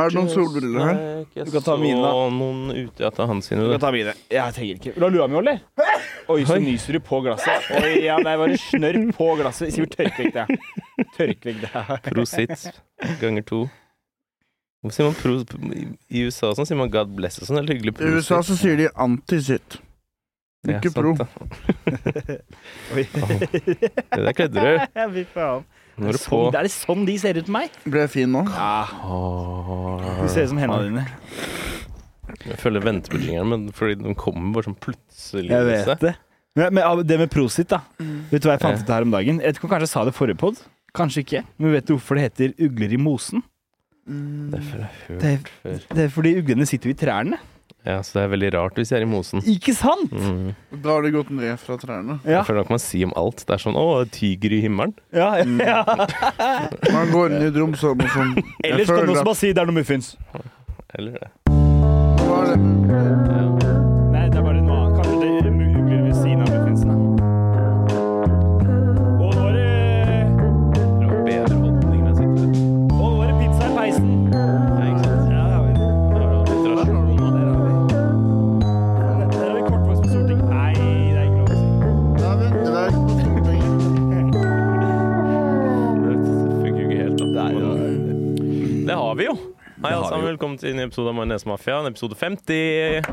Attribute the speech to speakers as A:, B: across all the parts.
A: Er det noen solbriller her?
B: Du
C: kan ta mine, da.
B: Og noen ute etter hans sine.
C: Jeg
B: du.
C: ta mine. Jeg trenger ikke. Vil du ha lua mi, Olli? Oi, så nyser du på glasset. Oi, ja, det var en snørr på glasset. Sivert, tørk vekk det. Tørk vekk det.
B: Prosit ganger to. Hvorfor sier man pro... I USA og sånn sier man God bless og sånn. Det er hyggelig
A: I USA så sier de antisitt.
B: Ja,
A: ikke
B: sant
A: pro.
B: det.
C: Oi.
B: Det der kødder du.
C: Fy faen.
B: Nå er du på.
C: Sånn, er det sånn de ser ut på meg?
A: Ble jeg fin nå?
C: Ja,
B: Åh.
C: de ser ut som
B: Ah,
C: hendene dine.
B: Jeg føler jeg venter på jingeren, men fordi den kommer bare sånn plutselig.
C: Jeg vet det. Men, men av- det med Prosit, da. Vet du hva jeg
B: Ja.
C: fant ut her om dagen? Jeg vet ikke om kanskje jeg sa det i forrige pod. Kanskje ikke. Men vet du hvorfor det heter ugler i mosen?
A: Mm.
B: Det er for jeg har hørt
C: Det
B: før.
C: Det er fordi uglene sitter jo i trærne.
B: Ja, så det er veldig rart hvis jeg er i mosen.
C: Ikke sant?
B: Mm.
A: Da har de gått ned fra trærne.
C: Ja.
B: Jeg føler nok man sier om alt. Det er sånn 'Å, tiger i himmelen'.
C: ja, ja.
A: Man går inn i et rom sånn og sånn.
C: Ellers kan du også bare si det er noe muffins.
B: Eller det.
A: Hva er det?
C: Nei, det er bare noe annet. Kanskje det er mu- ugler ved siden av muffinsen. da. Og nå er det,
B: Bedre holdning enn jeg sitter med.
C: og nå er det pizza i peisen.
B: Ja, ikke sant?
C: Ja, det har vi.
B: Det er alltid rasjonelt.
C: Der har vi. Der har vi kortvokst på Stortinget. Nei, det er ikke lov å si.
A: Da venter jeg på Stortinget.
B: Det funker jo ikke helt. Da. Men det har vi jo. Hei, alle sammen. Velkommen til en ny episode av Majones Mafia. En episode 50.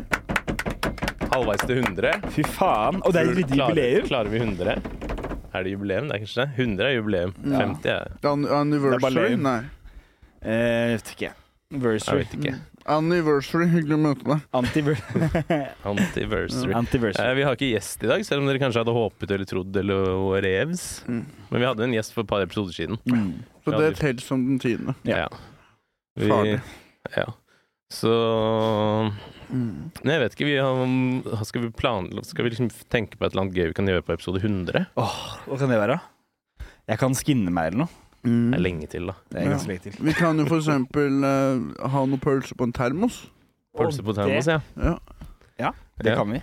B: Halvveis til 100.
C: Fy faen. Og det er litt jubileum.
B: Klarer, klarer vi 100? Er det jubileum? Det er kanskje det? 100 er jubileum. 50 er
A: An
C: Det
A: anniversary?
C: er bare
A: Nei.
C: Eh, vet ikke.
B: Jeg
C: Anniversary.
B: vet ikke.
A: Anniversary, hyggelig å møte deg.
B: Antiversary.
C: Antiversary.
B: Eh, Vi har ikke gjest i dag, selv om dere kanskje hadde håpet eller trodd eller og revs.
A: Mm.
B: Men vi hadde en gjest for et par episoder siden.
C: Mm.
A: Så
B: Ja,
A: det
B: du-
A: teller som den tiende.
C: Ja.
B: Vi,
A: Farlig.
B: ja. Så
A: Mm.
B: Nei, jeg vet ikke. Vi har, skal vi planla- Skal vi liksom tenke på et eller annet gøy vi kan gjøre på episode 100?
C: Hva kan det være? Jeg kan skinne meg eller noe.
B: Det er
A: Mm.
B: lenge til, da.
C: Det er
A: Ja.
C: ganske lenge til.
A: Vi kan jo for eksempel eh, ha noen pølser på en termos.
B: Pølse på
C: Og
B: termos, ja.
A: Ja.
C: Det, det
B: Ja.
C: kan vi.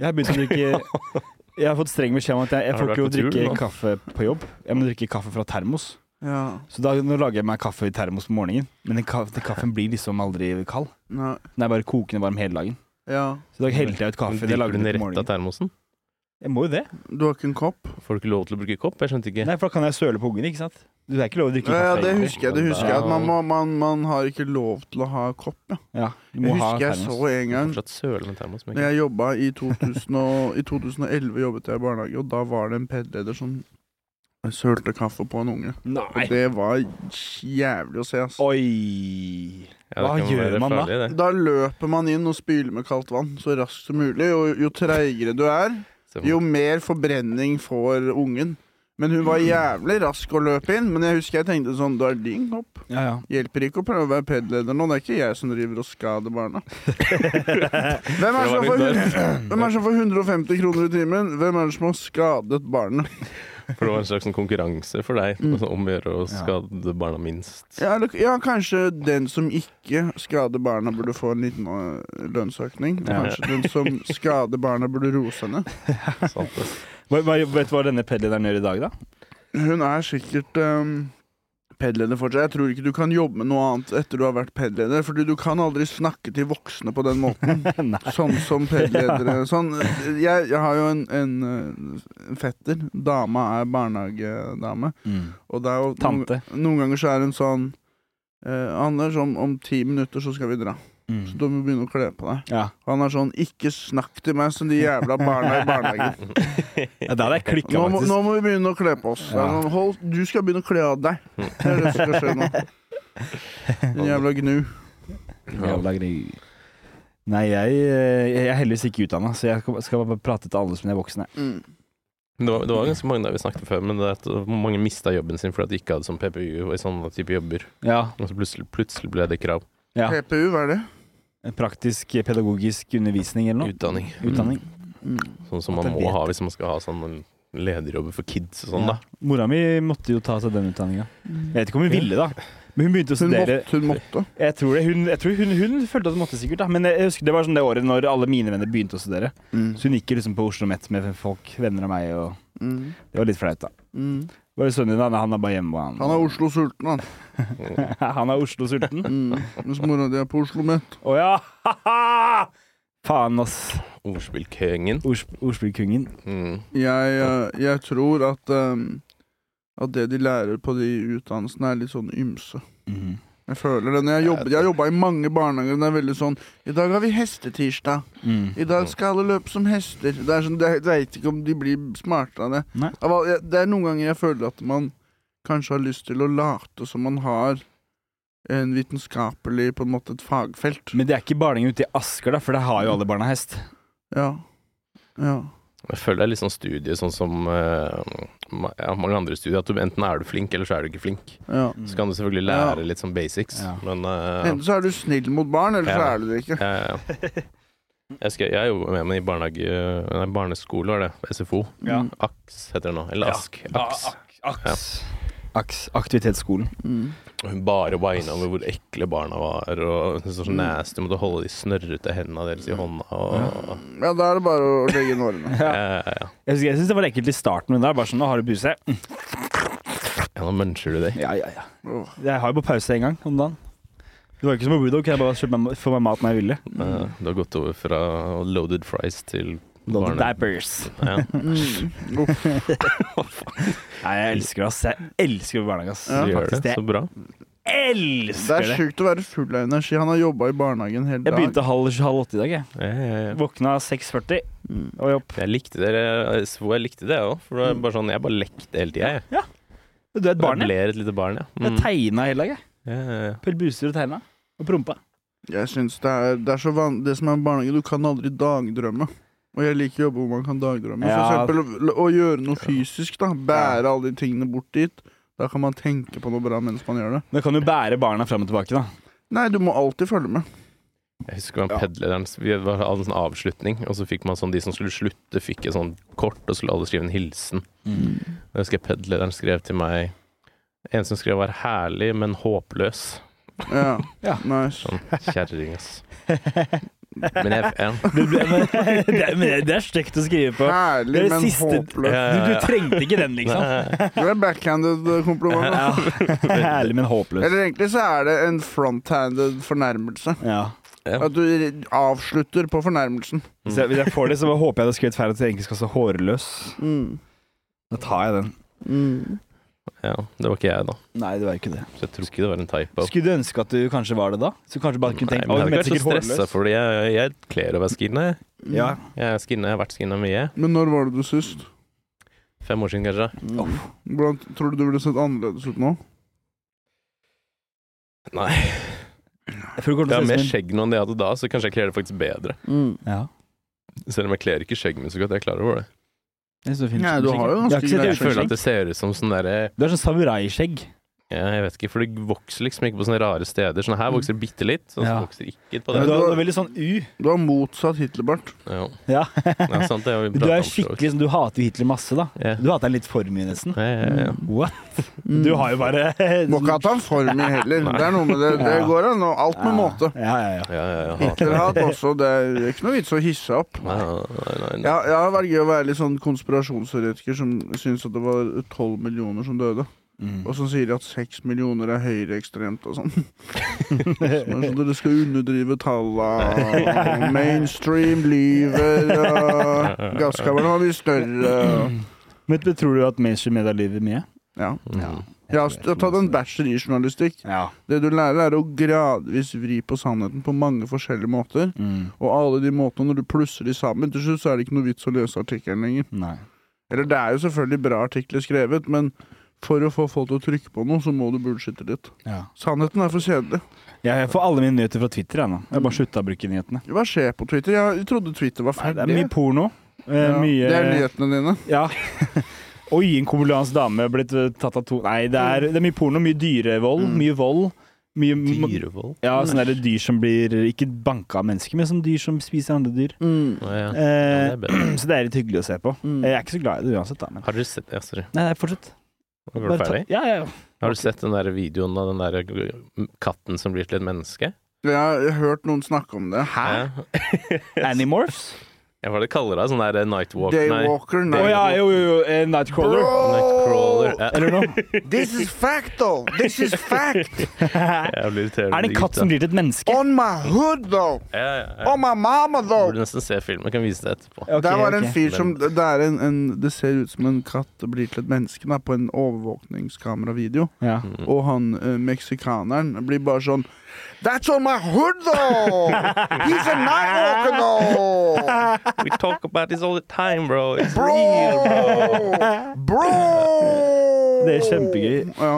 C: Jeg har begynt å drikke Jeg har fått streng beskjed om at jeg, jeg
B: Har
C: får
B: du
C: ikke å
B: vært på tur
C: drikke
B: nå?
C: kaffe på jobb. Jeg må drikke kaffe fra termos.
A: ja.
C: Så da nå lager jeg meg kaffe i termos på morgenen. Men den ka- den kaffen blir liksom aldri kald.
A: Nei.
C: Den er bare kokende varm hele dagen.
A: Ja.
C: Så da helte jeg ut kaffe. Det
B: Drikker
C: lagde
B: du den
C: jeg på
B: rett av
C: morgenen.
B: termosen?
C: Jeg må jo det.
A: Du har ikke en kopp?
B: Får du ikke lov til å bruke kopp? Jeg skjønte ikke.
C: Nei, for da kan jeg søle på ungene, ikke sant? Du er ikke lov å drikke
A: Ja, ja,
C: kaffe.
A: det
C: egentlig.
A: husker jeg. Det husker jeg at man, må, man, man har ikke lov til å ha kopp. Ja.
C: Ja, du må
A: Jeg
C: ha
A: husker jeg så
C: termos.
A: en gang
B: Fortsatt søle med termos. Men
A: Når
B: ikke.
A: jeg jobba i, 2000 og, i 2011, jobbet jeg i barnehage, og da var det en PED-leder som sølte kaffe på en unge. Og
C: Nei.
A: det var jævlig å se, ass.
C: Oi.
B: Ja, det
C: Hva
B: kan
C: gjør
B: være
C: man da?
B: farlig, det.
A: Da løper man inn og spyler med kaldt vann så raskt som mulig, og jo treigere du er,
B: Så-
A: jo mer forbrenning får ungen. Men hun var jævlig rask å løpe inn, men jeg husker jeg tenkte sånn, det er din kopp.
C: Ja, ja.
A: Hjelper ikke å prøve å være PED-leder nå, det er ikke jeg som driver og skader barna. Hvem er det som får hund- hvem er det som får 150 kroner i timen? Hvem er det som har skadet barnet?
B: For det var en slags sånn konkurranse for deg
A: Mm.
B: om å gjøre å
C: Ja.
B: skade barna minst.
A: Ja, eller, ja, kanskje den som ikke skader barna, burde få en liten øh, lønnsøkning. Og
C: Ja.
A: Kanskje den som skader barna, burde rose henne.
B: Sant, ass.
C: Hva, hva, vet du hva denne pedlederen gjør i dag, da?
A: Hun er sikkert um, pedleder fortsatt. Jeg tror ikke du kan jobbe med noe annet etter du har vært pedleder, fordi du kan aldri snakke til voksne på den måten. Sånn som pedledere sånn, jeg, jeg har jo en, en, øh, en fetter. Dama er barnehagedame. Og det er jo noen,
C: Mm. Tante.
A: noen ganger så er hun sånn eh, Anders, om, om ti minutter så skal vi dra. Så du må begynne å kle på deg.
C: Mm. Ja.
A: Han er sånn 'ikke snakk til meg som de jævla barna i barnehagen'.
C: ja, da hadde jeg klikka,
A: Nå må,
C: faktisk.
A: nå må vi begynne å kle på oss.
C: Ja.
A: Han er sånn, Hold, du skal begynne å kle av deg. Det er det som skal skje nå. Din jævla gnu.
C: Jævla gri. Nei, jeg, eh, jeg er heldigvis ikke utdanna, så jeg skal- skal bare prate til alle som er voksne.
A: Mm.
B: Det var, det var ganske mange der vi snakket før, men det er at mange mista jobben sin fordi de ikke hadde sånn PPU og i sånne type jobber.
C: Ja,
B: Og så plutselig, plutselig ble det krav.
C: ja.
A: PPU, hva er det?
C: En Praktisk eh, pedagogisk undervisning eller noe.
B: Utdanning.
C: Utdanning.
A: Mm.
B: Sånn som man
C: At jeg
B: må
C: vet.
B: ha hvis man skal ha sånn lederjobber for kids og sånn,
C: Ja.
B: da.
C: Mora mi måtte jo ta seg den utdanninga. Jeg vet ikke om hun ville, da. Men hun begynte å
A: Hun, måtte,
C: studere
A: hun måtte.
C: Jeg tror, det, hun, jeg tror hun, hun følte at hun måtte sikkert, da. Men jeg husker det var sånn det året når alle mine venner begynte å studere.
A: Mm.
C: Så hun gikk jo liksom på Oslo Met med folk, venner av meg, og
A: Mm.
C: det var litt flaut, da.
A: Mm.
C: Bare sønnen din, han er- han er bare hjemme. Han,
A: Han er Oslo sulten, han.
C: han er Oslo-sulten.
A: Mm. Mens mora di er på Oslo Met.
C: Å ja! Ha-ha! Faen, ass.
B: Ordspillkongen.
C: Ordsp ordspillkongen.
B: Mm.
A: Jeg, eh, jeg tror at eh, At det de lærer på de utdannelsene, er litt sånn ymse. Jeg føler det. Når jeg jobber, jeg har jobba i mange barnehager, og det er veldig sånn I dag har vi hestetirsdag.
C: Mm.
A: I dag skal alle løpe som hester. Det er sånn, Jeg veit ikke om de blir smartere av det.
C: Nei.
A: Av all- jeg- Det er noen ganger jeg føler at man kanskje har lyst til å late som man har en vitenskapelig på en måte et fagfelt.
C: Men det er ikke barnehagen ute i Asker, da, for der har jo alle barna hest.
A: Ja. Ja.
B: Jeg føler det er litt sånn studie, sånn som eh, ma- ja, mange andre studier, at du, enten er du flink, eller så er du ikke flink.
A: ja.
B: Så kan du selvfølgelig
A: Ja.
B: lære litt sånn basics,
C: Ja.
B: men eh,
A: Enten så er du snill mot barn, eller så
B: Ja.
A: er du det ikke.
B: Ja, ja, ja. Jeg, skal, jeg jobber med meg i barnehage, nei, barneskole, var det? SFO.
C: Ja.
B: AKS heter det nå. Eller ASK. AKS.
C: Aks. Aks. Aktivitetsskolen.
A: Mm.
B: Og Hun bare whina over hvor ekle barna var, og hun så
C: Mm.
B: så nasty. Måtte holde de snørrete hendene deres i hånda. Og,
A: Ja, da er det bare å legge inn årene.
B: ja, ja, ja.
C: Jeg syns, jeg synes det var ekkelt i starten, men da er det bare sånn, nå har du puse.
B: ja, nå muncher du deg.
C: Ja, ja, ja.
A: Åh.
C: Jeg har jo på pause en gang om dagen. Det var ikke som på Bulldog, jeg bare kjøpte meg, få meg mat når jeg ville.
B: Eh, Du har gått over fra loaded fries til
C: Loaded
B: Barne-
C: diapers.
B: ja.
A: Mm. Uff.
C: Nei, jeg elsker det, ass. Jeg elsker barnehage, ass.
A: Ja,
B: Du gjør
C: faktisk,
B: det. Så bra.
A: Det
C: Jeg elsker
A: er
C: det!
A: sjukt å være full av energi. Han har jobba i barnehagen hele
C: Jeg
A: dag.
C: begynte halv, halv åtte i dag, jeg.
B: Ja, ja, ja.
C: Våkna 6.40
A: Mm.
C: og jobb.
B: Jeg likte dere SFO. Jeg likte det òg. For det
C: Mm.
B: var bare sånn, jeg bare lekte hele tida. Jeg.
C: Du er et barn,
B: Jeg
C: jeg.
B: ler et lite barn, ja.
C: Jeg
B: Mm.
C: tegna hele dag, jeg.
B: Ja, ja, ja.
C: Pell Buser og tegna. Og prompa.
A: Jeg synes det er, det er så van Det som er med barnehage, du kan aldri dagdrømme. Og jeg liker å jobbe hvor man kan dagdrømme.
C: Ja.
A: For eksempel å, å gjøre noe fysisk, da. Bære alle de tingene bort dit. Da kan man tenke på noe bra mens man gjør det.
C: Men kan jo bære barna fram og tilbake, da.
A: Nei, du må alltid følge med.
B: Jeg husker man
C: Ja.
B: pedleren Vi hadde en sånn avslutning, og så fikk man sånn De som skulle slutte, fikk et sånn kort, og så skulle alle skrive en hilsen. Jeg husker pedleren skrev til meg En som skrev var herlig, men håpløs.
A: Ja.
C: Ja.
A: Nice.
B: Sånn kjerring, ass. Men jeg ja.
C: Det, ble, men, det, er- men det er stygt å skrive på. Det
A: Herlig,
C: er det
A: men
C: siste-
A: håpløst.
B: Ja.
C: Du, du trengte ikke den, liksom.
B: Nei,
A: Det er backhanded eh, kompliment. da.
C: Ja. Herlig, men håpløs.
A: Eller egentlig så er det en fronthanded fornærmelse.
C: Ja.
A: At du avslutter på fornærmelsen.
C: Hvis jeg, hvis jeg får det, så håper jeg det skrevet feil at jeg egentlig skal stå hårløs.
A: Mm.
C: Da tar jeg den.
A: Mm.
B: ja, det var ikke jeg, da.
C: Nei, det var jo ikke det.
B: Så jeg tror ikke det var en typo.
C: Skulle du ønske at du kanskje var det, da? Så kanskje bare kunne
B: Nei, men jeg
C: tenkt «Å,
B: hadde
C: men
B: ikke vært så
C: sikkert
B: stressa,
C: hårløs». Mm.
B: fordi jeg, jeg kler å være skinna. jeg.
A: Mm.
C: Ja.
B: Jeg er skinna, jeg har vært skinna mye.
A: Men når var det du sist?
B: Fem år siden, kanskje.
C: Mm.
A: Hvordan tror du du ville sett annerledes ut nå?
B: Nei.
C: Jeg tror det kommer
B: Jeg har
C: til å se
B: mer
C: ut som en-
B: skjegg nå enn jeg hadde da, så kanskje jeg kler det faktisk bedre.
A: Mm.
C: Ja.
B: Selv om jeg kler ikke skjegget mitt så godt. Jeg er klar over det.
C: Jeg synes det er fint.
A: Nei, du har jo
C: Jeg
A: ganske
C: har ikke sett
A: greit
C: det
B: Jeg
C: utført.
B: føler at det ser ut som sånn derre
C: Du har sånn samuraiskjegg.
B: ja, Jeg vet ikke, for det vokser liksom ikke på sånne rare steder. Sånn her vokser det bitte litt, sånn så
C: Ja.
B: vokser det ikke på
C: Du
B: det.
C: har
A: du
C: du
A: har-
C: har veldig sånn U.
A: Du har motsatt Hitlerbart.
B: Ja,
C: Ja.
B: ja sant, det har vi
C: Du
B: pratet
C: er
B: om for så vidt.
C: skikkelig sånn Du hater jo Hitler masse, da.
B: Ja.
C: Du hater han litt for mye, nesten.
B: Ja, ja, ja.
C: What? Du har jo bare
A: Mm. Må ikke ha tatt for mye heller. Det er noe med det. Det
C: Ja.
A: går an. og Alt med måte.
C: Ja, ja, ja.
B: Ja, ja, ja, hater det.
A: Hitlerhat også. Det er ikke noe vits å hisse opp.
B: Nei, nei, nei, nei.
A: Ja, jeg har vært gøy å være litt sånn konspirasjonsteoretiker som syns at det var tolv millioner som døde, og som sier at seks millioner er høyreekstremt og sånn. Som er sånn, Dere skal underdrive talla. og Mainstream lyver. og Gasskammerne var mye større. og-
C: Men men tror du at mainstream media lyver mye?
A: Ja.
B: Mm.
A: Jeg har- jeg har tatt en bachelor i journalistikk.
C: Ja.
A: Det du lærer, er å gradvis vri på sannheten på mange forskjellige måter.
C: Mm.
A: Og alle de måtene, når du plusser de sammen, til slutt så er det ikke noe vits å lese artikkelen lenger.
C: Nei.
A: Eller det er jo selvfølgelig bra artikler skrevet, men for å få folk til å trykke på noe, så må du bullshitte litt.
C: Ja.
A: Sannheten er for kjedelig.
C: Jeg får alle mine nyheter fra Twitter jeg nå. Jeg har bare slutta å bruke nyhetene.
A: Hva skjer på Twitter? Jeg trodde Twitter var
C: Nei,
A: ferdig.
C: det er mye porno. Eh,
A: Ja,
C: mye
A: Det er nyhetene dine.
C: Ja. Oi, en kongoliansk dame er blitt eh, tatt av to Nei, det er, det er mye porno, mye dyrevold,
A: Mm.
C: mye vold. Mye
B: Dyrevold?
C: Ja, sånne der dyr som blir ikke banka av mennesker, men som dyr som spiser andre dyr.
B: Å, ja. Ja, det
C: Eh,
B: er bedre.
C: så det er litt hyggelig å se på.
A: Mm.
C: Jeg er ikke så glad i det uansett, da. Men.
B: Har dere sett Ja, sorry.
C: Nei, nei, fortsett.
B: Var du
C: Bare ta-
B: ferdig?
C: Ja, ja, ja.
B: Har du sett den der videoen av den der katten som blir til et menneske?
A: Jeg har hørt noen snakke om det.
B: Ja.
C: Animorphs?
B: Ja, Hva er det de kaller det? Sånn der eh, night walk? Nei.
A: Daywalker,
C: Å
A: nei.
C: ja, jo, jo, jo. eh, Nightcrawler.
A: Bro!
B: crawler. Ja,
C: Eller noe.
A: This is fact, though. This is fact.
C: er
B: jeg blir irriterende.
C: det en katt som blir til et menneske?
A: On my hood, though.
B: Ja, ja, ja.
A: On my mama, though.
B: Burde nesten se filmen. Jeg kan vise det etterpå.
C: Ok,
A: Der var det en
C: ok.
A: fyr som Det, er en, en, det ser ut som en katt blir til et menneske da, på en overvåkningskameravideo.
C: Ja.
B: Mm.
A: Og han eh, meksikaneren blir bare sånn That's on my hood, though! He's a night walker, though!
B: We talk about this all the time, bro. It's
A: Bro! Bro!
C: Det er kjempegøy.
A: Ja.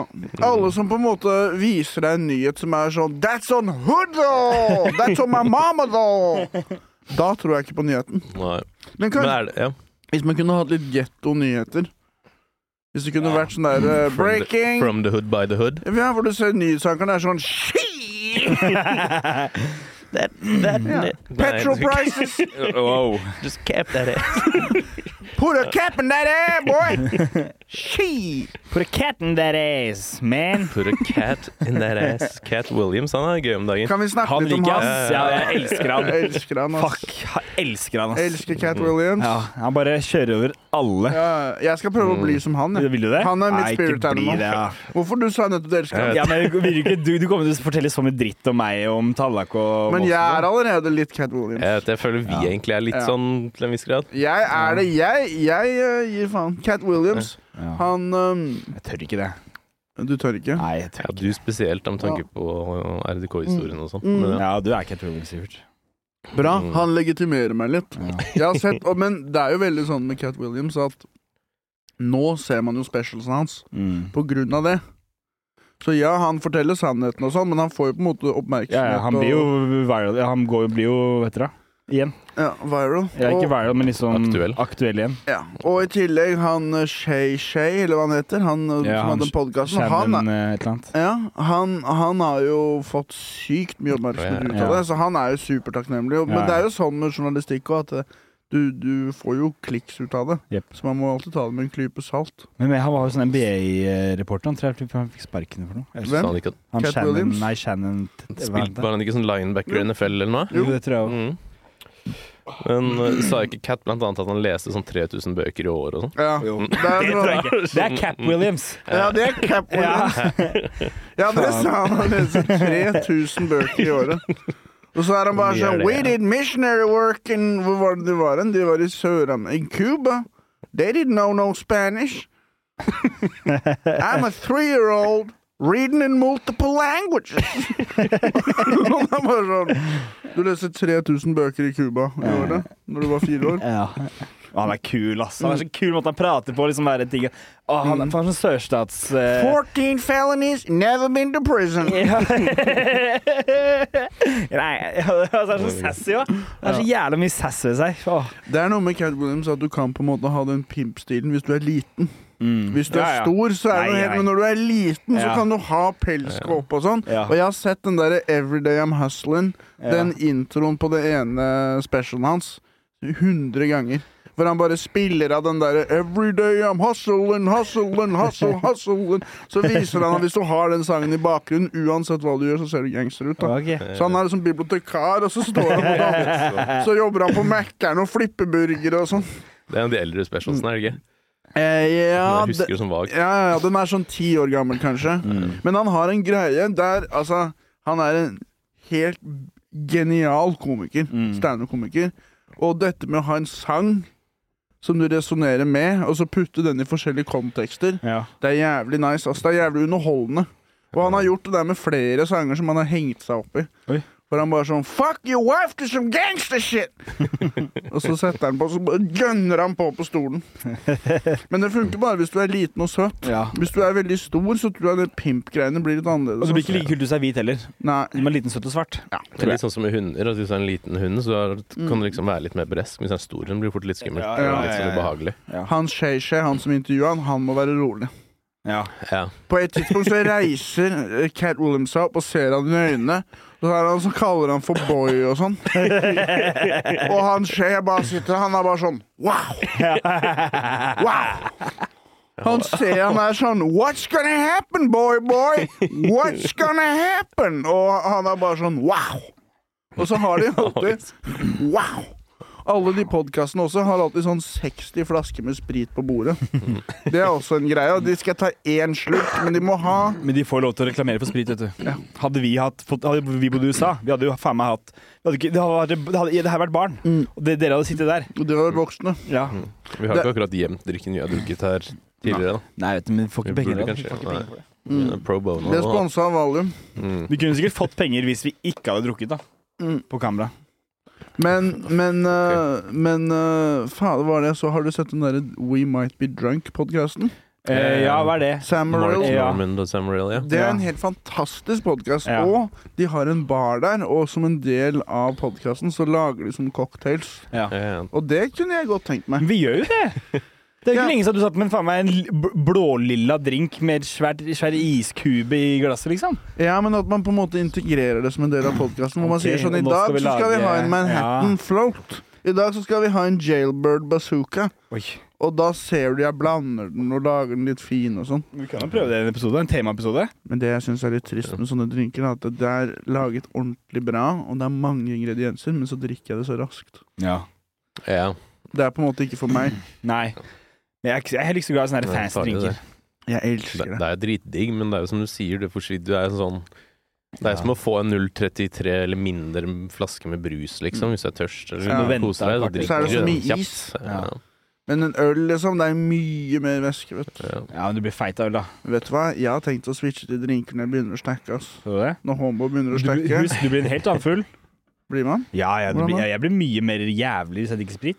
A: Alle som på en måte viser deg en nyhet som er sånn That's on hood, though! That's on my mama, though! Da tror jeg ikke på nyheten.
B: Nei.
A: Men
B: Men
A: kanskje
B: er det ja.
A: Hvis man kunne hatt litt getto-nyheter. Hvis det kunne
D: Ja.
A: vært sånn der eh,
B: From
A: breaking
B: The, from the hood by the hood.
A: Ja, Hvor du ser nyhetsankeren er sånn Shit! Ja. Petrol prices!
D: Wow.
B: Just cap that ass.
A: Put a cap in that air, boy! Shit!
C: Put a cat in that ass, man.
B: Put a cat in that ass. Cat Williams, han er gøy om dagen.
A: Kan vi snakke
D: Han
A: litt om
D: liker
A: han?
D: ass. Ja, jeg elsker han.
A: Jeg elsker han, ass.
C: Fuck, jeg elsker han, ass.
A: Elsker Cat Williams.
C: Ja, han bare kjører over alle.
A: Ja, jeg skal prøve å bli som han. jeg.
C: Mm. Vil du det?
A: Han er mitt
C: Nei, ikke
A: spirit
C: bli
A: animal.
C: det, ja.
A: Hvorfor du sa nettopp du elsker
B: Jeg
A: han?
C: Ja, men jeg vil ikke, du, du kommer til å fortelle så mye dritt om meg og om tallak og
A: Men jeg
C: voldtekt.
A: er allerede litt Cat Williams.
B: Jeg, jeg føler vi
C: Ja.
B: egentlig er litt
A: Ja.
B: sånn til en viss grad.
A: Jeg er det. Jeg, jeg eh, gir faen. Cat Williams,
C: ja.
A: han eh,
C: Jeg tør ikke det.
A: Du tør ikke?
C: Nei, jeg tør
B: Ja,
C: ikke.
B: du spesielt, med tanke på RDK-historien og sånn. Men ja.
C: Ja, du er ikke et problem, Sivert.
A: Bra.
B: Mm.
A: Han legitimerer meg litt.
C: Ja.
A: Jeg har sett, og, Men det er jo veldig sånn med Cat Williams at nå ser man jo specialsene hans
C: Mm.
A: på grunn av det. Så ja, han forteller sannheten og sånn, men han får jo på en måte oppmerksomhet.
C: Ja, ja, han blir jo viral. ja, Han går, blir jo, vet dere, igjen.
A: og, ja, viral.
C: Ja, ikke
A: og,
C: viral, men liksom
B: Aktuell.
C: igjen.
A: ja. og i tillegg han eh, Shay Shay, eller hva han heter, han eh,
C: Ja,
A: som
C: han
A: hadde den podkasten, han,
C: Shannon
A: er-
C: eh, et eller annet.
A: ja, han, han har jo fått sykt mye oppmerksomhet ut
C: Ja.
A: av det, så han er jo supertakknemlig. Og-
C: Ja,
A: Men
C: ja.
A: det er jo sånn med journalistikk òg, at eh, du, du får jo kliks ut av det.
C: Jep.
A: Så man må alltid ta det med en klype salt.
C: Men men han var jo sånn NBA-reporter. Han tror jeg han fikk sparken for noe.
B: Sa
C: Jeg
A: Hvem?
B: han ikke at
C: Han
A: Cat
C: Shannon,
A: Williams?
C: nei, Shannon
B: spilte var han ikke sånn linebacker i NFL eller noe?
C: Jo, det tror jeg også.
B: Mm. Men eh, sa ikke Cat blant annet at han leste sånn 3000 bøker i året og sånn?
A: Ja.
C: Jo.
A: Det er,
C: Det tror jeg ikke. Det er Cap Williams.
A: Ja, det er Cap Williams. Ja, det er sa han. Han leser 3000 bøker i året. Og så er han bare
B: Mye er
A: sånn
B: det,
A: We
B: ja.
A: did missionary work in Hvor var det de var hen? De var i Søram... I Cuba. They didn't know no Spanish. I'm a three-year-old reading in multiple languages. Og han bare sånn Du leser 3000 bøker i Cuba i året når du var fire år.
C: Ja. Og han er kul, ass. Han er så
A: Mm.
C: kul måte han prater på. liksom være ting. Å, han er faen sånn sørstats... eh,
A: 14 felonies, never been to prison.
C: Ja. Nei, altså, han er så sassy òg. Han er så jævla mye sass ved seg. Åh.
A: Det er noe med Cat Williams at du kan på en måte ha den pimp-stilen hvis du er liten. Hvis du
C: Mm. Ja, ja.
A: er stor, så er det
C: Nei,
A: noe helt
C: nei.
A: Men når du er liten, så
C: Ja.
A: kan du ha pelskåpe og sånn.
C: Ja.
A: Og jeg har sett den derre Everyday I'm Hustlin', den introen på det ene specialen hans, 100 ganger. Hvor han bare spiller av den derre 'Everyday I'm hustlin', hustlin', hustle, hustlin'. Så viser han at hvis du har den sangen i bakgrunnen, uansett hva du gjør, så ser du gangster ut. da
C: Ok.
A: så han er liksom bibliotekar, og så står han på dagen. Så jobber han på Mækkern og flipper burgere og sånn.
B: Det er en av de eldre specialsene, er det ikke?
A: Eh, ja,
B: jeg husker det som vagt.
A: ja, ja, den er sånn ti år gammel, kanskje.
C: Mm.
A: Men han har en greie der Altså, han er en helt genial komiker.
B: Mm.
C: Mm.
A: Standup-komiker. Og dette med å ha en sang som du resonnerer med, og så putte den i forskjellige kontekster,
C: Ja.
A: det er jævlig nice. Altså, det er jævlig underholdende. Og han har gjort det der med flere sanger som han har hengt seg opp i.
C: Oi.
A: For han bare sånn Fuck your wife to some gangster shit! og så setter han på, så bare gønner han på på stolen. Men det funker bare hvis du er liten og søt.
C: Ja.
A: Hvis du er veldig stor, så tror jeg det pimp-greiene blir litt annerledes.
C: Og så Altså, blir ikke like kult hvis du er hvit heller.
A: Nei.
C: Du må liten, søt og svart.
B: Det er litt sånn som med hunder. at Hvis du er en liten hund, så er- kan du liksom være litt mer beresk. Hvis du er en stor hund, blir det fort litt skummelt.
C: Ja,
B: og
A: Mm. ja,
B: litt
C: ja,
B: sånn
C: ja.
B: ubehagelig.
A: Han Shay-Shay, han som intervjua han, han må være rolig.
C: Ja.
B: Ja.
A: På et tidspunkt så reiser eh, Cat Williams seg opp og ser han i øynene. Og så, er han, så kaller han for boy og sånn. og han Shay bare sitter Han er bare sånn wow! Wow! Han ser han er sånn What's gonna happen, boy, boy? What's gonna happen? Og han er bare sånn wow! Og så har de alltid wow! Alle de podkastene også har alltid sånn 60 flasker med sprit på bordet. Det er også en greie. Og de skal ta én slurk, men de må ha
C: Men de får lov til å reklamere for sprit, vet du. Hadde vi, hatt, fått, hadde vi bodd i USA, vi hadde jo faen meg hatt vi hadde ikke, det, hadde, det, hadde, det her vært barn,
A: Mm.
C: og det, dere hadde sittet der.
A: Og de har voksne.
C: Ja.
B: Vi har ikke akkurat gjemt drikken vi har drukket her tidligere, da.
C: Nei, vet du, men vi får
B: Vi
C: ikke penger
B: burde
C: av det.
B: kanskje nei,
A: Mm.
B: Pro bono.
A: Det er
B: da.
A: sponsa av Valium.
B: Mm.
C: Vi kunne sikkert fått penger hvis vi ikke hadde drukket, da.
A: Mm.
C: På kamera.
A: Men, men, øh, men øh, faen, hva var det jeg så? Har du sett den derre We Might Be Drunk-podkasten?
C: Eh, ja, hva er det?
A: Sam
B: Mark
A: Morrill.
C: Ja.
B: Norman og Sam Morrill, ja.
A: Det er en
C: Ja.
A: helt fantastisk podkast.
C: Ja.
A: Og de har en bar der, og som en del av podkasten så lager de sånne cocktails.
B: Ja,
A: Og det kunne jeg godt tenkt meg.
C: Men vi gjør jo det! Det er jo
A: Ja.
C: ikke lenge siden du satt med en, faen meg, en l- bl- blålilla drink med et svært, svær iskube i glasset, liksom.
A: Ja, men at man på en måte integrerer det som en del av podkasten. Hvor man
C: Ok,
A: sier sånn I
C: og nå
A: dag
C: skal vi
A: så skal vi
C: lage-
A: ha en Manhattan
C: Ja.
A: float. I dag så skal vi ha en jailbird bazooka.
C: Oi.
A: Og da ser du jeg blander den og lager den litt fin og sånn.
C: Vi kan jo prøve det i en episode. En temaepisode.
A: Men det jeg syns er litt trist med sånne drinker, er at det er laget ordentlig bra, og det er mange ingredienser, men så drikker jeg det så raskt.
C: Ja.
B: ja.
A: Det er på en måte ikke for meg.
C: Nei. Men jeg er, ikke, jeg er heller ikke så glad i sånne her
B: Det er
C: fancy
B: farlig, det.
C: drinker.
A: Jeg
B: Det,
A: elsker det.
B: det er jo dritdigg, men det er jo som du sier, du forsvinner Du er en sånn Det er
C: Ja.
B: som å få en 0,33 eller mindre flaske med brus, liksom, hvis du er tørst eller
A: Ja.
B: ja.
C: Vente
B: koser deg.
C: et
B: Da
C: kvarter.
B: drikker
A: Så er det
B: du
A: så
B: den
A: mye
B: kjapt.
A: is.
B: Ja.
A: Men en øl, liksom, det er mye mer væske, vet du.
B: Ja.
C: Ja, men du blir feit av øl, da.
A: Vet du hva? Jeg har tenkt å switche til drinker når jeg begynner å snakke, ass.
C: Tror du det?
A: Når homo begynner å
C: Du, blir-
A: snakke,
C: husk, du blir en helt annen full.
A: blir man?
C: Ja, ja, du
A: Hvordan
C: blir,
A: da?
C: jeg, jeg blir mye mer jævlig hvis jeg drikker sprit.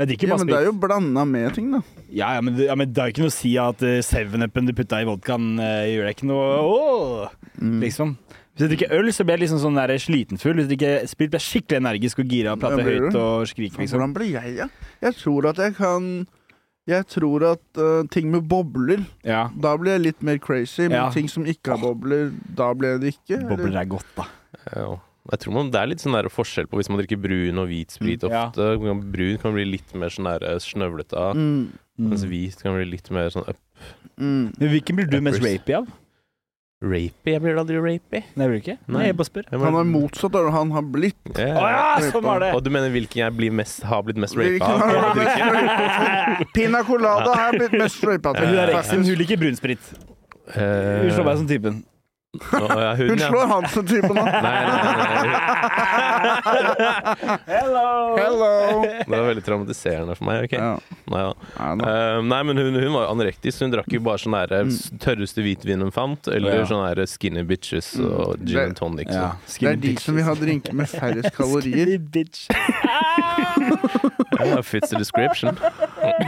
C: Jeg drikker
A: Ja,
C: bare
A: men det er
C: sprit.
A: jo blanda med ting, da.
C: Ja, ja, men, det- ja, men det er jo ikke noe å si at eh, 7-Upen du putta i vodkaen, eh, gjør deg ikke noe åh,
A: Mm.
C: liksom. Hvis jeg drikker øl, så blir jeg liksom sånn der slitenfull. Hvis jeg drikker sprit, blir jeg skikkelig energisk og gira og
A: Ja,
C: prater
A: blir
C: høyt
A: du?
C: og skriker, liksom.
A: Hvordan blir jeg, da? Jeg tror at jeg kan Jeg tror at øh, ting med bobler
C: Ja.
A: Da blir jeg litt mer crazy. Men
C: Ja.
A: ting som ikke har bobler, da blir jeg det ikke. eller?
C: Bobler er godt, da.
B: Ja. Jeg tror man, Det er litt sånn der forskjell på hvis man drikker brun og hvit sprit
C: Mm. Ja.
B: ofte. Brun kan bli litt mer sånn der, eh, snøvlete av,
A: Mm,
B: mens
C: Altså,
B: hvit kan bli litt mer sånn up
A: mm.
C: Men hvilken blir du mest
B: Peppers.
C: rapey av?
B: rapey. Jeg blir aldri rapey.
C: Nei, blir du ikke?
B: Nei.
C: Nei, jeg bare spør.
B: Jeg
A: Han
B: bare-
A: er motsatt av det han har blitt.
B: Ja.
C: Å ja, sånn var det!
B: Og du mener hvilken jeg blir mest, har blitt mest
A: Hvilken
B: rapa av?
A: har
B: å
A: du blitt?
B: drikke?
A: Pina colada har jeg blitt mest rapa
C: Men Hun
A: til.
C: der eksen,
A: faktisk.
C: hun liker brunsprit. Hun slår meg sånn. som typen.
B: Eh, å, ja, hun,
A: Hun
B: ja.
A: slår han som type nå.
B: Nei, nei, nei, nei.
C: Hello!
A: Hello!
B: Det var veldig traumatiserende for meg. ok?
A: Ja.
B: Nei, ja.
A: Nei, da.
B: Eh, nei, men hun, hun var jo anorektisk. Hun drakk jo bare sånn der, eh, tørreste hvitvin hun fant, eller
C: Mm. Ja.
B: sånn der skinny bitches og
A: Mm.
B: gin and tonics.
C: Ja,
B: og-
A: Det er de som vil ha drinker med færrest kalorier.
C: bitch.
B: Ja, fits the description.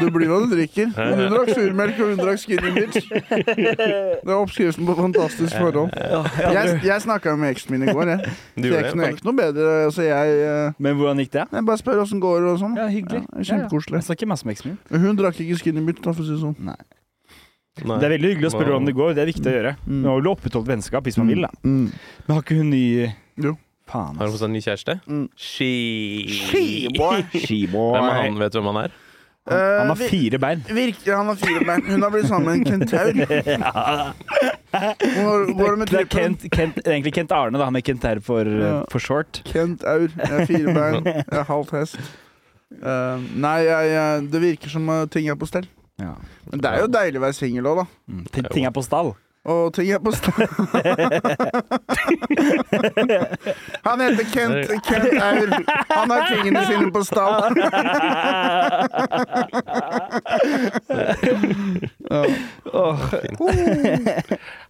A: Du blir hva du drikker. Men hun drakk surmelk, og hun drakk skinny bitch. Det er oppskriften på fantastisk forhold. Jeg, jeg snakka med eksen min i går, jeg.
B: Eh, Du
A: Så jeg er
B: gjorde
A: ikke noe- jeg er
B: det?
A: ikke noe bedre. Altså, jeg, eh,
C: Men hvordan gikk det?
A: jeg bare spør åssen går det og sånn.
C: Ja, hyggelig.
A: Ja, kjempekoselig.
C: Jeg snakker masse med eksen min.
A: Hun drakk ikke skinny bitch, da, for å si det sånn.
B: Nei.
C: Det er veldig hyggelig å spørre
B: Wow.
C: hvordan det går. Det er viktig å gjøre.
A: Mm.
C: Man vil opprettholde vennskap hvis man vil, da.
A: Mm.
C: Men har ikke hun ny
A: Jo.
C: Faen, altså.
B: Har hun fått seg ny kjæreste?
A: Mm.
B: She. Hvem er
C: Skiboy.
B: han? Vet du hvem han er?
C: Han
A: Eh,
C: har
A: vi-
C: fire bein.
A: Virker han har fire bein. Hun har blitt sammen med en kentaur. Hvor går det med
C: Det er
A: trippen?
C: Kent, Kent, egentlig Kent Arne, da, med Kent her for, eh,
A: Ja.
C: for short.
A: Kentaur. Jeg har fire bein. Jeg er halvt hest. Eh, nei, jeg, jeg, det virker som eh, ting er på stell.
C: Ja.
A: Men det er jo deilig å være singel òg, da.
C: Mm. Ting- Ting er på stall.
A: Og ting er på stell. Han heter Kent, Kent Aur. Han har tingene sine på stall.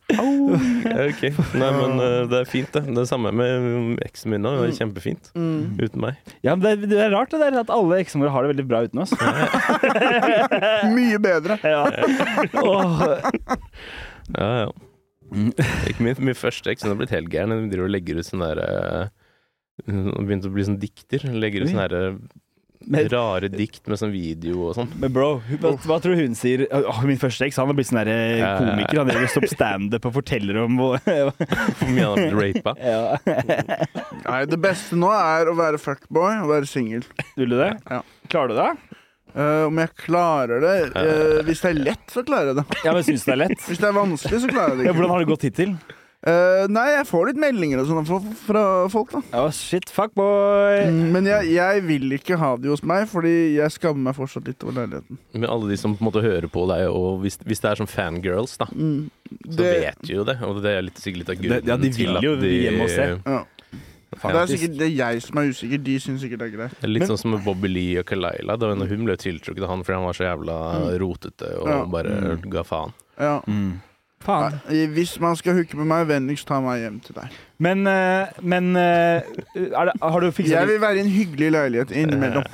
B: Ok, Nei, men eh, det er fint, det. Det er samme med mm, eksen min nå. Det er kjempefint
A: Mm.
B: uten meg.
C: Ja, men det, er- det er rart det der at alle eksene våre har det veldig bra uten oss.
A: Mye bedre.
C: Ja. Åh.
B: Ja, ja. Ikke min, min første eks, hun har blitt helt gæren. Hun driver og legger ut sånn der eh, Hun har begynt å bli sånn dikter. Hun legger ut
C: Oi.
B: sånn derre
C: Men-
B: rare dikt med sånn video og sånn.
C: Men bro, hun- hva, hva tror du hun sier? Åh, min første eks han har blitt sånn der, eh,
B: Ja, ja, ja.
C: komiker. Han driver og står på standup og forteller om hvor-
B: Hvor mye han har blitt rapa.
C: ja.
A: Nei, det beste nå er å være fuckboy og være singel.
C: Vil du det?
A: Ja.
C: Klarer du det?
A: Eh, om jeg klarer det eh, Hvis det er lett, så klarer jeg det.
C: Ja, men Syns du det er lett?
A: Hvis det er vanskelig, så klarer jeg det
C: Ja,
A: ikke.
C: hvordan har det gått hittil?
A: Eh, nei, jeg får litt meldinger og sånn fra, fra folk, da.
C: Å, shit, fuck boy.
A: Mm, Men jeg, jeg vil ikke ha de hos meg, fordi jeg skammer meg fortsatt litt over leiligheten.
B: Med alle de som på en måte hører på deg, og hvis, hvis det er som fangirls, da,
A: Mm.
B: så
A: Det,
B: vet de jo det. Og det er litt, sikkert litt av
C: Det-
B: grunnen
C: ja, de vil jo hjem og se.
A: ja. det er sikkert det er jeg som er usikker. De syns sikkert det er greit.
B: Det er Litt
C: Men-
B: sånn som med Bobby Lee og Kalaila. Da når hun ble tiltrukket av han fordi han var så jævla rotete og
A: Ja.
B: bare
C: Mm.
B: ga faen.
A: Ja.
C: Faen.
A: Nei, hvis man skal hooke med meg, vennligst ta meg hjem til deg.
C: Men, eh, men eh, er det, har du fiksa
A: Jeg vil være i en hyggelig leilighet innimellom.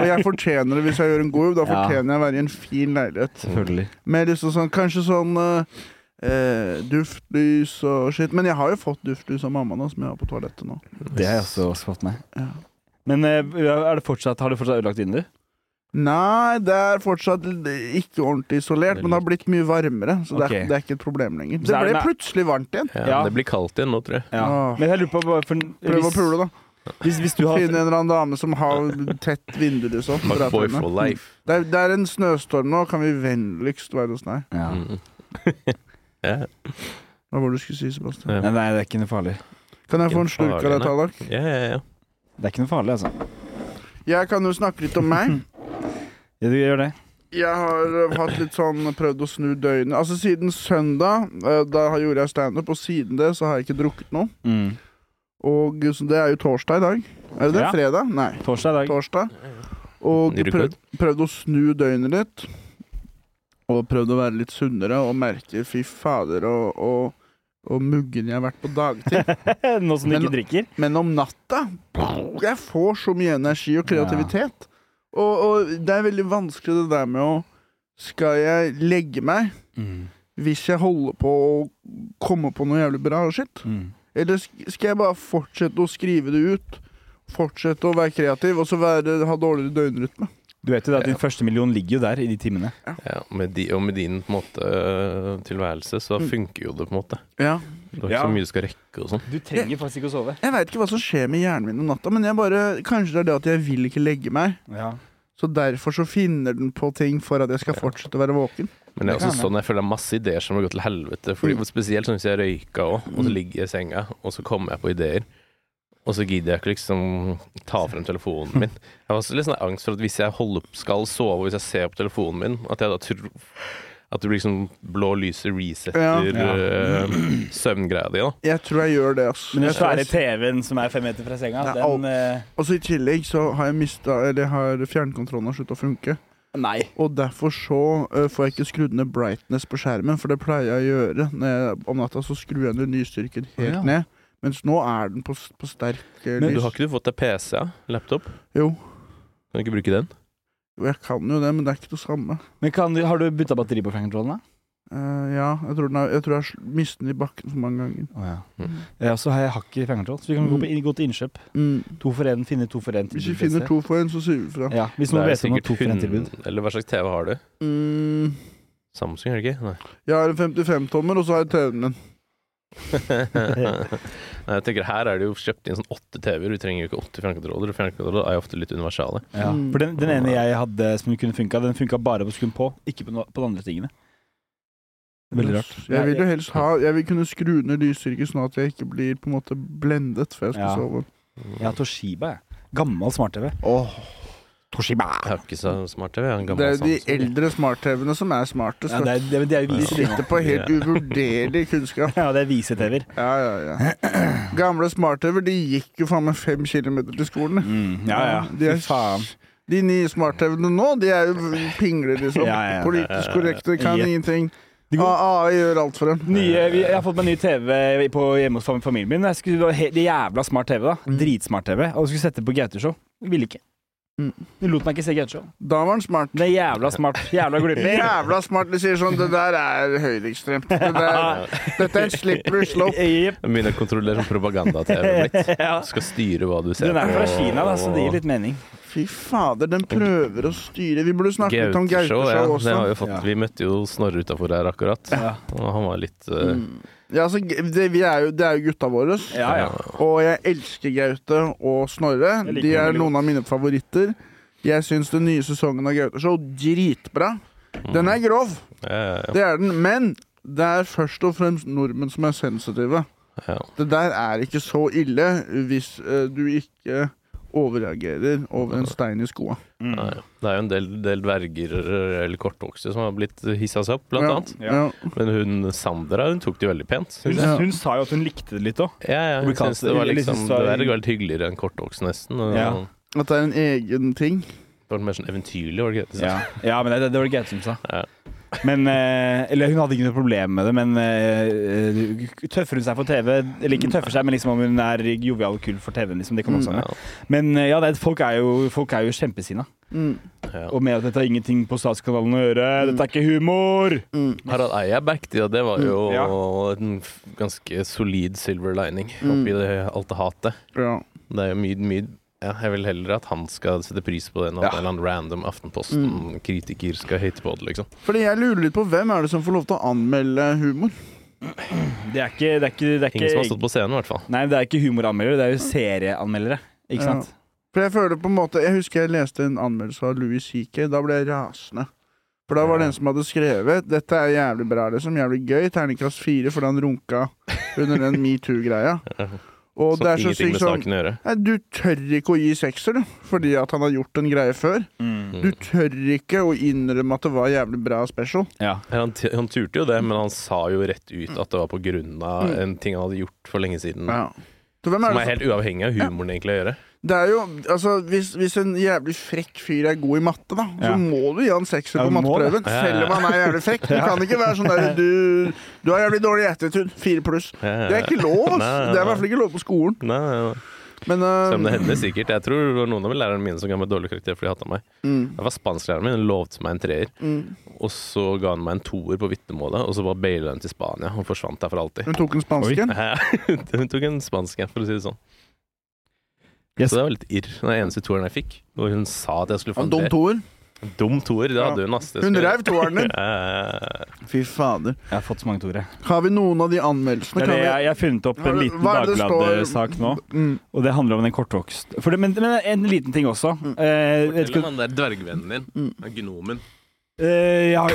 A: Og jeg fortjener det hvis jeg gjør en god jobb. Da
C: Ja.
A: fortjener jeg å være i en fin leilighet.
C: Selvfølgelig.
A: Med liksom sånn, kanskje sånn eh, eh, duftlys og shit. Men jeg har jo fått duftlys av mamma nå, som jeg har på toalettet nå.
C: Det altså- har jeg også også fått med.
A: Ja.
C: Men eh, er det fortsatt, har du fortsatt ødelagt vinduet?
A: Nei, det er fortsatt ikke ordentlig isolert, men det har blitt mye varmere. Så det,
C: Ok.
A: er, det er ikke et problem lenger.
C: Så
A: Det
C: er det
A: ble
C: med-
A: plutselig varmt igjen.
B: Ja,
C: Ja.
B: men Det blir kaldt igjen nå, tror jeg.
C: Ja.
A: Åh.
C: Men jeg lurer på bare for,
A: Prøv å
C: hvis,
A: pule, da.
C: hvis, hvis du har
A: Finne en eller annen dame som har tett vindu, liksom. Prate
B: Fuckboy
A: med.
B: for life.
A: Det er, det er en snøstorm nå, kan vi vennligst være hos deg?
C: ja.
B: Mm. ja.
A: Hva var det du skulle si, Sebastian?
C: Nei, nei, det er ikke noe farlig.
A: Kan jeg få en
B: Ikke
A: slurk av
B: farlig,
A: deg,
B: nei.
A: Tallak?
B: ja, ja, ja.
C: Det er ikke noe farlig, altså.
A: Jeg kan jo snakke litt om meg.
C: Ja, du gjør det.
A: Jeg har eh, hatt litt sånn prøvd å snu døgnet. Altså siden søndag, eh, da har- gjorde jeg standup, og siden det så har jeg ikke drukket noe.
C: Mm.
A: Og så det er jo torsdag i dag. Er det det?
C: Ja.
A: Fredag? Nei.
C: Torsdag i dag.
A: Torsdag. Og
B: Ny rekord.
A: prøvd, prøvd å snu døgnet litt. Og prøvd å være litt sunnere og merke fy fader og, og, og muggen jeg har vært på dagtid.
C: Eh, Nå som du ikke
A: Men-
C: drikker.
A: Men om natta Jeg får så mye energi og kreativitet. Og, og det er veldig vanskelig det der med å Skal jeg legge meg
C: Mm.
A: hvis jeg holder på å komme på noe jævlig bra og shit?
C: Mm.
A: Eller sk- skal jeg bare fortsette å skrive det ut? Fortsette å være kreativ, og så være, ha dårligere døgnrytme?
C: Du vet jo det at din første million ligger jo der i de timene.
B: Ja, med de, og med din på en måte øh, tilværelse, så funker jo det på en måte.
A: Ja.
B: Det er ikke
C: Mm. Ja.
B: så mye du skal rekke og sånn.
D: Du trenger faktisk ikke å sove.
A: Jeg veit ikke hva som skjer med hjernen min om natta, men jeg bare, kanskje det er det at jeg vil ikke legge meg.
C: Ja.
A: Så derfor så finner den på ting for at jeg skal fortsette å være våken.
B: Men det er
C: Det kan Mm.
B: også sånn jeg føler det er masse ideer som har gått til helvete. Fordi Spesielt sånn hvis jeg røyka òg, og så ligger jeg i senga, og så kommer jeg på ideer. Og så gidder jeg ikke liksom ta frem telefonen min. Jeg har også litt sånn angst for at hvis jeg holder, skal sove, og hvis jeg ser på telefonen min, at jeg da tror at det blir liksom blå lyset resetter
C: Ja.
B: øh, søvngreia di, da.
A: Jeg tror jeg gjør det, ass.
C: Men den
A: Jeg tror jeg
C: svære TV-en som er fem meter fra senga,
A: Det er
C: den eh,
A: Og så i tillegg så har jeg mista Eller har fjernkontrollen har slutta å funke.
C: Nei.
A: Og derfor så ø, får jeg ikke skrudd ned brightness på skjermen, for det pleier jeg å gjøre. Når jeg, om natta så skrur jeg ned lysstyrken helt
C: Å, ja.
A: ned. Mens nå er den på, s- på sterk ø,
B: Men
A: lys.
B: du har ikke du fått deg PC? Ja? Laptop?
A: Jo.
B: Kan du ikke bruke den?
A: Jo, Jeg kan jo det, men det er ikke det samme.
C: Men kan du, har du bytta batteri på fjernkontrollen, da?
A: Eh, ja, jeg tror, den er, jeg tror jeg har sl- mistet den i bakken for mange ganger.
C: Oh, ja.
B: Mm.
C: ja, så har jeg hakk i fjernkontroll, så vi kan gå, på, gå til innkjøp.
A: Mm.
C: To for én, finne to for én.
A: Hvis vi finner to for en, så sier vi fra.
C: Ja, hvis
B: Det
C: noen
B: er
C: vet om noe
B: sikkert
C: to for én-tilbud.
B: hund- Eller hva slags TV har du?
A: Mm.
B: Samsung, er det ikke? Nei.
A: Jeg har en 55-tommer, og så har jeg TV-en min.
B: Nei, jeg tenker Her er det jo kjøpt inn sånn åtte TV-er. Vi trenger jo ikke åtte fjernkontroller. og Fjernkontroller er jo ofte litt universale.
C: Ja.
A: Mm.
C: For den, den ene jeg hadde som kunne funka, den funka bare på skum på, ikke på, no, på de andre tingene. Veldig rart.
A: Jeg vil jo helst ha Jeg vil kunne skru ned lysstyrken, sånn at jeg ikke blir på en måte blendet før jeg skal
C: Ja.
A: sove.
C: Jeg har Toshiba, jeg. Gammel smart-TV. Toshiba!
B: Jeg har ikke så smart TV. Jeg har en
A: Det
B: gammel
A: er jo de
B: Samsung.
A: eldre smart-TV-ene som er smartest.
C: Ja, det
A: vet
C: er, det, men det er
A: du. de
C: vise,
A: sitter på helt uvurderlig kunnskap.
C: ja, det er vise-TV-er.
A: Ja, ja, ja. Gamle smart-TV-er de gikk jo faen meg fem kilometer til skolen.
C: Mm. ja, ja.
A: De,
C: Fy
A: er,
C: faen.
A: de nye smart-TV-ene nå, de er jo pingler, liksom.
C: Ja, ja, ja.
A: Politisk korrekte, kan
C: Ja.
A: ingenting.
C: De går-
A: AI gjør alt for dem.
C: Nye, vi, jeg har fått meg ny TV på hjemme hos fam- familien min. Jeg skulle, det var he- det jævla smart TV, da. Dritsmart TV. Og jeg skulle sette det på Gauteshow. Ville ikke.
A: Mm.
C: Du lot meg ikke se Gauteshow.
A: Da var han smart.
C: Det er jævla smart. Jævla glipper.
A: Jævla smart. De sier sånn Det der er høyreekstremt. Det der- Dette er en slippery slope.
C: Jepp.
B: Jeg begynner å kontrollere sånn propaganda-TV-en litt.
C: Ja.
B: Du skal styre hva du ser
C: Den er fra
B: på,
C: Kina, da, så det gir litt mening.
A: Fy fader, den prøver å styre. Vi burde snakke litt om
B: Gauteshow, ja.
A: Gauteshow
B: Det
A: også.
B: har vi, fått.
C: Ja.
B: vi møtte jo Snorre utafor her akkurat,
C: Ja,
B: og han var litt eh,
A: Mm. Ja, altså, det, vi er jo, det er jo gutta våre.
C: ja. ja.
A: Og jeg elsker Gaute og Snorre.
C: Jeg liker
A: De
C: dem
A: er
C: veldig
A: noen av mine favoritter. Jeg syns den nye sesongen av Gaute Show dritbra. Den er grov,
B: Mm. ja, ja, ja.
A: det er den, men det er først og fremst nordmenn som er sensitive.
B: Ja.
A: Det der er ikke så ille hvis eh, du ikke overreagerer over en stein i skoa.
C: Mm.
B: Nei, det er jo en del, del dverger eller kortvokste som har blitt hissa seg opp, blant
A: Ja,
B: annet.
A: Ja.
B: Men hun Sandra hun tok det jo veldig pent.
C: Hun,
B: Synes jeg.
A: Ja.
C: hun sa jo at hun likte det litt òg.
B: Ja, ja, hun
C: Amerikansk-
B: syntes det var
C: eller
B: liksom
C: synes det var-
B: dverg var litt hyggeligere enn kortvokst, nesten. Og
C: Ja.
A: At det er en egen ting.
B: Det var mer sånn eventyrlig, var det ikke det?
C: Ja. ja, men det, det var det Gaute som sa.
B: Ja.
C: Men, eh, eller hun hadde ikke noe problem med det, men eh, eh, tøffer hun seg for TV? Eller ikke tøffer seg, men liksom om hun er jovial og kul for TV-en, liksom. Det kan også
B: Mm, Ja,
C: hende. Men eh, ja, det, er- folk er jo, folk er jo kjempesinna.
A: Mm.
B: ja.
C: Og med at dette har ingenting på Statskanalen å gjøre.
B: Mm.
C: Dette er ikke humor!
A: Mm.
B: Harald Eia back, ja, det var jo
C: Ja.
B: en f- ganske solid silver lining oppi det, alt det hatet.
A: Ja.
B: Det er jo mye, mye ja, Jeg vil heller at han skal sette pris på det, enn at en eller annen random Aftenposten-kritiker skal hate på det, liksom.
A: Fordi jeg lurer litt på hvem er det som får lov til å anmelde humor?
C: Det er ikke, det er ikke, det er
B: Ingen som har
C: ikke
B: stått på scenen, i hvert fall.
C: Nei, det er ikke humoranmeldere, det er jo serieanmeldere. Ikke
A: Ja.
C: sant?
A: For jeg føler på en måte Jeg husker jeg leste en anmeldelse av Louis CK. Da ble jeg rasende. For da var det en som hadde skrevet 'Dette er jævlig bra, liksom. Jævlig gøy. Terningkast fire fordi han runka under den metoo-greia. Og det
B: Som
A: er så
B: ingenting
A: sykt
B: med
A: sånn
B: saken å gjøre.
A: Nei, du tør ikke å gi sekser, du. Fordi at han har gjort en greie før.
B: Mm.
A: Du tør ikke å innrømme at det var jævlig bra special.
C: Ja.
B: Han, t- han turte jo det, men han sa jo rett ut at det var på grunn av en ting han hadde gjort for lenge siden.
A: Ja. altså- Så hvem er
B: Som
A: det,
B: er helt uavhengig av humoren egentlig å gjøre.
A: som- det er jo, altså, hvis, hvis en jævlig frekk fyr er god i matte, da, så
C: Ja.
A: må du gi han sekser
C: Ja,
A: på
C: du må
A: matteprøven.
B: Ja, ja, ja.
A: Selv om han er jævlig frekk. Du kan ikke være sånn der du, du har jævlig dårlig attitude. Fire pluss. Det er ikke lov, ass.
B: Nei, nei,
A: Det er i
B: nei.
A: hvert fall ikke lov på skolen.
B: Nei, nei, nei.
A: Men
B: Selv om det
A: uh,
B: hender sikkert. Jeg tror det var noen av lærerne mine som ga meg dårlig karakter fordi de hata meg.
A: mm,
B: Det var spansklæreren min, hun lovte meg en treer. Og så ga han meg en toer på vitnemålet, og så bare baila hun til Spania. Hun forsvant der for alltid.
A: hun tok en spansk en.
B: Hun tok en spansk en, for å si det sånn.
C: Yes.
B: Så det var litt irr. Den eneste toeren jeg fikk. Og hun sa at jeg skulle få
A: En
B: en
A: dum
B: treer.
A: toer.
B: Dum toer, det hadde hun, ass. Det
A: Hun
B: skulle-
A: reiv toeren din.
B: Eh,
A: Fy fader.
C: Jeg har fått så mange ord, jeg.
A: Har vi noen av de anmeldelsene? Kan
C: Jeg,
A: vi-
C: jeg har funnet opp
A: Har
C: en
A: du-
C: liten
A: hva er det det står-
C: Dagbladet-sak nå.
A: Mm.
C: Og det handler om den kortvokst... For det, men, men en liten ting også. Eh, vet
B: Mm. Fortell
C: ikke,
B: om han der dvergvennen din. Han Gnomen.
C: eh, jeg, har-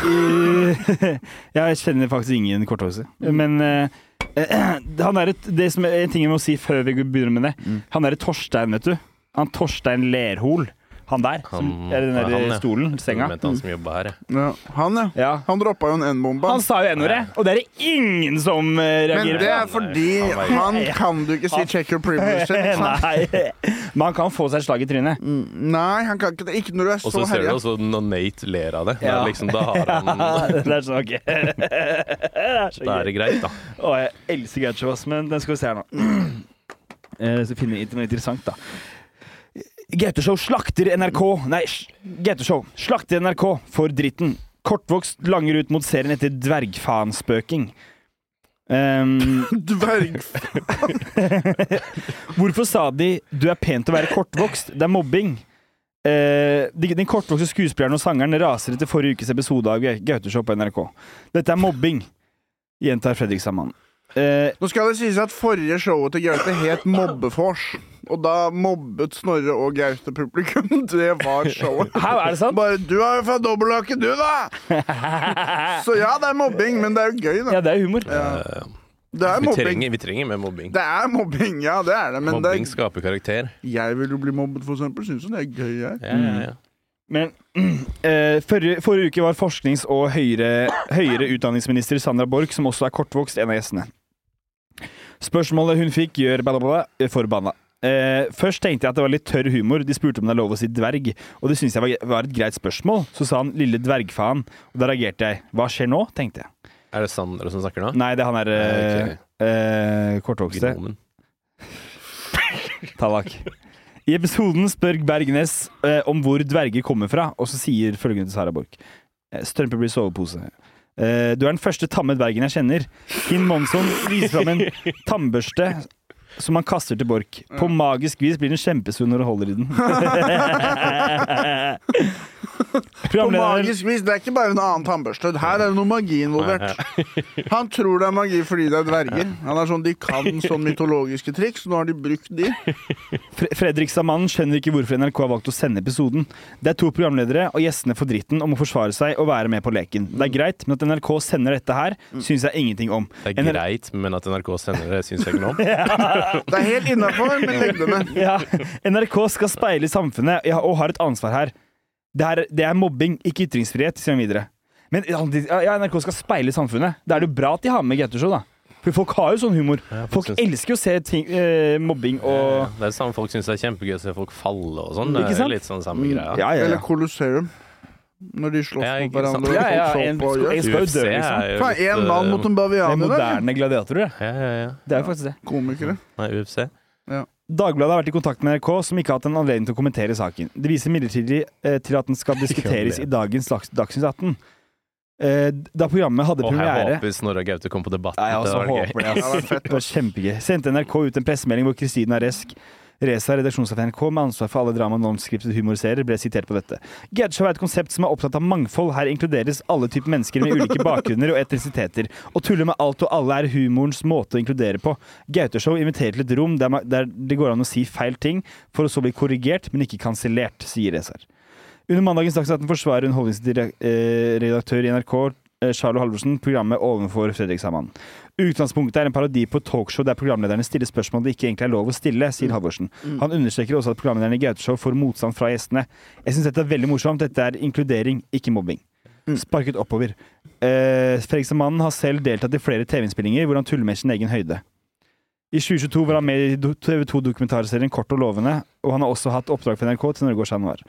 C: i- jeg kjenner faktisk ingen kortvokste.
B: Mm.
C: Men eh, eh, han er et, det som er en ting jeg må si før vi begynner med det.
B: Mm.
C: Han derre Torstein, vet du. Han Torstein Lerhol. Han der. Som,
B: Han-
C: er den
B: ja, han,
C: der
B: ja.
C: stolen,
B: Jeg
C: senga.
B: mente han som jobba her, jeg.
A: Ja. Han, ja.
C: Ja.
A: Han droppa jo en N-bombe.
C: Han sa jo n-ordet, og det er det ingen som
A: Men
C: eh, reagerer
A: det
C: på.
A: er fordi
B: Nei, han
A: han kan du ikke si 'check your privilege'. ikke sant?
C: Nei. Men han kan få seg et slag i trynet.
B: Mm.
A: Nei, han kan ikke det. Ikke når du er så
B: Og så ser du
A: herja.
B: også når Nate ler av det. Da,
C: Ja.
B: liksom, da har
C: Ja,
B: han
C: det er sånn, ok. Det er så
B: Da er
C: gøy.
B: det greit, da.
C: Å, jeg elsker Gaucho, ass, men den skal vi se her nå. Eh, Så finner vi noe interessant, da. Gautoshow slakter NRK Nei, sj- Gautoshow slakter NRK for dritten. Kortvokst langer ut mot serien etter dvergfanspøking. Um,
A: Dverg...
C: hvorfor sa de 'du er pent å være kortvokst'? Det er mobbing. Eh, de- den kortvokste skuespilleren og sangeren raser etter forrige ukes episode av Gau- Gautoshow på NRK. Dette er mobbing, gjentar Fredrik Samman. Eh,
A: Nå skal det sies at forrige showet til Gaute het Mobbefors. Og da mobbet Snorre og Gaute publikum. Det var showet.
C: Hæ, er det sant?
A: Bare 'du er jo fra dobbeltlaken, du, da'! Så ja, det er mobbing, men det er jo gøy, da.
C: Ja, det er humor.
B: Eh,
A: Det er
B: vi,
A: mobbing.
B: trenger, vi trenger mer mobbing.
A: Det er mobbing, ja, det er det, men det
B: Mobbing
A: er,
B: skaper karakter.
A: jeg vil jo bli mobbet, for eksempel. Syns jo det er gøy, jeg.
B: Ja, ja, ja.
C: Men eh, forrige, forrige uke var forsknings- og høyere, høyere utdanningsminister Sandra Borch, som også er kortvokst, en av gjestene. Spørsmålet hun fikk, gjør blablabla forbanna. Eh, først tenkte jeg at det var litt tørr humor. De spurte om det er lov å si dverg, og det syntes jeg var, var et greit spørsmål. Så sa han 'lille dvergfaen', og da reagerte jeg. Hva skjer nå? tenkte jeg.
B: Er det Sander som snakker nå?
C: Ah. Nei, det er han er
B: Eh,
C: Mm. eh,
B: ok.
C: eh, kortvokste.
B: Gnomen.
C: Tallak. I episoden spør Bergnes eh, om hvor dverger kommer fra, og så sier følgende til Sara Borch. Eh, Strømpe blir sovepose. Eh, du er den første tamme dvergen jeg kjenner. Kim Monsson viser fram en tannbørste som han kaster til Borch. På magisk vis blir den kjempesunn når du holder i den.
A: På
C: Programleder
A: magisk vis. Det er ikke bare en annen tannbørste. Her er det noe magi involvert. Han tror det er magi fordi det er dverger. Han er sånn, De kan sånn mytologiske triks, nå har de brukt de.
C: Fre- Fredrikstad-mannen skjønner ikke hvorfor NRK har valgt å sende episoden. Det er to programledere, og gjestene får dritten om å forsvare seg og være med på leken. Det er greit, men at NRK sender dette her, syns jeg ingenting om.
B: Det er
C: En-
B: greit, men at NRK sender det, syns jeg ikke noe om.
A: Det er helt innafor, men legg det ned.
C: Ja, NRK skal speile samfunnet ja, og har et ansvar her. Det er, det er mobbing, ikke ytringsfrihet, sier han videre. Men ja, de- ja, NRK skal speile samfunnet. Da er det jo bra at de har med Gautoshow, da. For folk har jo sånn humor. Folk
B: synes-
C: elsker jo å se ting, eh, mobbing og
B: Det er det samme folk syns det er kjempegøy å se folk falle og sånn. Det
C: Ikke
B: er
C: sant?
B: litt sånn samme greia.
C: Ja, ja,
A: Eller
C: ja.
A: Colosseum. Når de slåss
B: Ja,
A: mot
B: ikke sant.
A: hverandre.
C: ja, ja
A: og folk så på
C: en,
A: og
C: jeg
A: gjør.
C: skal jo
B: UFC
C: dø, liksom.
B: er jo
A: Faen,
B: litt,
A: en mann
B: eh,
A: mot en
C: Det er
A: bavian i dag.
C: moderne gladiatorer, det.
B: Ja, ja, ja.
C: Det er jo faktisk det.
A: Komikere.
B: Nei, UFC.
C: Dagbladet har vært i kontakt med NRK, som ikke har hatt en anledning til å kommentere saken. Det viser midlertidig eh, til at den skal diskuteres i dagens Dags- Dagsnytt 18. Eh, da programmet
B: Og
C: hadde
B: jeg
C: premiere
B: håper Snorre og Gaute kom på Debatten.
C: Nei, jeg også
B: det var gøy.
C: håper det.
A: Det hadde
C: ass.
A: vært fett.
C: Det var kjempegøy. Sendte NRK ut en pressemelding hvor Kristina Resk, Reza, redaksjonssjef i NRK, med ansvar for alle drama, non-scripted humorserier, ble sitert på dette. Gadshow er et konsept som er opptatt av mangfold. Her inkluderes alle typer mennesker med ulike bakgrunner og etnisiteter. Å tulle med alt og alle er humorens måte å inkludere på. Gauteshow inviterer til et rom der, ma- der det går an å si feil ting, for å så bli korrigert, men ikke kansellert, sier Reza. Under mandagens Dagsnytt forsvarer underholdningsredaktør i NRK eh, Charlo Halvorsen programmet ovenfor Fredrikstad-mannen. Utgangspunktet er en parodi på et talkshow der programlederne stiller spørsmål det ikke egentlig er lov å stille, sier Halvorsen. Han understreker også at programlederne i Gauteshow får motstand fra gjestene. Jeg syns dette er veldig morsomt. Dette er inkludering, ikke mobbing. Sparket oppover. Eh, Fredrikstad-mannen har selv deltatt i flere TV-innspillinger hvor han tuller med sin egen høyde. I 2022 var han med i TV 2-dokumentarserien Kort og lovende, og han har også hatt oppdrag for NRK til Norge og Chat Noir.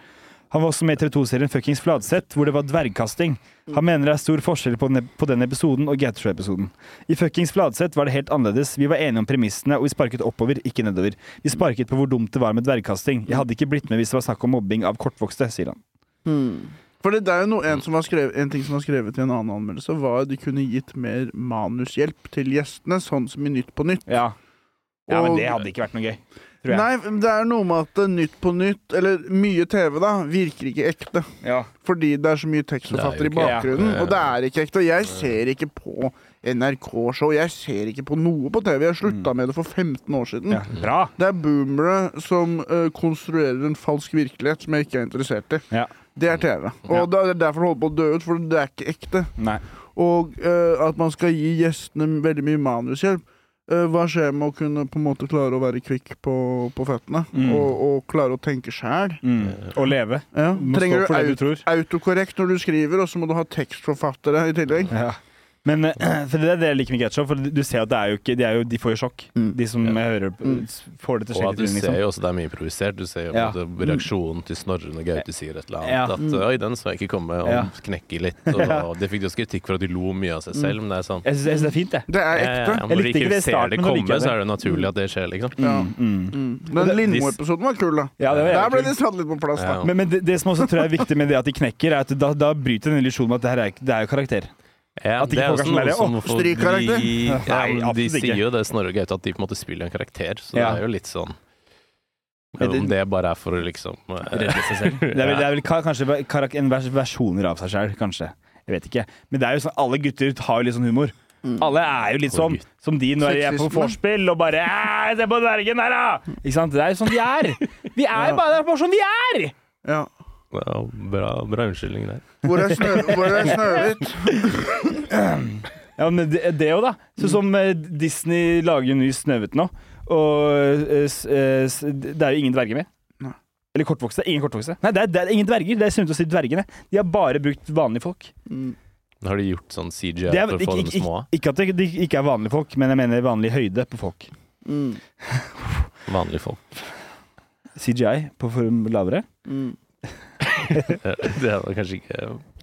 C: Han var også med i TV 2-serien Fuckings Fladseth, hvor det var dvergkasting. Han mener det er stor forskjell på den, på den episoden og Gautoshow-episoden. I Fuckings Fladseth var det helt annerledes. Vi var enige om premissene, og vi sparket oppover, ikke nedover. Vi sparket på hvor dumt det var med dvergkasting. Jeg hadde ikke blitt med hvis det var snakk om mobbing av kortvokste, sier han.
A: For det er jo noe, en, som har skrevet, en ting som var skrevet i en annen anmeldelse, var at de kunne gitt mer manushjelp til gjestene, sånn som i Nytt på Nytt.
C: Ja,
A: Og-
C: men det hadde ikke vært noe gøy. tror jeg.
A: Nei, det er noe med at eh, Nytt på Nytt, eller mye TV, da, virker ikke ekte.
C: Ja.
A: Fordi det er så mye tekstforfatter
B: Det
A: i
B: er jo
D: ikke-
A: bakgrunnen,
B: ja.
A: og det er ikke ekte. Og jeg ser ikke på NRK-show, jeg ser ikke på noe på TV. Jeg slutta med det for 15 år siden.
C: Ja. Bra!
A: Det er boomere som eh, konstruerer en falsk virkelighet som jeg ikke er interessert i.
C: Ja.
A: Det er TV. Og
C: Ja.
A: det er derfor det holder på å dø ut, for det er ikke ekte.
C: Nei.
A: Og eh, at man skal gi gjestene veldig mye manushjelp. Eh, hva skjer med å kunne på en måte klare å være kvikk på, på føttene?
C: Mm.
A: Og, og klare å tenke sjæl?
C: Mm. Å leve.
A: Ja.
C: Du Må
A: Eh, Trenger
C: stå
A: du,
C: for det
A: au-
C: du tror.
A: autokorrekt når du skriver, og så må du ha tekstforfattere i tillegg?
C: Ja. Men eh, for det er det jeg liker med Gatshow, for du ser at det er jo ikke, de, er jo, de får jo sjokk.
A: Mm.
C: De som eh, hører på,
A: Mm.
C: får det til å
B: Og
C: skje
B: at
C: litt
B: du
C: rundt,
B: ser
C: liksom.
B: jo også det er mye improvisert. Du ser jo
C: Ja.
B: både reaksjonen til Snorre når Gaute sier et eller
C: Ja. Mm.
B: annet. At 'oi, den så jeg ikke komme', og
C: Ja.
B: han knekker litt. Og, og det fikk jo også kritikk for at de lo mye av seg selv, men det er sånn
C: Jeg syns jeg syns det er fint, det.
A: Det er
B: eh,
A: ekte.
B: Når du
C: likte ikke
B: ikke
C: det i starten,
B: ser det
C: men da liker
B: komme,
C: jeg det.
B: så er det naturlig at det skjer, liksom.
A: Ja.
C: Mm.
A: Mm.
C: Og
A: Den
C: det-
A: Lindmo-episoden var kul, da.
C: Ja, det var
A: Der
C: jævlig
A: ble
C: kult.
A: de satt litt på plass, da.
B: Ja.
C: Men, men det, det som også tror jeg er viktig med det at de knekker, er at da, da bryter den illusjonen med at det her er, ikke- det er jo karakter.
B: Ja,
C: At
B: det
C: ikke
B: er
C: folk er
B: også
C: sånn
B: noe
C: der,
B: som
C: «Å,
B: får
A: strykkarakter!»
B: bli- Ja,
C: Nei,
B: men de
C: absolutt ikke.
B: sier jo det, Snorre og Gaute, at de på en måte spiller en karakter, så det
C: Ja.
B: er jo litt sånn
C: Ja,
B: Om
C: det-
B: det bare er for å liksom eh,
C: Redde seg selv. Det er vel, det er vel ka, kanskje karak- en vers, versjoner av seg selv, kanskje. Jeg vet ikke. Men det er jo sånn, alle gutter har jo litt sånn humor. Alle er jo litt sånn
B: gutt.
C: som de når de er på
A: Sexisme.
C: vorspiel og bare «Æ, Se på dvergen her, da! Ikke sant? Det er jo sånn de er. Vi er bare, det er bare sånn vi er!
A: Ja.
B: ja, bra, bra unnskyldning der.
A: Hvor er Snø- hvor er Snøhvit?
C: Ja, men det det jo, da. Så som eh, Disney lager jo ny Snøhvit nå. Og eh, s- eh, s- det er jo ingen dverger med.
A: Nei.
C: Eller kortvokste. Ingen kortvokste. Nei, det er, det er ingen dverger. Det er sunt å si dvergene. De har bare brukt vanlige folk.
A: Mm.
B: Har de gjort sånn CGI
C: Det er,
B: for å
C: ikke,
B: få dem
C: ikke,
B: små?
C: ikke, ikke at det de ikke er vanlige folk, men jeg mener vanlig høyde på folk.
A: Mm.
B: Vanlige folk.
C: CGI på form lavere.
A: Mm.
B: Ja, Det var kanskje ikke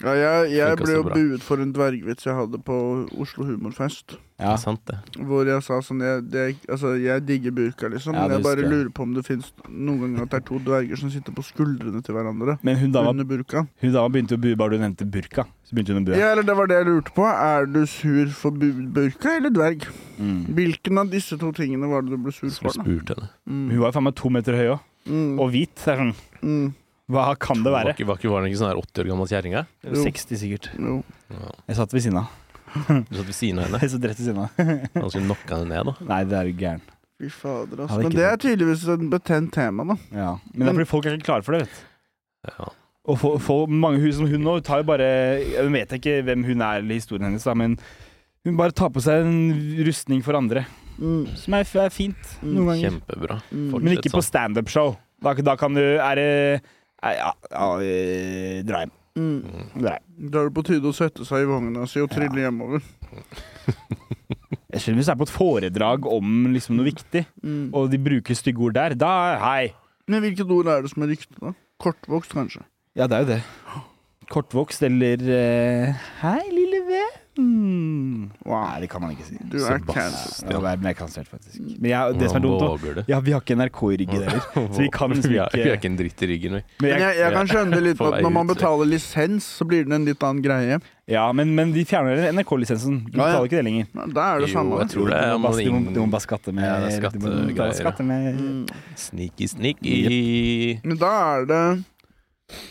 A: Ja, jeg, jeg
B: Funka
A: ble
B: så
A: jo
B: bra.
A: buet for en dvergvits jeg hadde på Oslo Humorfest.
C: Ja.
B: sant, det.
A: Hvor jeg sa sånn Jeg, det, altså, jeg digger burka, liksom.
C: Ja,
A: Men
C: det
A: jeg bare
C: husker jeg.
A: lurer på om det fins noen ganger at det er to dverger som sitter på skuldrene til hverandre.
C: Men hun dama,
A: Under burka.
C: hun dama begynte å bue bare du nevnte burka. Så begynte hun å bue.
A: Ja, eller det var det jeg lurte på. Er du sur for bu burka eller dverg?
C: Mm.
A: Hvilken av disse to tingene var det du ble sur
B: Som
A: for? da?
B: spurte henne.
A: Mm.
C: Hun var jo faen meg to meter høy òg.
A: Mm.
C: Og hvit. Så er det sånn
A: Mm.
C: Hva kan det
B: Var
C: være?
B: ikke, var ikke, var det ikke sånn her 80 år gammel kjerring? her?
C: 60 sikkert.
A: Jo.
B: Ja.
C: Jeg satt ved siden av.
B: Du satt ved siden av henne.
C: Jeg satt rett ved siden av.
B: Han skulle knocka henne ned, da.
C: Nei, det er jo gæren.
A: Fy fader, altså.
C: Hadde
A: Men
C: ikke
A: det er tydeligvis et betent tema, da.
C: Ja. Men det er fordi folk er ikke klare for det, vet du.
B: Ja.
C: Og for, for mange hun som hun nå tar jo bare Jeg vet ikke hvem hun er eller historien hennes, da, men hun bare tar på seg en rustning for andre.
A: Mm,
C: Som er, er fint
A: Mm.
C: noen ganger.
B: Kjempebra.
A: mm.
B: Folk-
C: Men ikke på standup-show. Da, da kan du Er det er- Ja, ja eh, dra hjem.
A: Mm.
B: Mm.
C: Dra hjem.
A: Da er det på tide å sette seg i vogna si og trille hjemover.
C: Jeg skjønner hvis det er på et foredrag om liksom noe viktig,
A: Mm.
C: og de bruker stygge ord der. Da hei!
A: Men hvilket ord er det som er riktig, da? Kortvokst, kanskje?
C: Ja, det er jo det. Kortvokst eller eh, Hei, lille venn. Nei,
A: Wow.
C: det kan man ikke si.
A: Du er
B: Sebastian.
A: cancelled.
C: Ja, det er mer kansellert, faktisk.
A: Mm.
C: Men jeg, det som er dumt,
B: Hvordan
C: nå
B: våger du?
C: Ja, vi har ikke NRK i ryggen heller. Så vi kan liksom
B: Vi er,
C: ikke-
B: vi er ikke en dritt i ryggen, vi.
C: Men
A: Men
C: jeg,
A: jeg, jeg kan skjønne det litt
B: På
A: at
B: vei
A: når man
B: ut, så-
A: betaler lisens, så blir det en litt annen greie.
C: ja, men, men de fjerner NRK-lisensen. Du
A: Ja, ja.
C: betaler ikke det lenger.
A: Ja, Da er det
B: Jo,
A: samme.
B: jeg tror det er
C: Du må bare- du, må, du må
B: ingen
C: bare skatte med
B: Ja, det er
C: du må- du må bare
B: skattegreier,
C: skatte med
A: Mm.
B: Sneaky, sneaky.
A: Men da er det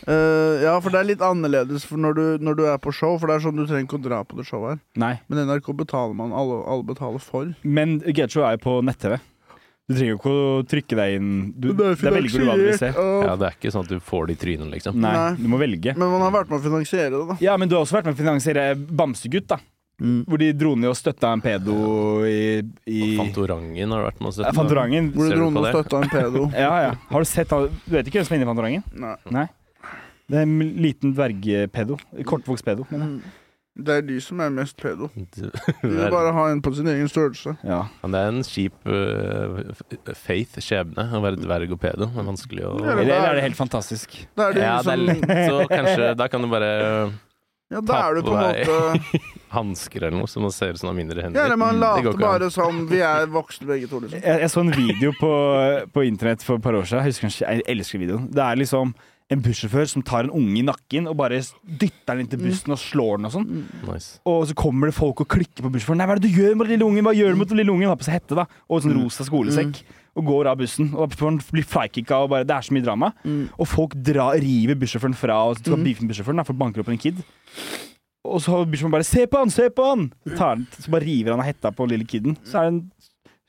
A: eh, Ja, for det er litt annerledes for når, du, når du er på show, for det er sånn du trenger ikke å dra på det showet her.
C: Nei.
A: Men NRK betaler man, alle, alle betaler for.
C: Men Getshow er jo på nett-TV. Du trenger jo ikke å trykke deg inn. Du,
A: Men
C: det er velger du hva du vil se.
A: finansiert av-
B: Ja, det er ikke sånn at du får det i trynet, liksom.
C: Nei,
A: Nei.
C: du må velge.
A: Men man har vært med å finansiere det, da. Mm.
C: Ja, men du har også vært med å finansiere Bamsegutt, da.
B: Mm.
C: Hvor de dro ned og støtta en pedo i, i
B: Fantorangen har det vært masse
C: Ja, Fantorangen.
A: Hvor du
B: Ser du
A: dro
B: på
A: ned og
B: det?
A: støtta en pedo.
C: Ja, ja. Har du sett han? Du vet ikke hvem som er inne i Fantorangen?
A: Nei.
C: Det er en liten dvergpedo. Kortvokst pedo. mener jeg.
A: Mm. Det er de som er mest pedo.
B: Det
A: De vil
B: er-
A: bare ha en på sin egen størrelse.
C: Ja.
B: Men det er en kjip øh, f- faith, skjebne, å være dverg og pedo. Det er vanskelig å
A: Ja, det-
C: Eller, eller er det helt fantastisk?
A: Da er det
B: Ja, det er
A: liksom
B: litt, så kanskje Da kan du bare øh,
A: Ja, da er du på en
B: Tatt på deg.
A: måte
B: hansker eller noe, så man ser ut som man har mindre
A: Ja,
B: hender.
A: eller man later
B: går ikke an.
A: bare som vi er voksne begge to, liksom.
C: Jeg, jeg så en video på, på internett for et par år siden. Jeg, husker, jeg elsker videoen. Det er liksom en bussjåfør som tar en unge i nakken og bare dytter den inn til bussen og slår den og sånn.
B: Nice.
C: Og så kommer det folk og klikker på bussjåføren. Nei, hva er det du gjør mot lille ungen? Hva gjør du mot lille ungen? Har på seg hette da og sånn rosa skolesekk. Og går av bussen. Og bussjåføren blir flykicka og bare Det er så mye drama.
A: Mm.
C: Og folk dra, river bussjåføren fra og skal beefe med bussjåføren, da, for banker opp en kid. Og så har bussjåføren bare 'se på han, se på han!' Tar, han- så bare river han av hetta på lille kiden. Så er det en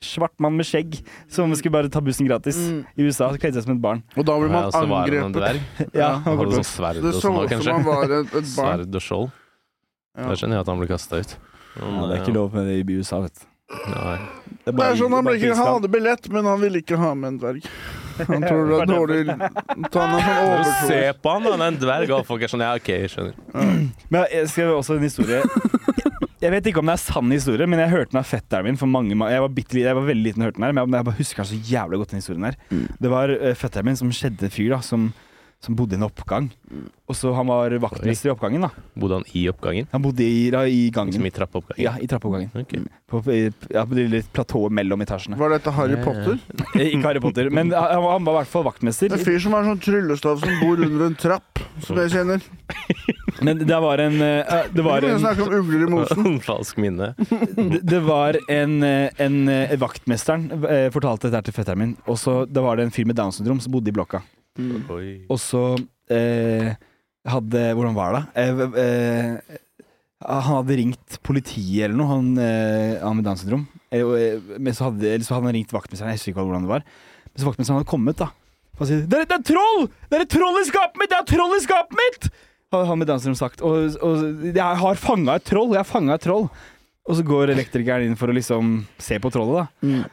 C: svart mann med skjegg som skulle bare ta bussen gratis
A: Mm.
C: i USA. Så kledde seg som et barn.
A: Og da blir
B: Ja,
A: man
B: og så var han en
A: angrepet.
B: dverg.
C: Ja,
A: Ja,
C: han
B: Han
C: går
B: hadde
C: på-
B: sånn sverd
A: Det
B: og
A: så
B: sånn,
A: ut som
B: kanskje.
A: han var et, et barn.
B: Sverd og skjold.
A: Ja.
B: Da skjønner jeg sånn at han ble kasta ut.
C: ja, det er ikke lov med det i USA, vet du.
B: Nei.
C: Det er
A: Det
C: bare-
A: er sånn Han
C: bare
A: vil ikke ha
C: krigsland.
A: det billett, men han vil ikke ha med en dverg. Han tror det er dårlig Så Han er sånn
B: Når du
A: overtroisk.
B: ser på han, han er en dverg, og folk er sånn Ja, OK, jeg skjønner.
C: Men jeg skrev også en historie Jeg vet ikke om det er sann historie, men jeg hørte den av fetteren min for mange ma- Jeg var, bitte, li- jeg var veldig liten og hørte den her, men jeg- jeg bare husker den så jævlig godt, den historien her.
B: Mm.
C: Det var eh, fetteren min som skjedde en fyr da, som, som bodde i en oppgang.
B: Mm.
C: Og så han var vaktmester i oppgangen, da.
B: Bodde han i oppgangen?
C: Han bodde i, da, i
B: Som
C: gangen.
B: i trappeoppgangen?
C: Ja, i trappeoppgangen.
B: Ok.
C: På, i, ja, på det lille platået mellom etasjene.
A: Var dette Harry Potter?
C: Eh, Ikke Harry Potter, men han, han var- han var i hvert fall vaktmester.
A: En fyr som har sånn tryllestav som bor under en trapp, som jeg kjenner.
C: Men det var en eh, Det var
A: Vi
C: en
A: snakker om ugler i mosen.
B: Falsk minne.
C: Det det var en, eh, en eh, Vaktmesteren eh, fortalte dette her til fetteren min. Og så da var det en fyr med Downs syndrom som bodde i blokka.
B: Oi.
C: Og så eh, hadde Hvordan var det? Eh, eh, han hadde ringt politiet eller noe, han, eh, han med Downs syndrom. Eh, og, eh, men så hadde, eller så hadde han ringt vaktmesteren. Jeg husker ikke hvordan det var. Men så vaktmesteren hadde kommet, da. Og han sier det er, det er troll! Det er et troll i skapet mitt! Det er et troll i skapet mitt! Hadde han med Downs syndrom sagt. Og, og jeg har fanga et troll! Jeg har fanga et troll! Og så går elektrikeren inn for å liksom se på trollet, da.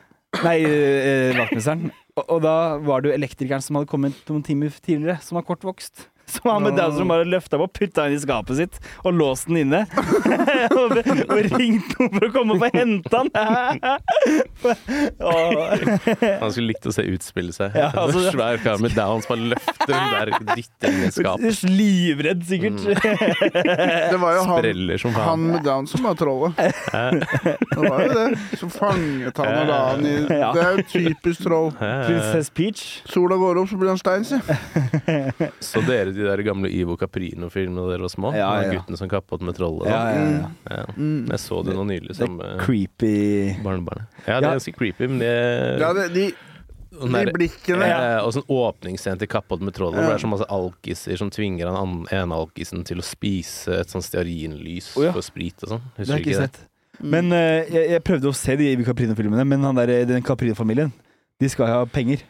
C: Nei, eh, vaktmesteren. Og, og da var det jo elektrikeren som hadde kommet noen timer tidligere, som var kortvokst. Som han med
A: Nå.
C: Downs syndrom bare løfta opp, putta inn i skapet sitt og låst den inne. og, og ringt noen for å komme opp og hente han. og,
B: Han skulle likt å se utspille seg.
C: Ja, altså-
B: En Svær kar med downs bare løfter den der, dytter den i et skap.
C: Livredd, sikkert.
A: Det var jo han,
B: Spreller som
A: han
B: faen.
A: med Downs som var trollet. Det var jo det. Så fanget han og la han i
C: Ja.
A: Det er jo typisk troll.
B: Eh,
C: Prinsesse Peach.
A: Sola går opp, så blir han stein, si.
B: Så dere de der gamle Ivo Caprino-filmene da dere var små?
C: Ja, ja.
B: Med gutten som kappet med trollet?
C: Ja,
B: da.
C: ja, ja.
B: Ja.
A: Mm.
B: Jeg så det nå nylig sammen med
C: Creepy
B: barnebarnet. Ja, det
C: Ja. øh,
B: er ganske creepy, men det,
A: Ja, det, de,
C: sånn
B: den
A: I
B: der-
A: blikkene.
B: Eh, og sånn åpningsscene til Kappåt med tråden, hvor
A: Ja.
B: det er så masse alkiser som tvinger han an- ene alkisen til å spise et sånn stearinlys
C: Å ja.
B: for sprit og sånn.
C: Det har
B: Husker
C: jeg
B: du
C: ikke
B: ikke det?
C: sett.
A: Mm.
C: Men eh, jeg, jeg prøvde å se de Caprino-filmene, men han der, eh, den Caprino-familien, de skal ha penger.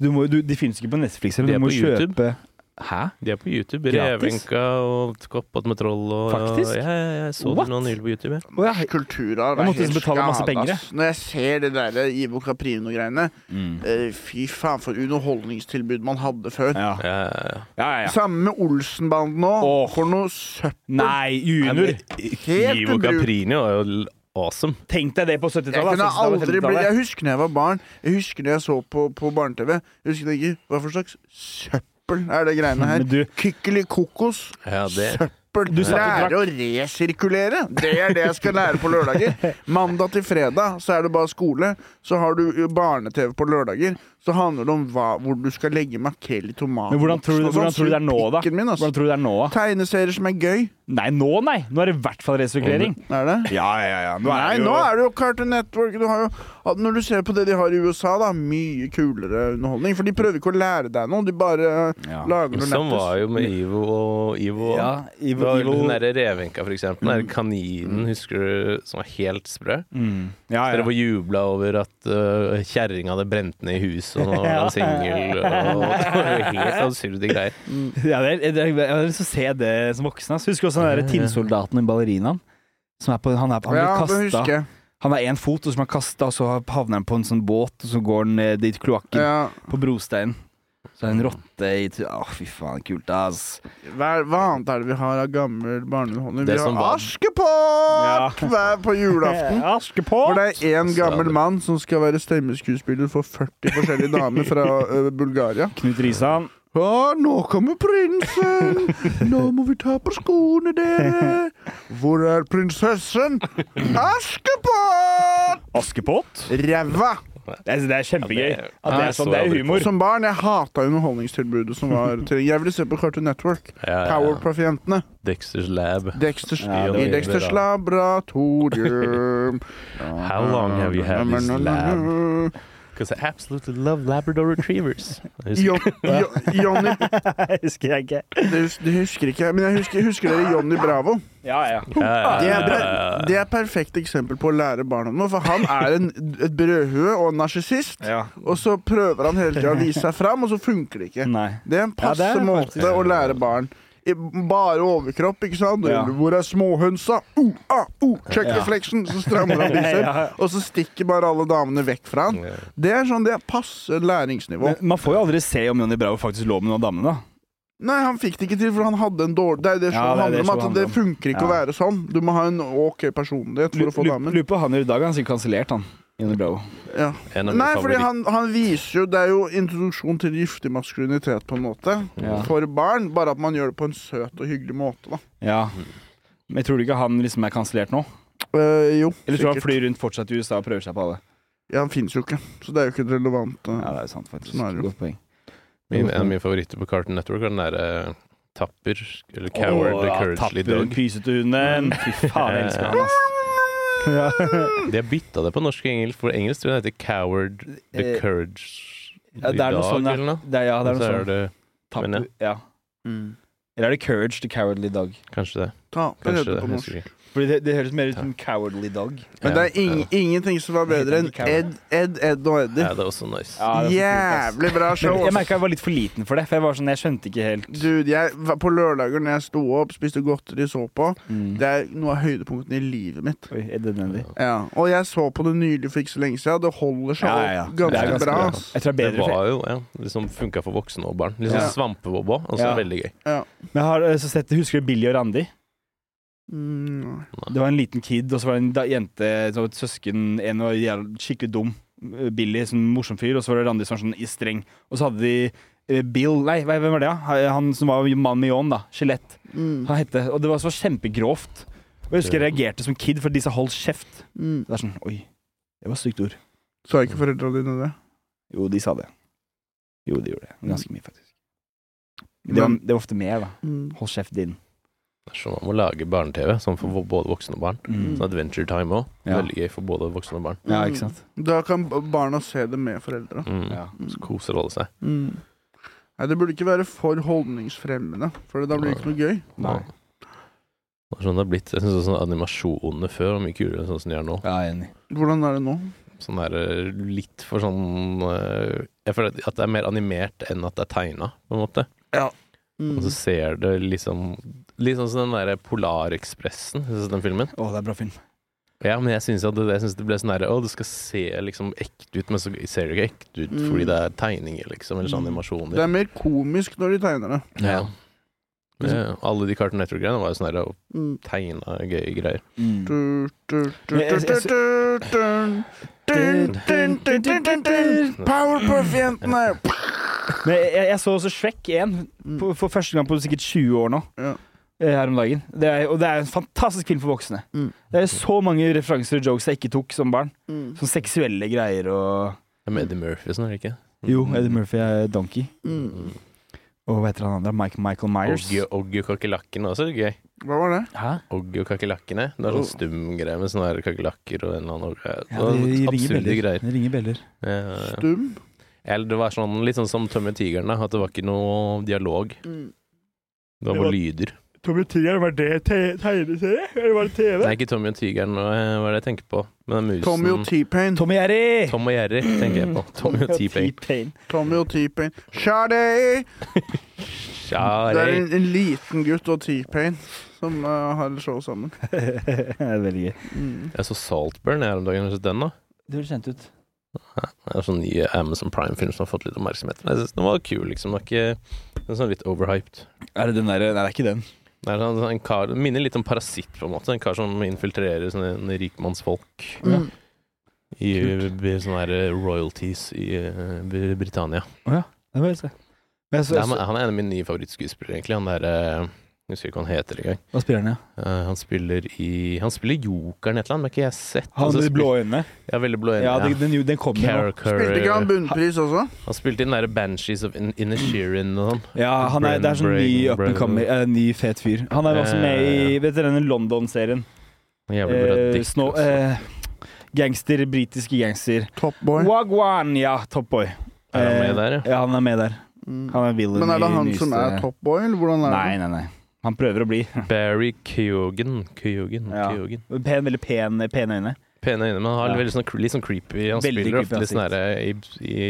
C: Du må, jo- du, de finnes ikke på Netflix. Eller?
B: De er
C: Du må
B: på YouTube.
C: kjøpe Hæ?
B: De er på YouTube.
C: Gratis?
B: Revenka og Kappåt med troll og
C: Faktisk?
B: Ja, ja, jeg så
C: What?
B: det nå nylig på YouTube. jeg.
C: Å ja.
A: Kulturarv
C: Jeg
A: er
C: måtte
A: helt
C: betale masse
A: skada,
C: penger, jeg.
A: ass. Når jeg ser det der eh, Ivo Caprino-greiene
C: Mm.
A: eh, Fy faen, for underholdningstilbud man hadde før.
C: ja.
B: Ja, ja, ja.
D: Ja, ja, ja.
A: Samme med Olsenbanden nå.
D: Åh.
A: For noe søppel.
C: Nei, junior!
A: Helt
B: Ivo
A: ubrukelig.
B: Caprini var jo l- awesome.
C: Tenk deg det på
A: Jeg
C: 70-tallet.
A: kunne
C: 60-tallet,
A: aldri bli
C: 70-tallet.
A: Jeg husker da jeg var barn. Jeg husker da jeg så på, på barne-TV. Jeg husker ikke hva for slags søppel er det greiene her.
C: Men du-
A: Kykkeli kokos.
B: Ja, det
A: Søppel.
C: Du satt og drakk-
A: lære å resirkulere. Det er det jeg skal lære på lørdager. Mandag til fredag så er det bare skole. Så har du jo barne-TV på lørdager. Så handler det om hva, hvor du skal legge makrell i tomaten. sånn.
C: Men hvordan tror, du, hvordan tror du det er nå, da?
A: Min, ass.
C: Hvordan tror du det er nå? da?
A: Tegneserier som er gøy.
C: Nei, nå, nei! Nå er det i hvert fall resirkulering.
A: Er det?
C: Ja, ja, ja.
A: Nei, nå er det jo Cartoon Network. Du har jo, at når du ser på det de har i USA, da, mye kulere underholdning. For de prøver ikke å lære deg noe, de bare eh,
C: Ja.
A: lager noe
B: Sånn var
A: lættis.
B: jo med Ivo og Ivo.
C: ja,
B: Det var
C: Ivo,
B: Hun
C: Ivo.
B: derre revenka, for eksempel. Den der kaninen, husker du, som var helt sprø?
C: Mm. Ja,
B: Dere
C: ja.
B: var jubla over at uh, kjerringa hadde brent ned i huset, og nå var han singel. og- og Det var jo helt absurde greier.
C: ja det er, det er, jeg har lyst til å se det som voksen. ass. Husker du også den derre tinnsoldaten, den ballerinaen? Som er på, han er, han
A: Ja, det
C: blir
A: husker
C: kastet
A: jeg.
C: Han er én fot, og så blir han kasta, og så havner han på en sånn båt, og så går han ned i kloakken
A: Ja.
C: på brosteinen. Så er det en rotte i tu- Å, fy faen, kult, ass.
A: Hva, er- hva annet er det vi har av gammel barneunderholdning?
B: Det
A: Vi har
B: som var-
A: Askepott hver på julaften. Hvor
C: Eh, Askepott!
A: det er én
B: Så er
A: gammel
B: det-
A: mann som skal være stemmeskuespiller for 40 forskjellige damer fra ø, Bulgaria.
C: Knut Risan.
A: Ja, nå kommer prinsen! Nå må vi ta på skoene, dere! Hvor er prinsessen? Askepott!
C: Askepott?
A: Ræva!
C: Det er, det er kjempegøy.
B: Ja, det-
C: At det
B: Nei,
C: er sånn,
B: så
C: det er
B: aldri
C: jo
B: på.
C: humor.
A: Som barn jeg hata underholdningstilbudet som var til Jeg ville se på Cartoon Network.
B: Ja, ja, ja.
A: Powerpuff-jentene.
B: Dexters Lab.
A: Dexters,
C: Ja, det var
A: I
B: veldig
A: Dexters
B: bra. laboratorium. How long have you had this lab? Because I absolutely love Labrador retrievers. Jeg husker-
A: Jo, jo, Johnny
C: Det husker jeg ikke.
A: det, hus, det husker ikke jeg, men jeg husker, husker dere Johnny Bravo?
D: Ja, ja.
B: Ja,
A: Det
B: ja,
A: er,
B: ja, ja,
A: per, det er perfekt eksempel på å lære barna noe, for han er en, et brødhue og en narsissist.
C: Ja.
A: Og så prøver han hele tida å vise seg fram, og så funker det ikke.
C: Nei.
A: Det er en passe
C: Ja, det er
A: måte å lære barn. I bare overkropp, ikke sant?
C: Ja.
A: Hvor er småhønsa? Uh, ah, uh, check
C: Ja.
A: reflection! Så strammer han biceps, og så stikker bare alle damene vekk fra han.
B: ja.
A: Det er sånn det er passe læringsnivå.
C: Men man får jo aldri se om Johnny Bravo faktisk lå med noen av damene, da.
A: Nei, han fikk det ikke til, for han hadde en dårlig Det er det som
C: Ja, det er det
A: handler om
C: som
A: at
C: handler
A: det
C: om.
A: funker ikke å
C: Ja.
A: være sånn. Du må ha en OK personlighet for å få damen.
C: Lurer på hva han gjør i dag. Han er sikkert kansellert, han. Johnny Bravo.
A: Ja.
B: En av mine
A: Nei, fordi
B: favoritter.
A: han, han viser jo Det er jo introduksjon til giftig maskulinitet, på en måte.
C: Ja.
A: For barn. Bare at man gjør det på en søt og hyggelig måte, da.
C: Ja. Men jeg tror du ikke han liksom er kansellert nå?
A: Eh, jo,
C: Eller tror du han
A: sikkert.
C: flyr rundt fortsatt i USA og prøver seg på alle?
A: Ja, han fins jo ikke, så det er jo ikke et relevant eh.
C: Ja, det er jo sant, faktisk.
A: Sånn er det jo.
C: Godt poeng.
B: Min, en av mine favoritter på Cartoon Network var den derre Tapper, eller Coward,
C: Åh,
B: the Mm.
C: ja,
B: Couragely
C: tapper,
B: Dog.
C: Pysete hunden. Fy faen, jeg elsker han, ass.
B: De har bytta det på norsk og engelsk, for engelsk tror jeg den heter Coward, the
C: Eh,
B: Courage
C: Ja, det er noe
B: Dog,
C: sånn,
B: eller
C: ja.
B: noe.
C: Det er, ja, det er
B: så
C: noe
B: er
C: sånn.
B: det
C: Tapper,
B: men
C: ja.
A: Mm.
C: Eller er det Courage the Cowardly Dog?
B: kanskje det.
A: Ta, det
B: Kanskje
A: heter
B: det,
A: det på norsk.
B: husker ikke.
C: Fordi det, det høres mer ut som Cowardly Dog.
A: Men det er ing ingenting som var bedre enn Ed, Ed, Ed og
B: Ja,
A: Eddie.
B: det er også nice.
C: Jævlig
A: Jævlig bra show.
C: Jeg
A: ass.
C: merka jeg var litt for liten for det, for jeg var sånn, jeg skjønte ikke helt
A: Dude, jeg, var- på lørdager når jeg sto opp, spiste godteri, så på Det er noe av høydepunktene i livet mitt.
C: Mm. Oi, er det nødvendig?
A: Ja, Og jeg så på det nylig for ikke så lenge siden. Det holder seg
C: Ja, ja, ja.
A: opp
C: Det
A: ganske,
C: er ganske
A: bra.
C: bra.
A: ass.
C: Jeg tror det
B: Det
C: er bedre for
B: var jo ja, liksom funka for voksne og barn. Litt sånn
A: Ja.
B: svampebob òg, og så
C: Ja.
B: veldig gøy.
C: Men jeg har eh, så sett, Husker du Billy og Randi?
A: Mm,
C: Det var en liten kid, og så var det en da, jente, så var det et søsken, en var jævla- skikkelig dum. eh, Billy, sånn morsom fyr, og så var det Randi som var sånn i streng. Og så hadde de eh, Bill Nei, hva- hvem var det? da? Eh, Han som var mann med ljåen, da. Skjelett.
A: mm,
C: Han hette Og det var så kjempegrovt. Og jeg husker jeg reagerte som kid, for de sa 'hold kjeft'.
A: mm.
C: Det er sånn, oi, det var et stygt ord.
A: Sa ikke foreldra dine det?
C: Jo, de sa det. Mm. Jo, de gjorde det. Ganske mye, faktisk. Men Det var, det var ofte mer, da.
A: Mm.
C: Hold kjeft din.
B: Det er sånn som om å lage barne-TV, sånn for vo- både voksne og barn.
C: Mm.
B: Sånn Adventure Time òg.
C: Ja.
B: Veldig gøy for både voksne og barn.
C: Ja, ikke sant?
A: Mm. Da kan b- barna se det med foreldra.
B: Mm.
C: Ja.
B: Så koser alle seg.
A: Mm. Nei, det burde ikke være for holdningsfremmende, for da blir det ikke noe gøy.
C: Nei.
B: Og- Det er sånn det har blitt. Jeg synes sånn Animasjonene før var mye kulere enn sånn som de er nå.
C: Ja, jeg er enig.
A: Hvordan er det nå?
B: Sånn der eh, litt for sånn eh, Jeg føler at det er mer animert enn at det er tegna, på en måte.
A: Mm.
B: Og så ser det liksom Litt sånn som den derre Polarekspressen, synes jeg, den filmen.
C: Å, det er bra film.
B: Ja, men jeg syns det, jeg synes det ble sånn herre Å, det skal se liksom ekte ut, men så ser det ikke ekte ut
A: Mm.
B: fordi det er tegninger, liksom, eller sånn
A: Mm.
B: animasjoner.
A: Det er mer komisk når de tegner det.
B: Ja. Eh, alle de Cartoon Network-greiene var jo sånn her
A: Mm.
B: tegna gøye greier.
A: Du,
C: Mm.
A: du, du,
C: Men jeg-
A: du,
C: jeg-
A: du, du, dun, dun, dun, dun, dun, dun. Powerpuff-jentene!
C: Men jeg, jeg så også Shrek 1
A: Mm.
C: på, for første gang på sikkert 20 år nå.
A: Ja.
C: eh, Her om dagen. Det er, og det er en fantastisk film for voksne.
A: Mm.
C: Det er så mange referanser og jokes jeg ikke tok som barn.
A: Mm.
C: Sånn seksuelle greier og
B: Det er med Eddie Murphy, sånn, er det ikke?
C: Jo, Eddie Murphy er donkey.
A: Mm.
C: Og hva heter han andre? Mike Michael Myers.
B: Oggy Oggy og kakerlakkene var også er gøy.
A: Hva var det?
C: Hæ?
B: Oggy og kakerlakkene. Det er sånn stum greie med sånne her kakerlakker og en eller annen og-
C: Ja, det,
B: det var
C: ringer
B: Absurde
C: beller.
B: greier.
C: det ringer beller.
B: Eh,
A: Stum?
B: Eller det var sånn, litt sånn som Tømme tigeren, da, at det var ikke noe dialog.
A: Mm.
B: Det var
C: Det var-
B: bare lyder.
C: Tommy Tiger, var det tegneserie? Eller var det TV?
B: Nei, ikke Tommy og tigeren, eh, hva er det jeg tenker på? Men det er musen
A: Tommy og T-Pain.
C: Tom og Jerry!
B: Tom og Jerry tenker jeg på. Tommy og T-Pain.
A: Tommy og T-Pain. Shadi!
B: Ja,
A: Det er
B: det
A: en, en liten gutt og T-Pain som eh, har et show sammen.
C: det er veldig gøy.
A: Mm.
B: Jeg så Saltburn her om dagen. Har du sett den, da?
C: Det høres kjent ut.
B: Det er sånn ny Amazon Prime-film som har fått litt oppmerksomhet. Men jeg synes den var kul, liksom. Den var ikke den er sånn litt overhyped.
C: Er det den derre Nei, det er ikke den.
B: Det er sånn, en kar, den minner litt om Parasitt, på en måte. En kar som infiltrerer sånne, sånne rikmannsfolk
A: Mm.
B: i i sånne her eh, royalties i eh, Br- Britannia.
C: Den vil jeg se. Men jeg så,
B: Nei, men han er en av mine nye favorittskuespillere, egentlig. Han der eh, Jeg husker ikke hva han heter engang.
C: hva spiller han, ja?
B: Eh, han spiller i Han spiller Jokeren et eller annet, men ikke jeg har sett.
C: Han med
B: Altså,
C: de blå øynene?
B: spil- Ja, veldig blå øyne.
C: Ja,
B: Ja,
C: den, den, den kom jo nå.
B: Cara
A: Spilte ikke han
B: Curry.
A: bunnpris også?
B: Han spilte i den der Banshees of In- Inisherin og sånn.
C: Ja, han er, det er sånn ny
B: Brain-
C: up and coming, eh, ny fet fyr. Han er også med i vet dere denne London-serien.
B: En Jævlig bra
C: Eh,
B: dikt.
C: Snow-
B: også.
C: eh, gangster, britiske gangster.
A: Top boy.
C: Wagwan, ja, Top Boy.
B: Er han
C: Eh,
B: med der, ja?
C: Ja, han er med der.
A: Mm.
C: Han er villain
A: Men er det
C: i
A: han
C: nyeste-
A: som er top boy, eller hvordan er
C: Nei, nei, nei. Han prøver å bli.
B: Barry Keoghan. Keoghan.
C: Ja.
B: Keoghan.
C: Pen, veldig pen, pene øyne.
B: Pene øyne, men han har
C: Ja.
B: veldig sånn, cre- litt sånn creepy Han
C: Veldig
B: spiller ofte
C: creepy
B: litt sånn her i, i,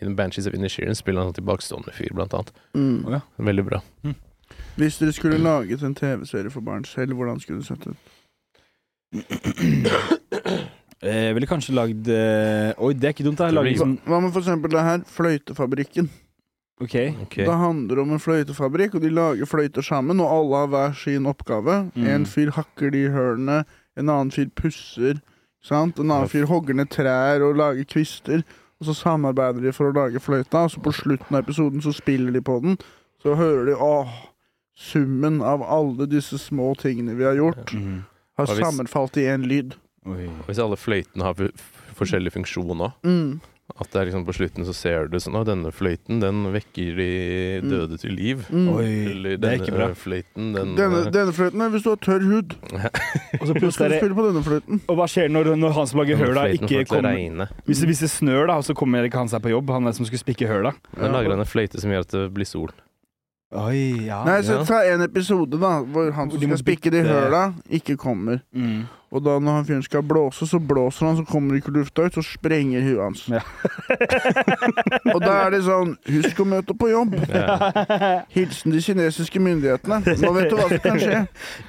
B: I den Banshees of Inisherin spiller han sånn tilbakestående fyr, blant annet.
A: det? Mm.
B: Veldig bra.
A: Hvis dere skulle laget en TV-serie for barn selv, hvordan skulle det sett ut?
C: Eh, Jeg ville kanskje lagd eh, Oi, det er ikke dumt. da. Jeg
B: Det
C: Lagd
B: blir-
C: sånn
A: Hva med for eksempel det her? Fløytefabrikken.
C: OK.
B: Ok.
A: Det handler om en fløytefabrikk, og de lager fløyter sammen, og alle har hver sin oppgave.
C: Mm.
A: En fyr hakker de hølene, en annen fyr pusser, sant? en annen fyr hogger ned trær og lager kvister. Og så samarbeider de for å lage fløyta, og så på slutten av episoden så spiller de på den. Så hører de åh, summen av alle disse små tingene vi har gjort,
C: Mm.
A: har
B: Og hvis-
A: sammenfalt i én lyd.
C: Oi.
B: Og Hvis alle fløytene har f- f- forskjellig funksjon òg,
A: Mm.
B: at det er liksom på slutten så ser du sånn Å, denne fløyten, den vekker de døde til liv.
A: Mm.
C: Oi.
B: Eller
C: Det er
B: denne
C: ikke bra.
B: fløyten, den eh,
A: Denne, denne fløyten er hvis du har tørr hud.
C: Og, så
A: Så skal du
C: plutselig er det,
A: spille på denne fløyten.
C: og hva skjer når, når han som lager
B: den
C: høla,
B: fløyten
C: ikke
B: får til å
C: kommer
B: regne.
C: hvis, det- hvis det snør, da, og så kommer ikke han seg på jobb, han der som skulle spikke høla?
B: Da lager han en fløyte som gjør at det blir sol.
C: Oi, ja.
A: Nei, så
B: ja.
A: ta en episode, da, hvor han
C: Hvor
A: som
C: de må
A: skal spikke de
C: bytte-
A: høla, ikke kommer.
C: Mm.
A: Og da når han fyren skal blåse, så blåser han, så kommer ikke lufta ut, så sprenger huet hans.
C: Ja.
A: Og da er det sånn Husk å møte på jobb!
B: Ja.
A: Hilsen de kinesiske myndighetene. Nå vet du hva som kan skje.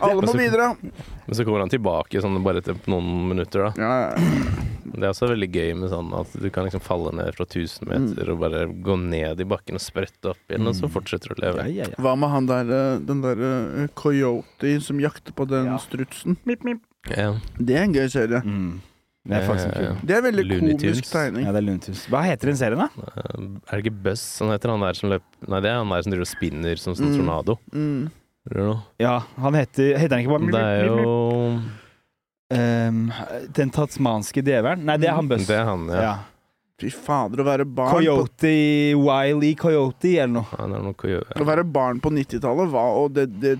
A: Alle må bidra.
B: Men så kommer han tilbake sånn bare etter noen minutter, da.
A: Ja, ja.
B: Det er også veldig gøy med sånn at du kan liksom falle ned fra 1000 meter og bare gå ned i bakken og sprette opp igjen, og så
C: Mm.
B: fortsetter du å
C: ja,
B: leve.
C: ja, ja.
A: Hva med han der, eh, den derre coyote som jakter på den
C: Ja.
A: strutsen?
B: Ja. Eh,
A: Det er en gøy serie.
C: Mm. Det er faktisk en
B: Ja, ja, ja.
C: film.
A: Det er veldig
B: Looney
A: komisk
B: Tunes.
A: tegning.
C: Ja, det er Lunthus. Hva heter den serien, da?
B: eh, Er det ikke Buzz han heter? Han der som løp Nei, det er han der som driver og spinner som sånn
A: Mm.
B: tornado.
A: Mm.
B: Eller noe.
C: Ja, han heter Heter han ikke bare
B: Det er jo
C: Ehm, Den tasmanske djevelen? Nei, det er han Buzz.
B: Det er han, ja.
C: Ja.
A: Fy fader, å være barn på
C: Coyote Wiley Coyote eller noe.
B: Han er noe å gjøre.
A: Å være barn på 90-tallet var og det, det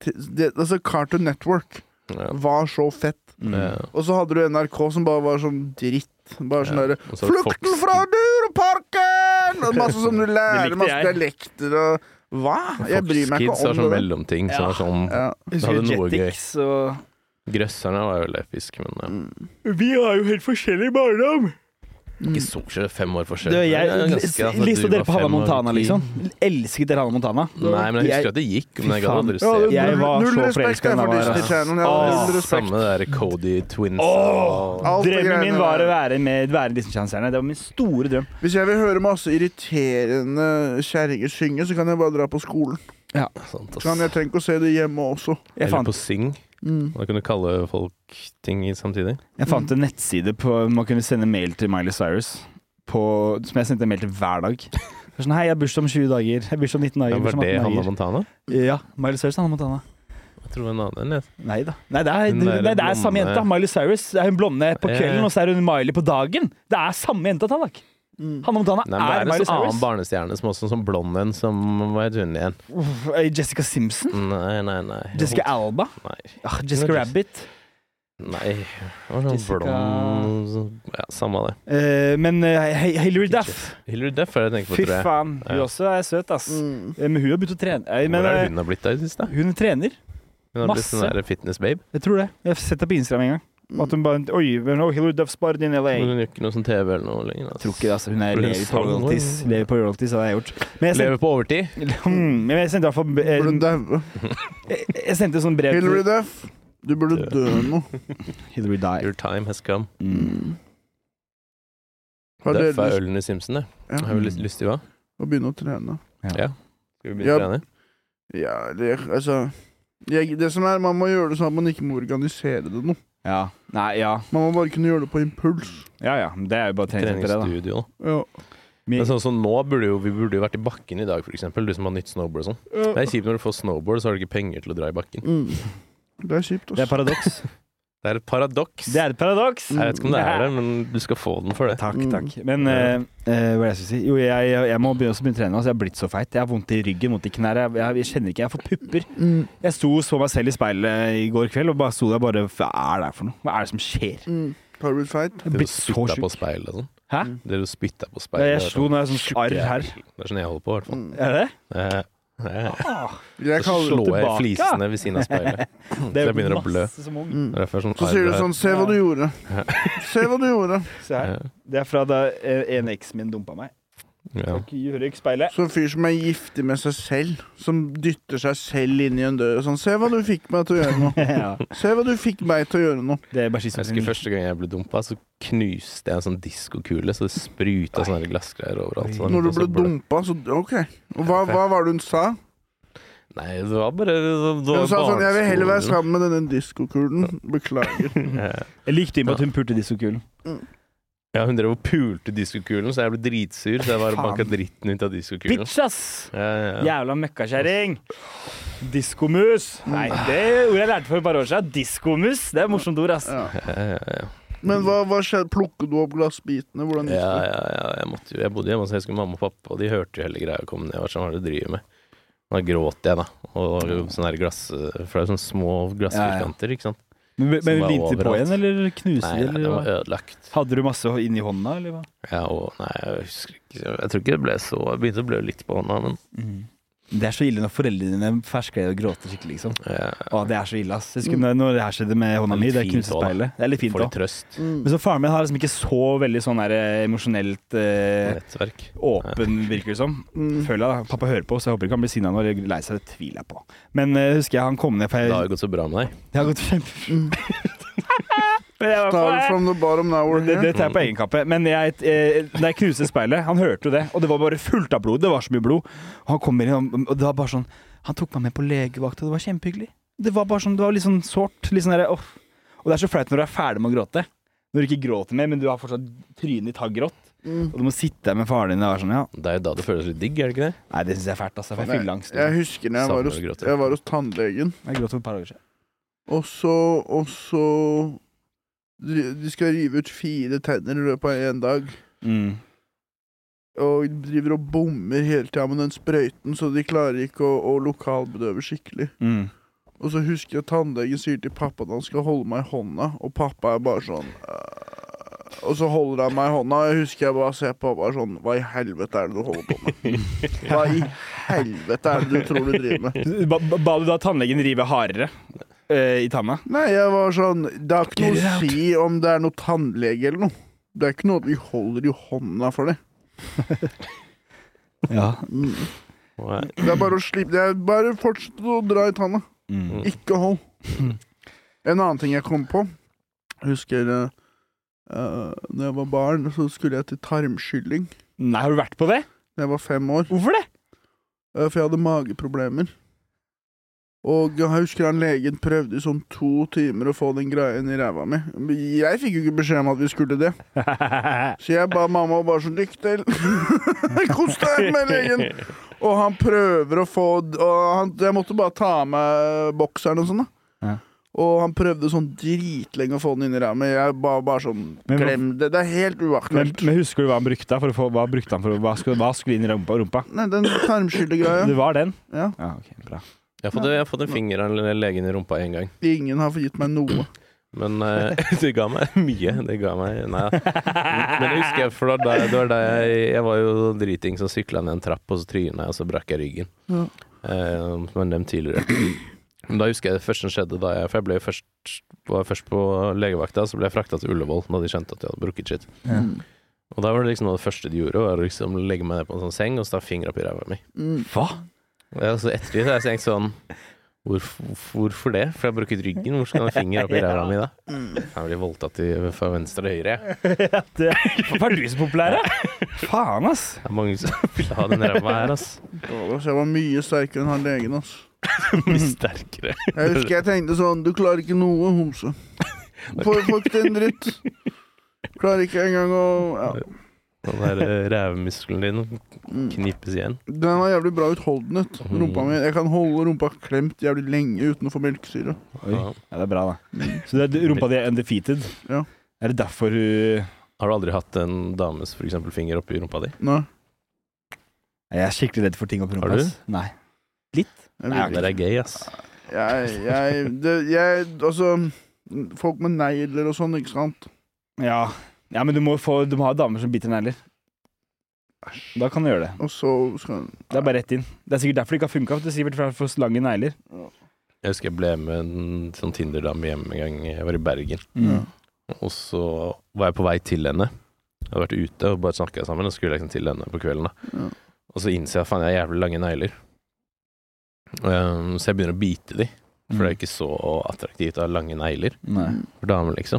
A: til- det, altså Cartoon Network
B: Ja.
A: var så fett.
B: Eh,
A: Og så hadde du NRK som bare var sånn dritt. Bare sånn
B: Ja.
A: derre
B: Og så
A: 'Flukten
B: Fox-
A: fra Dyreparken!' Og masse som du lærer,
D: likte
A: masse
D: jeg.
A: dialekter og Hva? Jeg bryr meg
B: Fox
A: ikke
B: Kids har
A: om det.
B: sånn
A: der.
B: mellomting. Som
D: Ja.
B: er sånn,
A: Ja.
B: Hadde noe gøy.
D: og
B: Grøsserne var jo litt episk, men eh, ja.
D: Vi har jo helt forskjellig barndom!
A: Mm.
B: ikke så forskjell. Fem år forskjell.
C: Du,
B: Det
C: jeg,
B: er ganske- altså,
C: Lista
B: du
C: dere
B: var
C: på Hannah
B: fem og
C: Montana,
B: ti.
C: liksom. Elsket dere Hannah Montana?
B: Nei, men jeg husker
C: Jeg-
B: at det gikk, men jeg
C: Fy
B: hadde
C: faen.
A: Ja,
B: aldri sett
A: det-
C: Jeg var
A: null
C: så
A: respekt
C: forelsket i
A: jeg, for
C: henne,
A: Disney
C: altså.
A: Channel. Jeg
C: Åh,
A: har null respekt.
B: Samme der Cody Twins
C: Åh!
B: og
A: Alt det
C: Drømmen min
A: greiene
C: var å
A: der.
C: være med være i Disney-kjennelserne. Det var min store drøm.
A: Hvis jeg vil høre masse irriterende kjerringer synge, så kan jeg bare dra på skolen.
B: sånt.
A: Så kan jeg
B: ass.
A: trenger ikke å se det hjemme også.
C: Sånn, Jeg
B: Eller
C: fant,
B: på Sing.
A: Mm.
B: Da kunne du kalle folk ting i samtidig.
C: jeg fant
B: Mm.
C: en nettside på man kunne sende mail til Miley Cyrus. På, som jeg sendte mail til hver dag. Det var Sånn, Hei, jeg har bursdag om 20 dager. Jeg har bursdag om 19 dager.
B: Ja,
C: jeg
B: var
C: har bursdag om
B: det
C: 18
B: Hannah
C: dager.
B: Montana?
C: Ja. Miley Cyrus Hannah Montana.
B: Jeg tror det var en annen. jeg.
C: Nei da. Nei, det er,
B: Hun
C: det,
B: der
C: nei, det er samme
B: blonde-
C: jenta. Miley Cyrus. Det er hun blonde på
B: Ja.
C: kvelden, og så er hun Miley på dagen. Det er samme jenta, Tanak.
A: Mm.
C: Hannah Montana
B: Nei, men det er
C: er,
B: en
C: Miley
B: sånn annen
C: Cyrus.
B: barnestjerne som også som blond en, som Hva heter hun igjen?
C: Uff, eh, Jessica Simpson.
B: Nei, nei, nei.
C: Jessica Alba.
B: Nei.
C: Ah, Jessica
B: Hun er Jess-
C: Rabbit.
B: nei. Det var sånn
C: Jessica-
B: blond så- Ja, samme det.
C: Eh, men eh, Hi- Hilary Duff.
B: Hilary Duff er det jeg tenker på,
C: Fy
B: tror jeg.
C: faen. Hun
B: Ja.
C: også er søt, ass.
A: Mm.
C: Eh, Men hun har begynt å trene. Eh,
B: Hvor
C: Men,
B: er det
C: eh,
B: hun har blitt av i det siste?
C: hun trener.
B: Hun har blitt sånn
C: Masse.
B: der fitness babe.
C: Jeg tror det. Jeg har sett det på Instagram en gang.
A: mm.
C: At hun bare Oi, men oh, Hilary Duff sparer din LA.
B: Men hun gjør ikke noe sånn TV eller noe lenger. ass.
C: Jeg tror ikke det, altså. Hun er
B: Hun
C: lever på
B: sang, hun.
C: royalties. Lever på royalties, har jeg gjort. Men jeg
B: Lever på overtid.
C: sendte, Hmm, men jeg sendte i hvert fall
A: Burde
C: eh,
A: daue.
C: jeg, jeg sendte sånn brev
A: Hillary
C: til
A: Duff, du burde
B: Dø.
A: dø nå.
C: Hillary Duff. Mm.
B: Your time has come.
A: Har dere
B: Duff er
A: lyst
B: ølen i Simpson, det.
A: ja,
B: Har vi lyst, lyst til hva?
A: å begynne å trene?
B: Ja. Skal vi
A: Ja.
B: begynne å trene?
A: Ja, det, altså jeg, Det som er, Man må gjøre det sånn at man ikke må organisere det noe.
C: Ja. Nei, ja.
A: Man må bare kunne gjøre det på impuls.
C: Ja ja. Det er jo bare treningssenter, det, da.
B: Treningsstudio.
A: Ja.
C: Vi-
B: Men sånn som nå burde jo, Vi burde jo vært i bakken i dag, for eksempel Du som har nytt snowboard og sånn. Det er kjipt når du får snowboard, så har du ikke penger til å dra i bakken.
A: Mm. Det er kjipt,
C: Det er
A: ass.
C: paradoks.
B: Det er et paradoks.
C: Det er et paradoks.
B: Jeg vet ikke om det er det, men du skal få den for det.
C: Takk,
A: Mm.
C: takk. Men eh, eh, hva er det jeg skulle si? Jo, jeg, jeg, jeg må begynne å begynne å trene. Altså, jeg har blitt så feit. Jeg har vondt i ryggen, vondt i knærne. Jeg, jeg, jeg kjenner ikke Jeg får pupper.
A: Mm.
C: Jeg sto og så meg selv i speilet i går kveld og bare sto der bare Hva er det her for noe? Hva er det som skjer?
A: Mm. Har du blitt feit?
C: Jeg
B: Det
C: har
B: du
C: blitt så
B: spytta på
C: sjuk.
B: speilet og sånn.
C: Hæ?
B: Det du spytta på
C: Ja,
B: speilet.
C: jeg slo når jeg er sånn arr her.
B: Det er sånn jeg holder på, i hvert fall.
A: Mm.
C: Er det Ah, det?
B: Eh, eh.
A: Jeg
B: Så
A: kaller
B: slår jeg
C: tilbake.
B: flisene ved siden av speilet. Så jeg begynner å blø.
C: masse som ung.
A: mm.
B: Det er derfor jeg er
A: Så sier
B: arr
A: du
B: her.
A: sånn Se hva du gjorde. Se hva du gjorde.
C: Se her.
B: Ja.
A: sånn-
C: Det er fra da eh, en eks min dumpa meg.
B: Ja.
C: Takk, Hører ikke speilet.
A: Så en fyr som er giftig med seg selv, som dytter seg selv inn i en dør og sånn Se hva du fikk meg til å gjøre nå.
C: ja,
A: Se hva du fikk meg til å gjøre nå.
C: det er bare
B: Jeg
A: Mm.
B: husker første gang jeg ble dumpa, så knuste jeg en sånn diskokule, så det spruta sånne her glassgreier overalt. Så
A: Når du
B: så
A: ble
B: blø-
A: dumpa, så OK. Og hva, hva var det hun sa?
B: Nei, det var bare det var
A: Hun sa sånn Jeg vil heller være
B: barneskolen.
A: sammen med denne diskokulen. Beklager.
C: Jeg likte ikke at hun pulte diskokulen.
B: Ja, hun drev og pulte diskokulen, så jeg ble dritsur, så jeg bare
C: Faen.
B: banka dritten ut av diskokulen.
C: Bitch, ass!
B: Ja, ja, ja.
C: Jævla møkkakjerring! Diskomus! Nei, det ordet jeg lærte for et par år siden. Diskomus. Det er et morsomt ord, ass.
A: Ja.
B: Ja, ja, ja.
A: Men hva, hva skjedde? Plukket du opp glassbitene? Hvordan
B: ja,
A: gikk det?
B: ja, ja. Jeg, måtte, jo- jeg bodde hjemme hos jeg skulle mamma og pappa, og de hørte jo hele greia og kom ned og sa hva er det du driver med? Da gråt jeg, da. Og sånne her glass... For det er jo sånne små glassfirkanter, ikke sant.
C: Men,
B: Som
C: men
B: var
C: limte de på
B: overalt.
C: igjen, eller knuste
B: Nei, nei,
C: de,
B: det var
C: eller hva?
B: ødelagt.
C: Hadde du masse inni hånda, eller hva?
B: Ja, og nei, jeg husker ikke Jeg tror ikke det ble så Jeg begynte å blø litt på hånda, men
C: Mm. Det er så ille når foreldrene dine fersker og gråter skikkelig, liksom.
B: jeg
C: Å, det er så ille, ass. Jeg husker når- når det her skjedde med
B: Det
C: hånda
B: er
C: mi,
B: litt
C: det
B: fint
C: knuste
B: også, da.
C: speilet. Det er litt fint
B: får
C: òg.
B: litt trøst.
A: Mm.
C: Men så faren min har liksom ikke så veldig sånn der eh, emosjonelt eh,
B: Nettverk.
C: åpen, virker det som.
A: Mm.
C: Føler jeg da. Pappa hører på, så jeg håper ikke han blir sinna når jeg er lei seg. Det tviler jeg på. Men eh, husker jeg han kom ned, for
B: Det
C: jeg,
B: har jo gått så bra med deg.
C: det har gått kjempe... Men jeg var på-
A: Started Mm. from the bottom, now we're
C: det, det
A: here.
C: tar jeg på egen kappe. Men jeg, eh, da jeg knuste speilet Han hørte jo det, og det var bare fullt av blod. Det var så mye blod. Og han kom inn, og det var bare sånn Han tok meg med på legevakta, og det var kjempehyggelig. Det var bare sånn, det var litt sånn sårt. Litt sånn derre åh. Og det er så flaut når du er ferdig med å gråte. Når du ikke gråter mer, men du har fortsatt trynet ditt har grått.
A: Mm.
C: Og du må sitte der med faren din og være sånn, ja.
B: Det er jo da det føles litt digg, er det ikke det?
C: Nei, det syns jeg er fælt, altså. For jeg
A: Nei,
C: fyller angst.
A: Jeg husker når jeg var,
B: Savner å
A: hos,
B: gråte.
A: jeg var hos tannlegen,
C: Jeg gråt for et par dager siden.
A: og så Og så De de skal rive ut fire tenner i løpet av én dag,
C: Mm.
A: og driver og
C: Mm.
A: bommer hele tida med den sprøyten, så de klarer ikke å, å lokalbedøve skikkelig. Og så husker jeg tannlegen sier til pappa at han skal holde meg i hånda, og pappa er bare sånn «Øh». Og så holder han meg i hånda, og jeg husker jeg bare ser på pappa sånn Hva i helvete er det du holder på med? Hva i helvete er det du tror du driver med?
C: Ba, ba, ba du da tannlegen rive hardere eh, i tanna?
A: Nei, jeg var sånn Det har ikke
C: Get
A: noe å
C: it out.
A: si om det er noe tannlege eller noe. Det er ikke noe at vi holder i hånda for det.
C: Ja.
B: Og eh, jeg-
A: Det er bare å slippe Det er bare fortsett å dra i tanna.
C: Mm.
A: Ikke hold. En annen ting jeg kom på Jeg husker uh, Når jeg var barn, så skulle jeg til tarmskylling.
C: Nei, har du vært på det?
A: Da jeg var fem år.
C: Hvorfor det?
A: eh, for jeg hadde mageproblemer. Og jeg husker han legen prøvde i sånn to timer å få den greia inn i ræva mi. Jeg fikk jo ikke beskjed om at vi skulle det. Så jeg ba mamma bare sånn Lykke til! Kos deg med legen! Og han prøver å få og han, Jeg måtte bare ta av meg bokseren og sånn, da.
C: Ja.
A: Og han prøvde sånn dritlenge å få den inn i ræva mi. Jeg ba bare sånn
C: Men hva-
A: Glem det. Det er helt
C: Men,
A: uaktuelt.
C: men husker du hva han brukte da for å få Hva brukte han for å- Hva skulle, hva skulle inn i rumpa? rumpa?
A: Nei, den tarmskyllegreia.
C: Det var den?
A: Ja.
C: ja ok, bra.
B: Jeg har fått, jeg har fått en finger av en lege inn i rumpa én gang.
A: Ingen har gitt meg noe.
B: Men eh, det ga meg mye. Det ga meg Nei da. Men jeg husker jeg, for da, da- det var da jeg, jeg var jo sånn driting, så sykla jeg ned en trapp, og så tryna jeg, og så brakk jeg ryggen.
A: Ja.
B: Eh, som jeg nevnte tidligere. Men da husker jeg det første som skjedde da jeg For jeg ble jo først, var først på legevakta, så ble jeg frakta til Ullevål da de skjønte at jeg hadde brukket sitt.
A: Mm.
B: Og da var det liksom noe av det første de gjorde, var å liksom legge meg ned på en sånn seng og stappe fingra opp i ræva mi.
A: Mm.
C: Hva?
B: Ja, så ettertid har jeg tenkt sånn hvorfor, hvorfor det? For jeg har brukket ryggen. Hvor skal en finger opp i ræva mi da?
A: Mm.
B: Jeg blir voldtatt i, fra venstre og høyre. jeg.
C: Hvorfor er du så populær, da? Faen, ass.
B: Det er mange som vil ha den ræva her, ass.
A: Ja, så Jeg var mye sterkere enn han legen, altså. ass.
B: Bli sterkere.
A: Jeg husker jeg tenkte sånn Du klarer ikke noe, homse. Får får ikke til en dritt. Klarer ikke engang å ja.
B: Den der eh, rævmuskelen din
A: mm.
B: knipes igjen.
A: Den har jævlig bra utholdenhet, rumpa mi. Jeg kan holde rumpa klemt jævlig lenge uten å få melkesyre.
C: Oi.
B: Ja.
C: Ja, det er bra, da. Så det er, rumpa di er undefeated?
A: Ja.
C: Er det derfor hun
B: Har du aldri hatt en dames for eksempel, finger oppi rumpa di?
A: Nei,
C: Jeg er skikkelig redd for ting opp i rumpa.
B: Har du?
C: ass. Nei.
A: jeg
C: Nei,
A: vil
B: Det
A: ikke.
B: er gøy, ass.
A: Jeg, jeg, det, jeg Altså, folk med negler og sånn, ikke sant?
C: Ja. ja, men du må, få, du må ha damer som biter negler. Da kan du gjøre det.
A: Og så skal
C: Det er bare rett inn. Det er sikkert derfor det ikke har funka. Det er sikkert for- for så lange negler.
B: Jeg husker jeg ble med en sånn Tinder-dame hjem en gang jeg var i Bergen.
C: Mm.
A: Ja.
B: Og så var jeg på vei til henne. Jeg hadde vært ute og bare snakka sammen, og så skulle jeg liksom til henne på kvelden. da.
A: Ja.
B: Og så innser jeg faen, jeg har jævlig lange negler. Ehm, så jeg begynner å bite de,
C: Mm.
B: for det er ikke så attraktivt å ha lange negler
C: Nei.
B: for damer, liksom.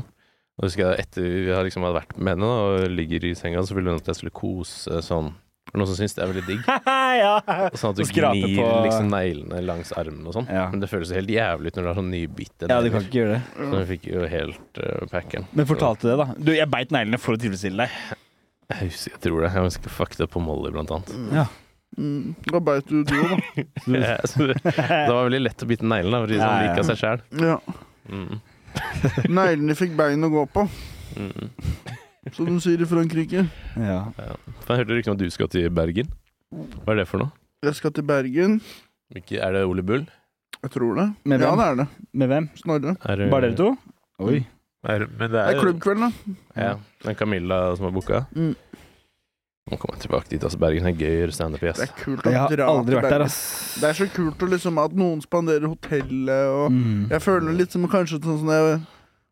B: Og jeg husker jeg etter jeg liksom hadde vært med henne da, og ligger i senga, så ville hun at jeg skulle kose sånn. Det er Noen som syns det er veldig digg.
C: ja.
B: Sånn at du
C: Og skrape
B: gnir
C: på-
B: liksom neglene langs armen og sånn.
C: Ja.
B: Men det føles jo helt jævlig ut når du har sånn nybitte
C: ja, du kan ikke gjøre det.
B: Så hun fikk jo helt uh, packen.
C: Men fortalte det, da. Du, jeg beit neglene for å tilfredsstille deg.
B: Jeg husker, jeg tror det. Jeg husker fuck det på Molly, blant annet.
A: mm, Da beit du duo, da.
B: Ja, så det det var veldig lett å bite neglene, da, fordi
C: Ja,
B: han
C: ja.
B: liker seg sjæl.
A: Ja.
B: Mm.
A: Neglene fikk bein å gå på,
B: Mm.
A: som de sier i Frankrike.
C: Ja.
B: For Jeg hørte rykter om at du skal til Bergen. Hva er det for noe?
A: Jeg skal til Bergen.
B: Ikke, er det Ole Bull?
A: Jeg tror det.
C: Med
A: ja,
C: hvem?
A: det er det.
C: Med hvem?
A: Snorre.
B: Er, det-
C: Bare dere to? Oi.
B: Er, men det
A: Det
B: er,
A: er klubbkveld, da.
B: Ja,
C: Mm.
B: det er Camilla som har booka.
A: Mm.
B: Nå kommer jeg tilbake dit. Altså, Bergen er gøy å gjøre standup i, ass.
A: Det er kult å
C: Jeg har
A: dra
C: aldri
A: til
C: vært der,
A: Bergen.
C: ass.
A: Det er så kult å liksom at noen spanderer hotellet og
C: Mm.
A: Jeg føler litt som kanskje sånn som det,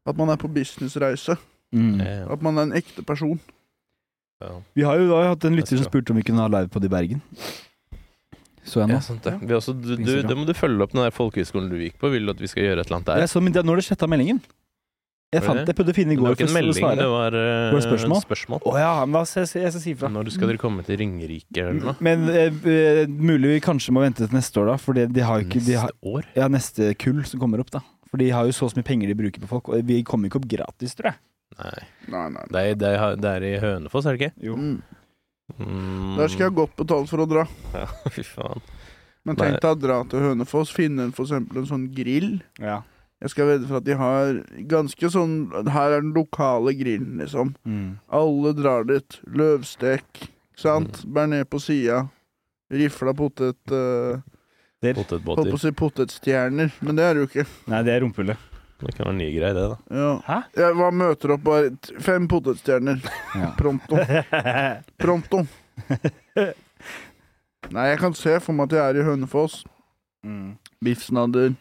A: at man er på businessreise.
C: Mm.
B: Ja,
A: At man er en ekte person.
B: ja.
C: Vi har jo da hatt en lytter
B: Jeg
C: som
B: skal.
C: spurte om vi kunne ha livepod i Bergen. Så jeg nå.
B: Ja, sant det. Vi også, du, du,
C: Instagram.
B: det må du følge opp den der folkehøyskolen du gikk på. Vil du at vi skal gjøre et eller annet der?
C: Jeg så, men det, nå har du sletta meldingen. Jeg,
B: Var
C: fant,
B: det?
C: jeg prøvde å finne i
B: det var
C: går
B: ikke en
C: for å
B: melding, det
C: svare.
B: var, eh,
C: Var det spørsmål?
B: spørsmål.
C: Å ja, men da skal jeg, jeg skal si ifra.
B: Når skal dere komme til Ringerike eller noe?
C: Men eh, eh, mulig vi kanskje må vente til neste år, da. For de har jo ikke de har,
B: Neste år?
C: Ja, neste kull som kommer opp, da. For de har jo så og så mye penger de bruker på folk, og vi kommer ikke opp gratis, tror jeg.
B: Nei.
A: Nei, nei.
B: Det er, det er, det er i Hønefoss, er det ikke?
C: Jo.
A: Mm.
B: Mm.
A: Der skal jeg ha godt betalt for å dra.
B: Ja, fy faen.
A: Men
B: Nei.
A: tenk deg å dra til Hønefoss, finne en, for eksempel en sånn grill.
C: Ja.
A: Jeg skal vedde for at de har ganske sånn Her er den lokale grillen, liksom.
C: Mm.
A: Alle drar dit.
C: Mm.
A: Løvstek, ikke sant? Bær ned på sida. Rifla potet eh,
C: Poteter.
A: Holdt på
B: Potetbåter.
A: å si potetstjerner, men det er det jo ikke.
C: Nei, det er rumpehullet.
B: Det kan være en ny greie, det, da.
A: Ja.
C: Hæ?
A: Jeg var møter opp bare t- fem potetstjerner.
C: Ja.
A: Pronto. Pronto. Nei, jeg kan se for meg at jeg er i Hønefoss.
C: Mm.
A: Biffsnadder.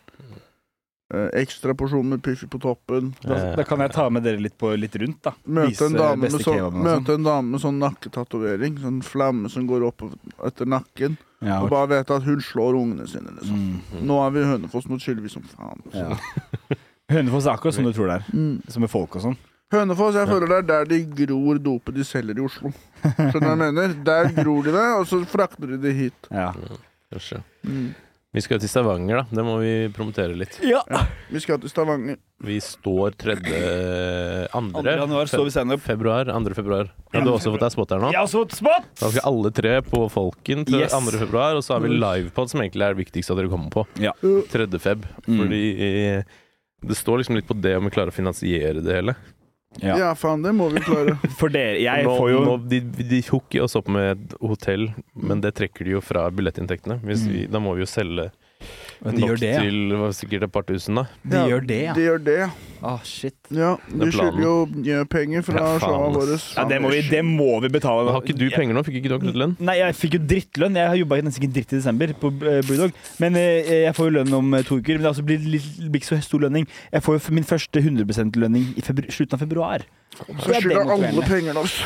A: Eh, ekstra porsjon med piffi på toppen.
C: Da, da kan jeg ta med dere litt, på, litt rundt, da.
A: Møte en, dame med
C: beste altså.
A: sånn,
C: kebaben og
A: møte en dame med sånn nakketatovering. Sånn flamme som går opp etter nakken.
C: Ja,
A: Og bare vite at hun slår ungene sine, liksom.
C: mm.
A: Nå er vi i Hønefoss, nå chiller vi som faen.
C: ja. Hønefoss er akkurat som du tror det er.
A: Mm.
C: Som med folk og sånn.
A: Hønefoss, jeg føler det er der de gror dopet de selger i Oslo. Skjønner du hva jeg mener? Der gror de det, og så frakter de det hit.
C: Ja.
B: Kanskje.
A: Mm.
B: Vi skal til Stavanger, da. Det må vi promotere litt.
A: Vi skal til Stavanger.
B: Vi står tredje Andre,
C: 2. januar står vi standup.
B: Februar. 2. februar. Ja, du har også fått deg spot her nå.
C: Jeg har så spot!
B: Da skal alle tre på Folken til
C: Yes. Mm.
B: 2. februar, og så har vi livepod, som egentlig er det viktigste at dere kommer på.
C: Ja.
B: 3. feb.
C: Mm.
B: Fordi eh, det står liksom litt på det om vi klarer å finansiere det hele.
C: Ja.
A: Ja, faen, det må vi klare.
C: For dere, jeg
B: nå,
C: får jo
B: nå, de, de hooker oss opp med et hotell, men det trekker de jo fra billettinntektene. Hvis vi, da må vi jo selge
C: De
B: nok
C: gjør det, Mm. ja.
B: til hva, sikkert et par tusen, da.
C: De
A: Ja,
C: gjør det, ja.
A: De gjør det, ja.
C: Ah, shit.
A: ja
B: er
A: de skylder jo mye penger fra
B: Ja, faen,
A: showa
B: ass.
A: våre.
C: Ja, det må vi, det må vi betale.
B: Men har ikke du penger nå? Fikk ikke du akkurat lønn?
C: Nei, jeg fikk jo drittlønn. Jeg har jobba nesten ikke en dritt i desember på eh, Blue Dog. Men eh, jeg får jo lønn om eh, to uker. Men det er også blir litt, blir ikke så stor lønning. Jeg får jo f- min første 100 lønning i febru- slutten av februar.
A: Så
C: Det er
A: skylder alle
C: demotiverende.
A: pengene oss.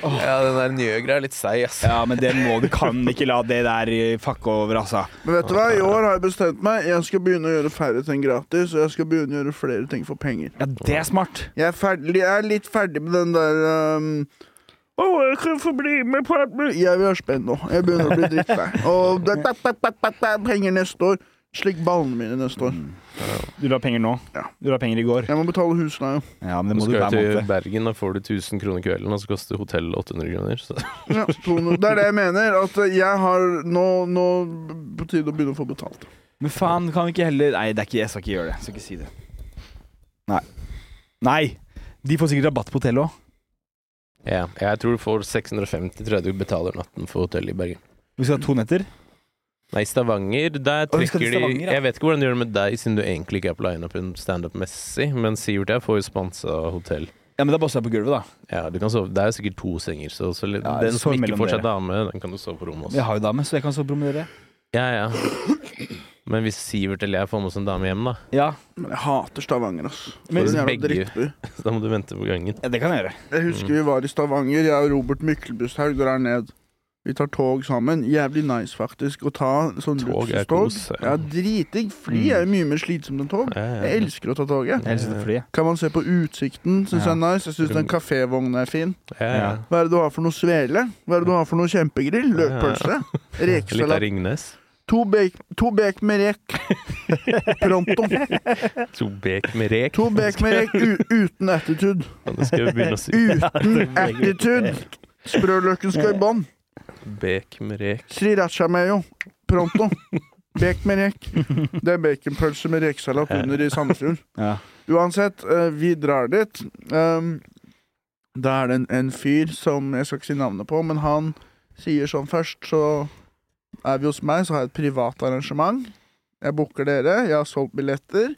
B: Ja, den der nye greia er litt seig, ass.
C: Ja, men det må vi kan ikke la det der eh, fucke over, altså.
A: Men vet du hva, i år har jeg bestemt meg. Jeg skal begynne å gjøre færre ting gratis, og jeg skal begynne å gjøre flere ting for penger.
C: Ja, det er smart.
A: Jeg er, ferdig, jeg er litt ferdig med den der um, å, jeg kan få bli med på alt mulig. Jeg vil ha spenn nå. Jeg begynner å bli drittlei. Og da, da, da, da, da, da, penger neste år. Slik ballene mine neste år.
C: Du la penger nå.
A: Ja.
C: Du la penger i går.
A: Jeg må betale husleie.
C: Ja, men det
B: Du
C: må du
B: skal
C: hver
B: jo til
C: måned.
B: Bergen, da får du 1000 kroner kvelden, og så koster hotellet 800 kroner. Så.
A: Ja, 200. det er det jeg mener. At jeg har nå, nå på tide å begynne å få betalt.
C: Men faen, kan vi ikke heller Nei, det er ikke, jeg skal ikke gjøre det. Jeg skal ikke si det. Nei. Nei! De får sikkert rabatt på hotellet òg.
B: Ja, jeg tror du får 650 tror jeg du betaler natten for hotellet i Bergen.
C: Vi skal ha to netter.
B: Nei, Stavanger, der
C: Å, vi skal
B: trekker
C: til Stavanger,
B: de
C: ja.
B: Jeg vet ikke hvordan de gjør det med deg, siden du egentlig ikke er på lineupen standup-messig, men Sivert jeg får jo sponsa hotell.
C: Ja, men da bare å på gulvet, da.
B: Ja, du kan sove. Det er jo sikkert to senger, så, så
C: Ja,
B: den som
C: sov
B: ikke
C: mellom
B: får seg
C: dere.
B: dame, den kan du sove på rommet
C: Jeg
B: også.
C: har jo dame, så jeg kan så promenere.
B: Ja, ja. Men hvis Sivert eller jeg får med oss en dame hjem, da,
C: Ja,
A: Men jeg hater Stavanger, ass.
C: Men-
A: For en jævla
B: Begge.
A: drittby.
B: så da må du vente på gangen.
C: det kan jeg gjøre.
A: Jeg husker vi var i Stavanger. Jeg og Robert Myklebusthaug drar ned. Vi tar tog sammen. Jævlig nice, faktisk, å ta sånn
B: Tog er
A: luksustog.
B: kos, ja.
A: Ja, dritdigg. Fly er jo mye mer slitsomt enn tog.
B: Ja, ja.
A: Jeg elsker å ta toget.
C: Jeg elsker flyet.
A: Kan man se på utsikten, syns jeg er nice. Jeg syns den kafévogna er fin.
B: Ja, ja.
A: Hva er det du har for noe svele? Hva er det du har for noe kjempegrill? Løkpølse?
B: Litt av
A: Rekesalat?
B: Ringnes.
A: To bek, to bek med rek. Pronto.
B: To bek med rek.
A: To bek med rek u uten attitude.
B: Nå skal vi begynne å si
A: Uten attitude! Sprøløken skal i bånn.
B: bek med rek.
A: Sriracha mayo. Pronto. Bek med rek. Det er baconpølse med rekesalat under i Sandefjord.
C: Ja.
A: Uansett, eh, vi drar dit. Um, da er det en, en fyr som jeg skal ikke si navnet på, men han sier sånn først, så er vi hos meg, så har jeg et privat arrangement. Jeg booker dere, jeg har solgt billetter.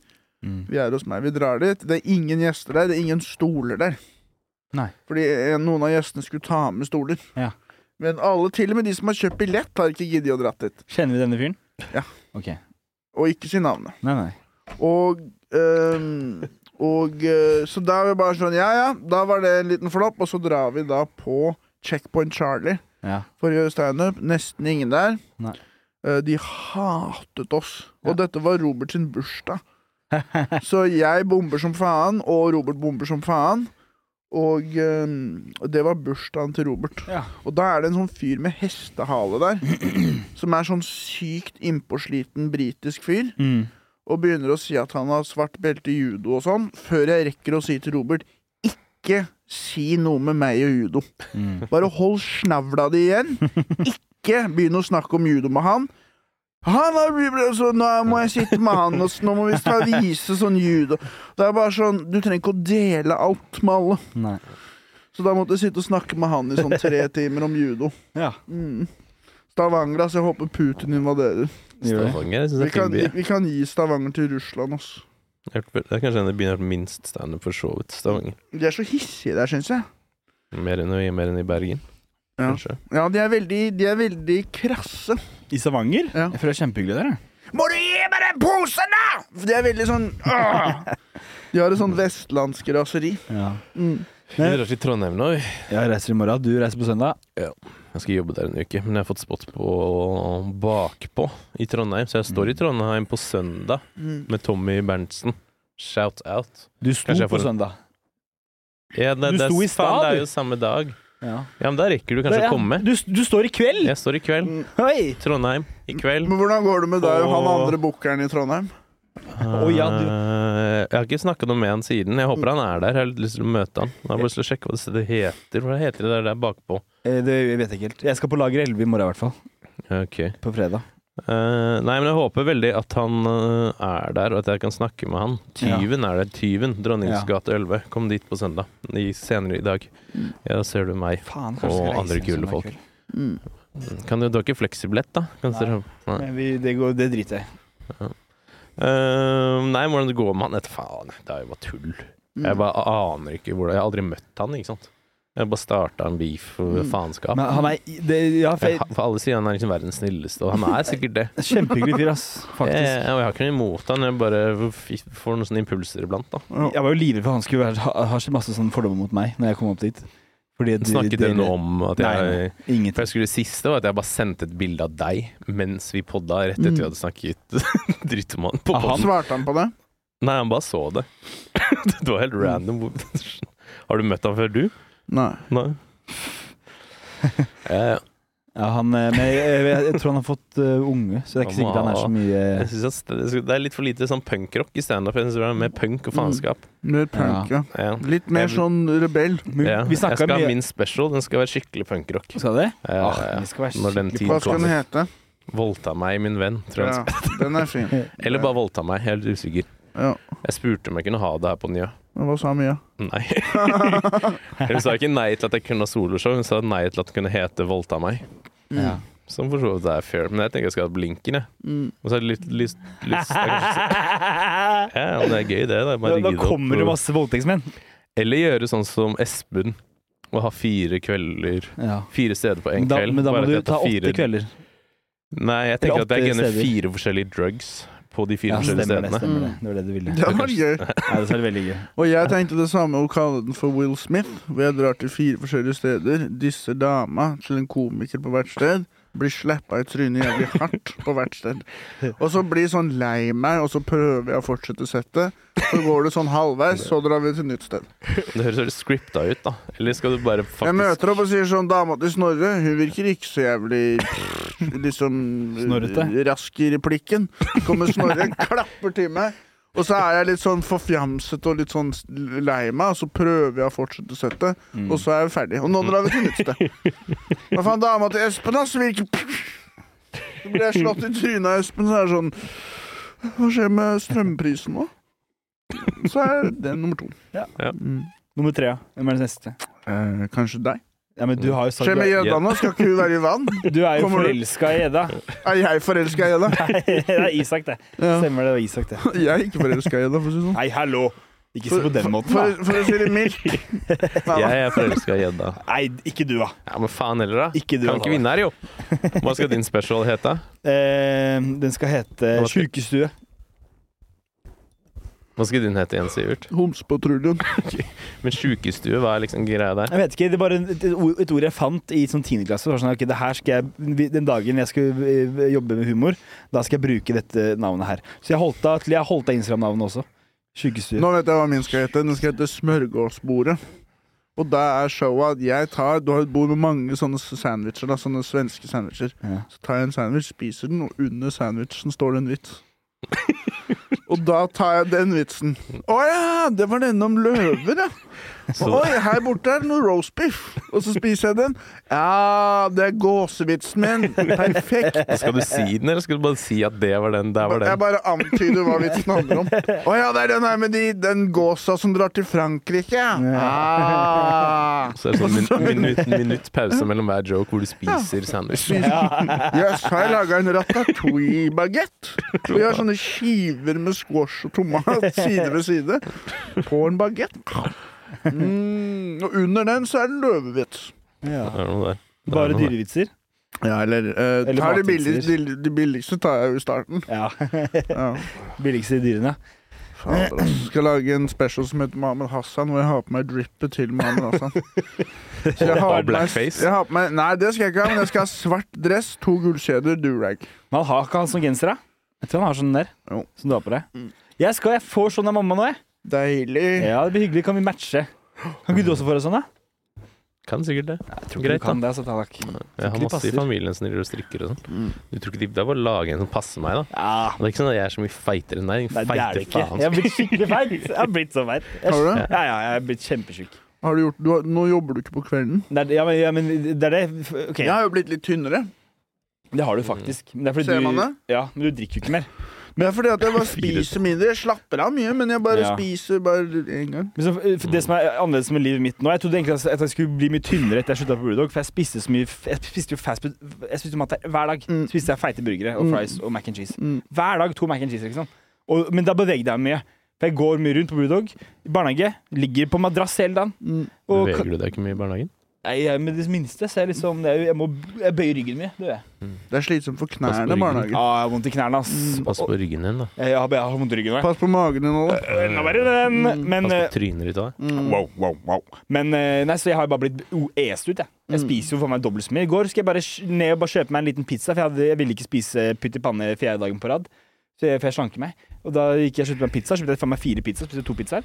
C: Mm.
A: Vi er hos meg, vi drar dit. Det er ingen gjester der, det er ingen stoler der.
C: Nei.
A: Fordi eh, noen av gjestene skulle ta med stoler.
C: Ja.
A: Men alle, til og med de som har kjøpt billett, har ikke giddet å dra dit.
C: Kjenner vi denne fyren?
A: Ja.
C: Ok.
A: Og ikke si navnet.
C: Nei, nei.
A: Og, ehm, og eh, Så da er vi bare sånn Ja, ja, da var det en liten flopp, og så drar vi da på Checkpoint Charlie
C: Ja.
A: for å gjøre standup. Nesten ingen der.
C: Nei.
A: Eh, de hatet oss. Og dette var Robert sin bursdag. så jeg bomber som faen, og Robert bomber som faen. Og ehm, det var bursdagen til Robert.
C: Ja.
A: Og da er det en sånn fyr med hestehale der, som er sånn sykt innpåsliten britisk fyr
C: Mm.
A: og begynner å si at han har svart belte i judo og sånn, før jeg rekker å si til Robert ikke si noe med meg og judo.
C: Mm.
A: Bare hold snavla di igjen. Ikke begynn å snakke om judo med han. Han har så Nå må jeg sitte med han, og så nå må vi ta vise sånn judo. Det er bare sånn Du trenger ikke å dele alt med alle.
C: Nei.
A: Så da måtte jeg sitte og snakke med han i sånn tre timer om judo.
C: Ja.
A: Mm. Stavanger, ass. Jeg håper Putin invaderer.
C: Gjør det.
B: Stavanger. Jeg synes det
A: Vi
B: er en
A: kan,
B: fin by. jeg.
A: vi kan gi Stavanger til Russland, ass.
B: Jeg har hørt- Det er kanskje en av de byene jeg har hørt minst standup for så vidt. Stavanger.
A: De er så hissige der, syns jeg.
B: Mer enn, i- mer enn i Bergen,
A: Ja.
B: kanskje.
A: ja, de er veldig, de er veldig krasse.
C: I Stavanger?
A: Ja.
C: Jeg føler det er kjempehyggelig der. jeg.
A: Må du gi meg den posen, da?! De er veldig sånn «Åh!» De har et sånn vestlandsk raseri. Mm.
B: Vi drar til Trondheim nå. vi.
C: Jeg reiser i morgen, du reiser på søndag.
B: Jeg skal jobbe der en uke, men jeg har fått spot på bakpå i Trondheim. Så jeg står i Trondheim på søndag
A: Mm.
B: med Tommy Berntsen. Shout out.
C: Du sto
B: Kanskje jeg
C: på
B: får en-
C: søndag.
B: Ja, det,
C: Du
B: det, er-
C: sto i
B: faen,
C: stad,
B: Det
C: du.
B: er jo samme dag.
C: Ja.
B: Ja, men da rekker du kanskje å komme.
C: Du, du står i kveld!
B: Jeg står i kveld.
C: Oi!
B: Trondheim i kveld.
A: Mm. Men hvordan går det med deg og han
B: Åh.
A: andre bookeren i Trondheim?
C: Å, ja, du-
B: Eh, Jeg har ikke snakka noe med han siden. Jeg håper han er der. Jeg har litt lyst til å møte han. Jeg har bare lyst til å sjekke hva det stedet heter. Hva heter det der, der bakpå?
C: Eh, Det jeg vet jeg ikke helt. Jeg skal på Lager 11 i morgen, i hvert fall.
B: Ok.
C: På fredag.
B: Eh, nei, men jeg håper veldig at han eh, er der, og at jeg kan snakke med han. Tyven er der. Tyven. Dronningens
C: Ja. Mm.
B: gate 11. Kom dit på søndag. I, senere i dag. Ja, da ser du meg.
C: Faen,
B: Og
C: skal jeg reise
B: andre
C: en
B: kule
C: søndag
B: folk.
C: kveld.
A: Mm.
B: Kan du, du har ikke fleksibillett, da? Kan
C: Nei.
B: dere- nei.
C: Men vi, det, går, det driter jeg i.
B: Eh, nei, hvordan det går med han? Vet faen, det er jo bare tull.
A: Mm.
B: Jeg bare aner ikke hvordan Jeg har aldri møtt han, ikke sant. Jeg bare starta en beef for
A: Mm.
B: faenskap.
C: Men han er det, ja, for
B: Jeg, ha- for alle sier han er liksom verdens snilleste, og han er sikkert det.
C: Kjempehyggelig fyr, ass.
B: Jeg,
C: Faktisk.
B: jeg, jeg har ikke noe imot han, jeg bare f- får noen sånne impulser iblant, da.
A: Ja.
C: Jeg var jo livredd for han skulle være, ha, ha så masse sånne fordommer mot meg når jeg kom opp dit. Fordi at de-
B: Snakket
C: dere-
B: dere noe om at
C: Nei,
B: jeg
C: Ingenting.
B: For jeg skulle det siste var at jeg bare sendte et bilde av deg mens vi podda, rett etter vi hadde snakket dritt om Mm. han på
C: Ah, han-
B: podden.
A: Svarte han på det?
B: Nei, han bare så det. det var helt random. Hvor- Har du møtt han før, du?
A: Nei.
B: Nei. Eh,
C: Ja, han, eh, men jeg, jeg, jeg tror han har fått eh, unge, så det er ikke
B: Han må
C: sikkert han er
B: ha-
C: så mye
B: jeg synes at det det er litt for lite sånn punkrock i standup. Jeg synes det er mer punk og faenskap.
A: Mer punk, ja.
B: Ja.
A: Litt mer
B: Jeg-
A: sånn rebell.
B: Ja.
C: Vi
B: Jeg
C: snakka
B: skal ha
C: mye
B: min special. Den skal være skikkelig punkrock.
C: Skal det?
B: Eh,
C: Ah, det skal være
B: når den
C: skikkelig
B: tiden
A: Hva skal den
B: kommer.
A: hete?
B: Voldta meg, min venn. Tror jeg.
A: Ja,
B: den
A: den er fin.
B: skal- Eller bare voldta meg. Helt usikker.
A: Ja.
B: Jeg spurte om jeg kunne ha det her på Njø.
A: Men hva sa Mia?
B: Nei. Hun sa ikke nei til at jeg kunne ha soloshow, hun sa nei til at det kunne hete 'Voldta meg'.
C: Ja.
B: Som for så vidt er fair, men jeg tenker jeg skal ha blinken, jeg.
A: Mm.
B: Og så er det litt lyst, lyst det er kanskje, Ja, men det er gøy, det. det er bare
C: Da,
B: å rigge
C: da
B: det opp
C: kommer det
B: og-
C: masse voldtektsmenn.
B: Eller gjøre sånn som Espen, og ha fire kvelder
C: Ja.
B: Fire steder på én
C: Da,
B: kveld.
C: men da
B: bare at
C: må du
B: jeg tar
C: ta åtte
B: fire-
C: kvelder.
B: Nei, jeg tenker
C: Eller
B: at jeg
C: åtte
B: gønner
C: steder.
B: fire forskjellige drugs på de fire
C: Ja,
B: forskjellige
C: stemmer det.
B: stedene.
C: stemmer Det Det var det du ville.
A: Det var gøy.
C: Ja, det er veldig gøy.
A: Og jeg tenkte det samme å kalle den for Will Smith. Hvor jeg drar til fire forskjellige steder, disser dama til en komiker på hvert sted. Blir slappa i trynet jævlig hardt på hvert sted. Og så blir sånn lei meg, og så prøver jeg å fortsette settet. Så går det sånn halvveis, så drar vi til nytt sted.
B: Det høres veldig scripta ut, da. Eller skal du bare
A: Jeg
B: faktisk
A: møter opp og sier sånn Dama til Snorre, hun virker ikke så jævlig liksom eh,
C: Snorrete.
A: rask i replikken. Kommer Snorre, klapper til meg. Og så er jeg litt sånn forfjamset og litt sånn lei meg, og så prøver jeg å fortsette settet.
C: Mm.
A: Og så er jeg ferdig. Og nå drar vi til nytt sted. Hva faen, dama til Espen, ass, virker Så blir jeg slått i trynet av Espen, så er det sånn Hva skjer med strømprisen nå? Så er det nummer to.
C: Ja.
B: Ja.
A: Mm.
C: Nummer tre, ja. Hvem er det neste?
A: Eh, kanskje deg?
C: Ja, men du har jo sagt
A: Skjer med
C: du,
A: gjedda nå? Skal ikke hun være i vann?
C: er, du er jo
A: Kommer du?
C: forelska i gjedda.
A: Er jeg forelska i henne?
C: Det er Isak, det.
A: Ja.
C: Stemmer det, det var Isak, det.
A: Jeg er ikke forelska i henne, for å si det sånn.
C: Nei, hallo! Ikke se på den måten,
A: for,
C: da.
A: for å si det mildt. Nei, da.
B: Jeg er forelska i gjedda.
C: Nei, ikke du, da.
B: Ja, men faen heller, da.
C: Ikke du,
B: kan ikke
C: da.
B: vinne her, jo. Hva skal din special hete?
C: Eh, den skal hete
B: Hva skal-
C: Sjukestue.
B: Hva skal din hete igjen, Sivert?
A: Homsepatruljen.
B: Men sjukestue, hva er liksom greia der?
C: Jeg vet ikke, det er bare et, et ord- et ord jeg fant i sånn tiendeklasse. det var Sånn, ok, det her skal jeg, den dagen jeg skal eh, jobbe med humor, da skal jeg bruke dette navnet her. Så jeg holdt av til jeg holdt av Instagram-navnet også. Sjukestue.
A: Nå vet jeg hva min skal hete. Den skal hete Smørgåsbordet. Og da er showet at jeg tar Du har et bord med mange sånne sandwicher. Da, sånne svenske sandwicher.
C: Ja.
A: Så tar jeg en sandwich, spiser den, og under sandwichen står det en vits. Og da tar jeg den vitsen. Å ja! Det var denne om løver, ja.
B: Så-
A: Oi, her borte er det noe roastbiff! Og så spiser jeg den. Ja, det er gåsevitsen min! Perfekt!
B: Skal du si den, eller skal du bare si at det var den, der var
A: Jeg
B: den?
A: bare antyder hva vitsen handler om. Å ja, det er den her med de, den gåsa som drar til Frankrike! Ah.
B: Så er det sånn min, minutt, minutt pause mellom hver joke hvor du spiser sandwich.
A: Jøss, har jeg laga en ratatouille-bagett? Vi har sånne skiver med squash og tomat side ved side på en bagett. Mm, og under den så er det løvevits.
B: Det er noe der. Det er
C: Bare
B: noe der.
C: dyrevitser?
A: Ja, eller, eh,
C: Eller
A: tar de,
C: matvitser.
A: billigste, de, de billigste tar jeg jo i starten.
C: Ja.
A: Ja.
C: Billigste dyrene.
A: Fader, ass. Skal lage en special som heter Mohammed Hassan, hvor jeg har på meg drippet til Mohammed Hassan. Så jeg
B: Og
A: har på meg,
B: blackface.
A: jeg har på meg Nei, det skal jeg ikke ha, men jeg skal ha svart dress, to gullkjeder, durag.
C: Men han har ikke han som genser, da? Jeg tror han har sånn der.
A: Jo. Mm.
C: Som du har på deg. Jeg skal, jeg får sånn av mamma nå, jeg.
A: Deilig.
C: Ja, det blir hyggelig. Kan vi matche? Kan ikke du også få deg sånn, da?
B: Kan sikkert det.
C: Jeg
B: tror ikke Greit, du kan
C: det, så takk.
B: Jeg har
C: ikke de
B: masse i
C: passer.
B: familien som driver og strikker og sånn.
C: Mm.
B: Du tror ikke de, Det er bare å lage en som passer meg, da.
C: Ja,
B: Det er ikke sånn at jeg er så mye feitere enn deg.
C: Nei, det er det
B: Feite
C: ikke.
B: faen.
C: Jeg har blitt skikkelig feit. Jeg har blitt så feit. Jeg-
A: Har du det?
C: Ja, ja, jeg har blitt kjempesjuk.
A: Har du gjort, du har, nå jobber du ikke på kvelden.
C: Det er, ja, men, ja, men det er det. F- Ok,
A: Jeg har jo blitt litt tynnere.
C: det har du faktisk. Men det er fordi
A: Ser
C: du,
A: man det?
C: Ja, men du drikker jo ikke mer.
A: Men det er fordi at jeg bare spiser mindre. Jeg slapper av mye, men jeg bare
C: Ja.
A: spiser bare én gang.
C: Men så, for det som er annerledes med livet mitt nå Jeg trodde egentlig at jeg skulle bli mye tynnere etter jeg slutta på Brewdog, for jeg spiste så mye f- Jeg spiste jo fast food Jeg spiste jo mat der hver dag.
A: Mm.
C: Spiste jeg feite burgere og
A: Mm.
C: fries og mac and cheese.
A: Mm.
C: Hver dag to mac and cheese, liksom. Og, men da bevegde jeg meg mye. For jeg går mye rundt på Brewdog. I barnehage. Ligger på madrass hele dagen.
A: Mm.
C: Og ka-
B: Beveger du deg ikke mye i barnehagen?
C: Nei, jeg, med det minste så er jeg liksom Jeg, jeg må jeg bøyer ryggen min. Det gjør jeg.
A: Det er slitsomt for
B: Pass på
A: knærne,
B: ryggen.
C: Ja,
A: barnehagen.
C: jeg har vondt i knærne, ass.
B: Pass på ryggen din, da.
C: Mm. Jeg, jeg, har, jeg har vondt i ryggen. nå, jeg.
A: Pass på magen din nå, da.
C: Enda verre, den. Men,
B: Pass
C: eh,
B: på trynet ditt òg.
A: Mm.
C: wow, wow, wow. Men eh, nei, så jeg har bare blitt o- est ut, jeg. Jeg spiser jo for meg dobbelt så mye. I går skal jeg bare sj- ned og bare kjøpe meg en liten pizza, for jeg, hadde, jeg ville ikke spise pytt i panne fjerde dagen på rad. Så jeg, for jeg slanker meg. Og da gikk jeg og kjøpte meg en pizza. Kjøpte jeg faen meg fire pizzaer. Spiste to pizzaer.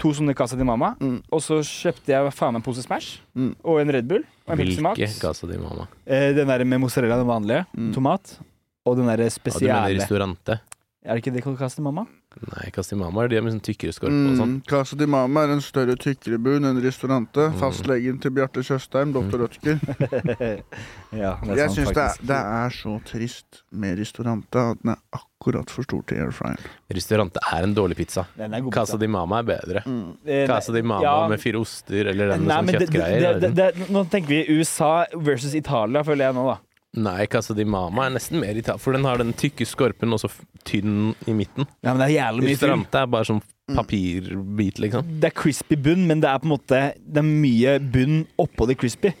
C: To sånne kassa til mamma.
A: Mm.
C: Og så kjøpte jeg faen meg en pose Smash
A: Mm.
C: og en Red Bull og en Pepsi
B: Hvilke
C: Max.
B: kassa di, mamma?
C: Eh, den der med mozzarella, den vanlige.
A: Mm.
C: Tomat. Og den der
B: Ja, du mener
C: spesielle.
B: restaurante?
C: er det ikke det kalles til mamma?
B: Nei, kassa di, mamma er de med sånn tykkere skorpe og sånn.
A: Mm. Casa di Mama er en større tykkere bun enn restaurante.
B: Mm.
A: Fastlegen til Bjarte Tjøstheim, doktor Rødtger.
C: Ja, det
A: Jeg syns det, er- sånn det er så trist med restaurante at den er akkurat for stor til airfryer.
C: Mm.
B: Restaurante er en dårlig pizza.
C: Den er god. Eh,
B: Casa di mamma er bedre.
C: Mm.
B: Casa di mamma
C: ja.
B: med fire oster eller den med
C: Nei,
B: sånn
C: men det, det,
B: kjøttgreier.
C: det, det, nå tenker vi USA versus Italia, føler jeg nå, da.
B: Nei, Casa di mamma er nesten mer Italia, for den har den tykke skorpen og så f- tynn i midten.
C: Ja, men det er jævlig mye fyll. Mm.
B: Restaurante er bare sånn papirbit, liksom.
C: Det er crispy bunn, men det er på en måte Det er mye bunn oppå det crispy.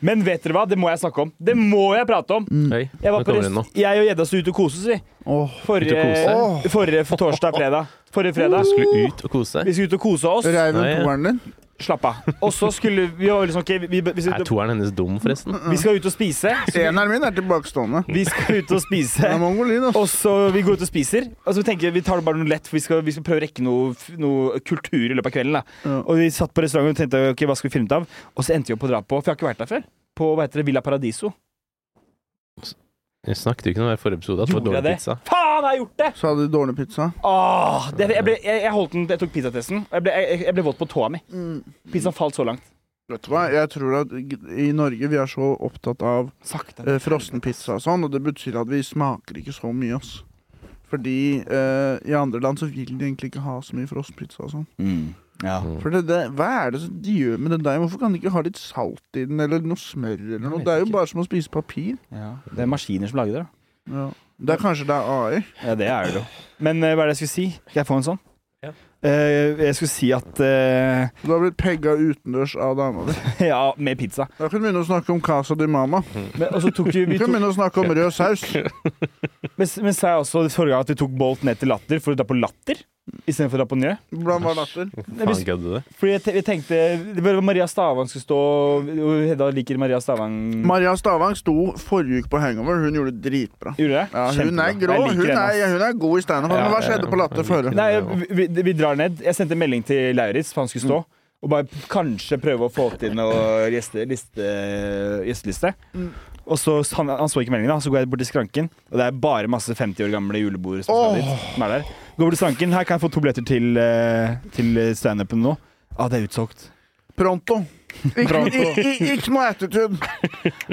C: Men vet dere hva? Det må jeg snakke om. Det må jeg prate om!
B: Hei, nå
C: Jeg, var på
B: kommer det noe.
C: rest, jeg og gjedda sto ute og koste oss, vi.
A: Åh,
C: Forrige,
B: Ute og
C: forrige, torsdag fredag. Forrige fredag.
B: Skulle ut og kose seg.
C: Vi skulle ut og kose oss.
A: Reiv
B: Nei,
A: den
B: ja.
A: toeren din?
C: Slapp av. Og så skulle vi vi var liksom, ok, vi, vi, vi,
B: Er
C: skal,
B: toeren hennes dum, forresten?
C: vi skal ut og spise.
A: Eneren min er tilbakestående.
C: Vi skal ut og
A: Den
C: spise.
A: er mongolid, ass.
C: Og så vi går ut og spiser. Og så tenker Vi vi tar det bare noe lett, for vi skal, vi skal prøve å rekke noe, f- noe kultur i løpet av kvelden. da
A: Ja.
C: Og vi satt på restauranten og tenkte ok, hva skal vi finne ut av? Og så endte vi opp på å dra på, for jeg har ikke vært der før. På hva heter det, Villa Paradiso.
B: Jeg snakket jo ikke om det i forrige episode, at det var
C: Gjorde jeg
B: dårlig
C: det?
B: pizza.
C: Faen, jeg har gjort det!
A: Så hadde de dårlig pizza.
C: Åh, det jeg, ble, jeg, jeg holdt den, jeg tok pizzatesten, og jeg ble, jeg, jeg ble våt på tåa mi. Pizzaen falt så langt.
A: Vet du hva, jeg tror at i Norge vi er så opptatt av
C: Sakte.
A: eh, frossenpizza og sånn, og det betyr at vi smaker ikke så mye, ass. Fordi eh, i andre land så vil de egentlig ikke ha så mye frossenpizza og sånn.
C: Mm, Ja.
A: For det, det, hva er det som de gjør med den deigen? Hvorfor kan de ikke ha litt salt i den, eller noe smør eller noe?
C: vet
A: Det er jo
C: ikke.
A: bare som å spise papir.
C: Det er maskiner som lager det. da.
A: Ja. Det er kanskje det er AI.
C: Ja, det er det jo. Men eh, hva er det jeg skulle si? Skal jeg få en sånn?
B: Ja.
C: Eh, jeg skulle si at eh,
A: Du har blitt pegga utendørs av dama di.
C: Ja, med pizza.
A: Da kan du begynne å snakke om casa di mama.
C: Men, og så tok vi,
A: Du
C: vi
A: kan
C: tok,
A: begynne å snakke om rød saus.
C: men, men sa jeg også forrige gang at vi tok Bolt ned til Latter for å dra på Latter istedenfor å dra på Njø?
A: Hvordan var latter?
B: Faen, kødder du det?
C: Fordi jeg, te- jeg tenkte det var Maria Stavang skulle stå og Hedda liker Maria Stavang.
A: Maria Stavang sto forrige uke på Hangover. Hun gjorde det dritbra.
C: Gjorde det?
A: Ja, hun er
C: Kjempebra.
A: grå.
C: Jeg liker
A: Hun
C: henne,
A: er,
C: ass.
A: hun er god i standup.
C: Ja,
A: Men hva
B: ja,
A: skjedde
B: ja.
A: på latter før?
C: Nei, vi, vi- vi drar ned. Jeg sendte en melding til Lauritz, for han skulle stå. Og bare p- kanskje prøve å få til noe gjeste, liste, gjesteliste. Og så, han, han så ikke meldingen, da. Så går jeg bort til skranken, og det er bare masse 50 år gamle julebord som, skal dit, som er der. Går bort til skranken. Her kan jeg få to billetter til, eh, til standupen nå. Ja, ah, det er utsolgt.
A: Pronto. Ikke,
C: Pronto.
A: i- i- ikke noe attitude.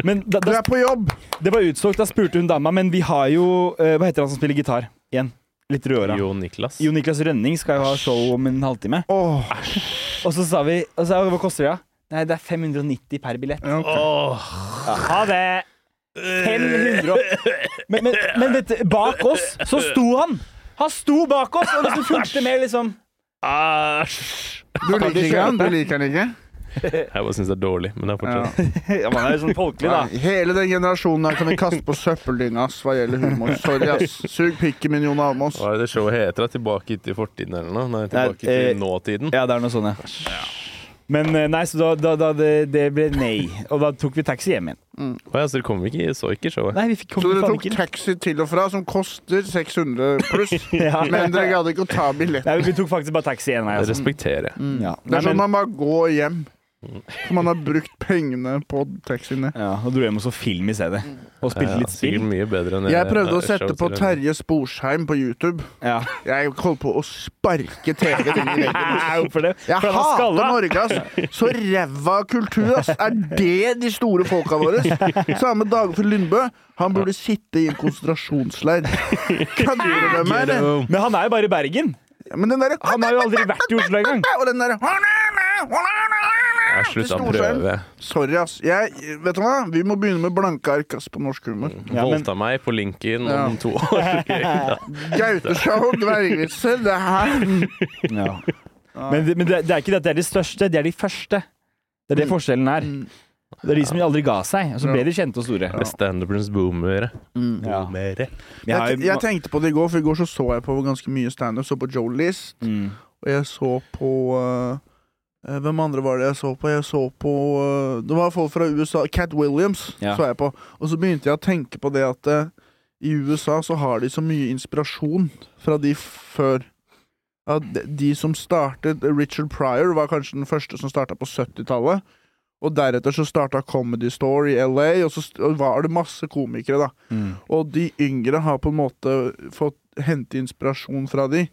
C: Men da,
A: Du
C: da,
A: er på jobb.
C: det var utsolgt. Da spurte hun dama, men vi har jo eh, Hva heter han som spiller gitar? Igjen. Litt rødhåra.
B: Jo Niklas.
C: Jo Niklas Rønning skal jo ha show om en halvtime.
A: Åh,
C: Og så sa vi og så, Hva koster det, da? Nei, det er 590 per billett.
A: ja, ok.
B: Åh,
C: Ha det! 500 og- Men, men, men vet du, bak oss så sto han! Han sto bak oss og liksom fulgte med, liksom.
B: Æsj!
A: Du liker ikke han? Du liker han ikke?
B: Jeg bare syns det er dårlig, men det er
A: Ja.
B: fortsatt
C: Ja, man er jo sånn folkelig,
A: Nei, Hele den generasjonen her kan vi kaste på søppeldynga ass, hva gjelder humor. Sorry, ass. Sug pikken min, Jon Almaas.
B: Hva er det showet heter? da? Tilbake til fortiden eller noe? Nei,
C: Nei,
B: tilbake
C: eh,
B: til nåtiden.
C: Ja, det er noe sånn, ja. Men eh, nei, så da, da, da det, det ble nei. Og da tok vi taxi hjem igjen.
B: Å ja, så dere kom ikke, så ikke showet?
C: Nei, vi fikk
A: Så
C: kom
A: dere
C: faen
A: tok
C: ikke inn.
A: taxi til og fra, som koster 600 pluss,
C: Ja.
A: men dere gadd ikke å ta billett.
C: Nei, vi tok faktisk bare taxi én vei.
B: Det
C: Altså.
B: respekterer jeg.
C: Ja.
A: Det
C: Nei,
A: er sånn som
C: men,
A: man bare går hjem. For man har brukt pengene på taxiene.
C: ja, og dro hjem og så film i stedet. Og spilte litt
B: Sikkert
C: spill.
B: mye bedre enn
A: Jeg prøvde å
B: eh,
A: sette
B: showet
A: på
B: til-
A: Terje Sporsheim på YouTube.
C: Ja.
A: Jeg holdt på å sparke TV-en inn i veggen.
C: Hvorfor det?
A: Jeg
C: For han var
A: hater
C: skalla.
A: Norge, ass! Så ræva kultur, ass! Er det de store folka våre? Samme Dagfinn Lundbø. Han burde sitte i en konsentrasjonsleir. Kødder du med meg, eller?
C: Men han er jo bare i Bergen.
A: Men den derre
C: Han har jo aldri vært i Oslo engang.
A: Og den derre
B: Ja, slutt å prøve.
A: Sorry, ass. Jeg, vet du hva? Vi må begynne med blanke ark ass, på norsk humor.
C: Ja, men-
B: Voldta meg på linken
A: Ja.
B: om to år. Ja.
A: Gauteshow, dvergvitser, det her Mm.
C: Ja. Men, det- men det, det er ikke det at det er de største, det er de første. Det er
A: Mm.
C: det forskjellen er. Det er de som aldri ga seg, og så ble de kjente og store.
B: Standupernes boomere.
C: Ja.
B: Boomere.
C: Jeg har
A: Mm. jeg,
C: jo-
A: jeg tenkte på det i går, for i går så, så jeg på ganske mye standup. Så på Joe List,
C: Mm.
A: og jeg så på eh, Hvem andre var det jeg så på? Jeg så på eh, Det var folk fra USA. Cat Williams
C: Ja.
A: så jeg på. Og så begynte jeg å tenke på det at eh, i USA så har de så mye inspirasjon fra de før. Ja, de, de som startet Richard Pryor var kanskje den første som starta på 70-tallet. Og deretter så starta Comedy Store i LA, og så st- og var det masse komikere, da.
C: Mm.
A: Og de yngre har på en måte fått hente inspirasjon fra de.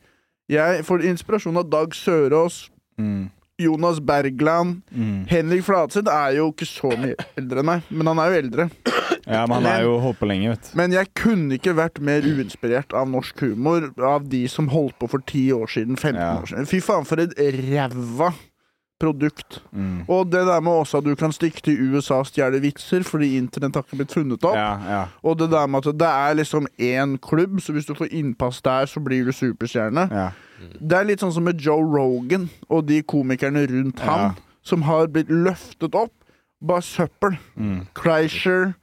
A: Jeg får inspirasjon av Dag Sørås,
C: Mm.
A: Jonas Bergland
C: Mm.
A: Henrik Fladseth er jo ikke så mye eldre, nei. Men han er jo eldre.
C: Ja, men han er jo holdt på lenge, vet du.
A: Men jeg kunne ikke vært mer uinspirert av norsk humor av de som holdt på for 10 år siden, 15
C: Ja.
A: år siden. Fy faen, for et ræva produkt.
C: Mm.
A: Og det der med også at du kan stikke til USA og stjele vitser fordi internett har ikke blitt funnet opp.
C: Ja, ja.
A: Og det der med at det er liksom én klubb, så hvis du får innpass der, så blir du superstjerne.
C: ja.
A: Det er litt sånn som med Joe Rogan og de komikerne rundt ham
C: Ja.
A: som har blitt løftet opp. Bare søppel.
C: Mm.
A: Kreischer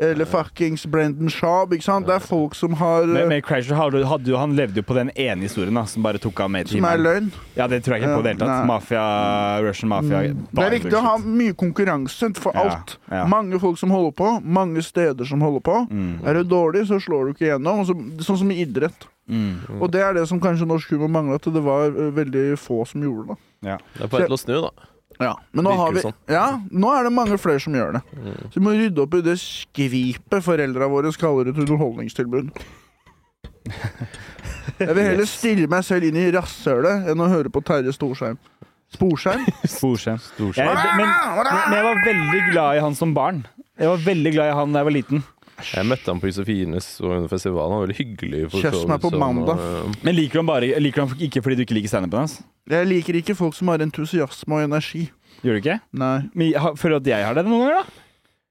A: eller fuckings Brendan Schaub, ikke sant? Det er folk som har
C: Men, men Crasher hadde, hadde, jo- han levde jo på den ene historien da, som bare tok av
A: eh,
C: med
A: som er
C: timen.
A: løgn.
C: Ja, det tror jeg ikke på i det hele tatt.
A: Eh, Nei. Mm.
C: Mafia, Russian mafia
A: Det
C: bare
A: er viktig å ha
C: bullshit.
A: mye konkurranse for
C: Ja,
A: alt.
C: ja.
A: Mange folk som holder på, mange steder som holder på.
C: Mm.
A: Er du dårlig, så slår du ikke gjennom. Og så- Sånn som i idrett.
C: Mm.
A: Og det er det som kanskje norsk humor mangla, at det var eh, veldig få som gjorde det.
B: Det er på vei til å snu, da.
A: Ja, men nå,
B: Virker
A: har vi,
B: det sånn.
A: ja, nå er det mange flere som gjør det.
B: Mm.
A: Så vi må rydde opp i det skvipet foreldra våre kaller et underholdningstilbud. Jeg vil heller stille meg selv inn i rasshølet enn å høre på Terje Storsheim. Sporsheim?
C: Sporsem. Jeg,
B: Storskjerm.
C: men, men jeg var veldig glad i han som barn. Jeg var veldig glad i han da jeg var liten.
B: Jeg møtte ham på Josefines og under festivalen. Han var veldig hyggelig. for
A: Kjøss
B: så
A: meg på
B: vidt, sånn, og, eh,
C: Men liker du han bare liker du han ikke fordi du ikke liker standupen hans?
A: Jeg liker ikke folk som har entusiasme og energi.
C: Gjør du ikke?
A: Nei.
C: Men jeg har- Føler du at jeg har det noen ganger, da?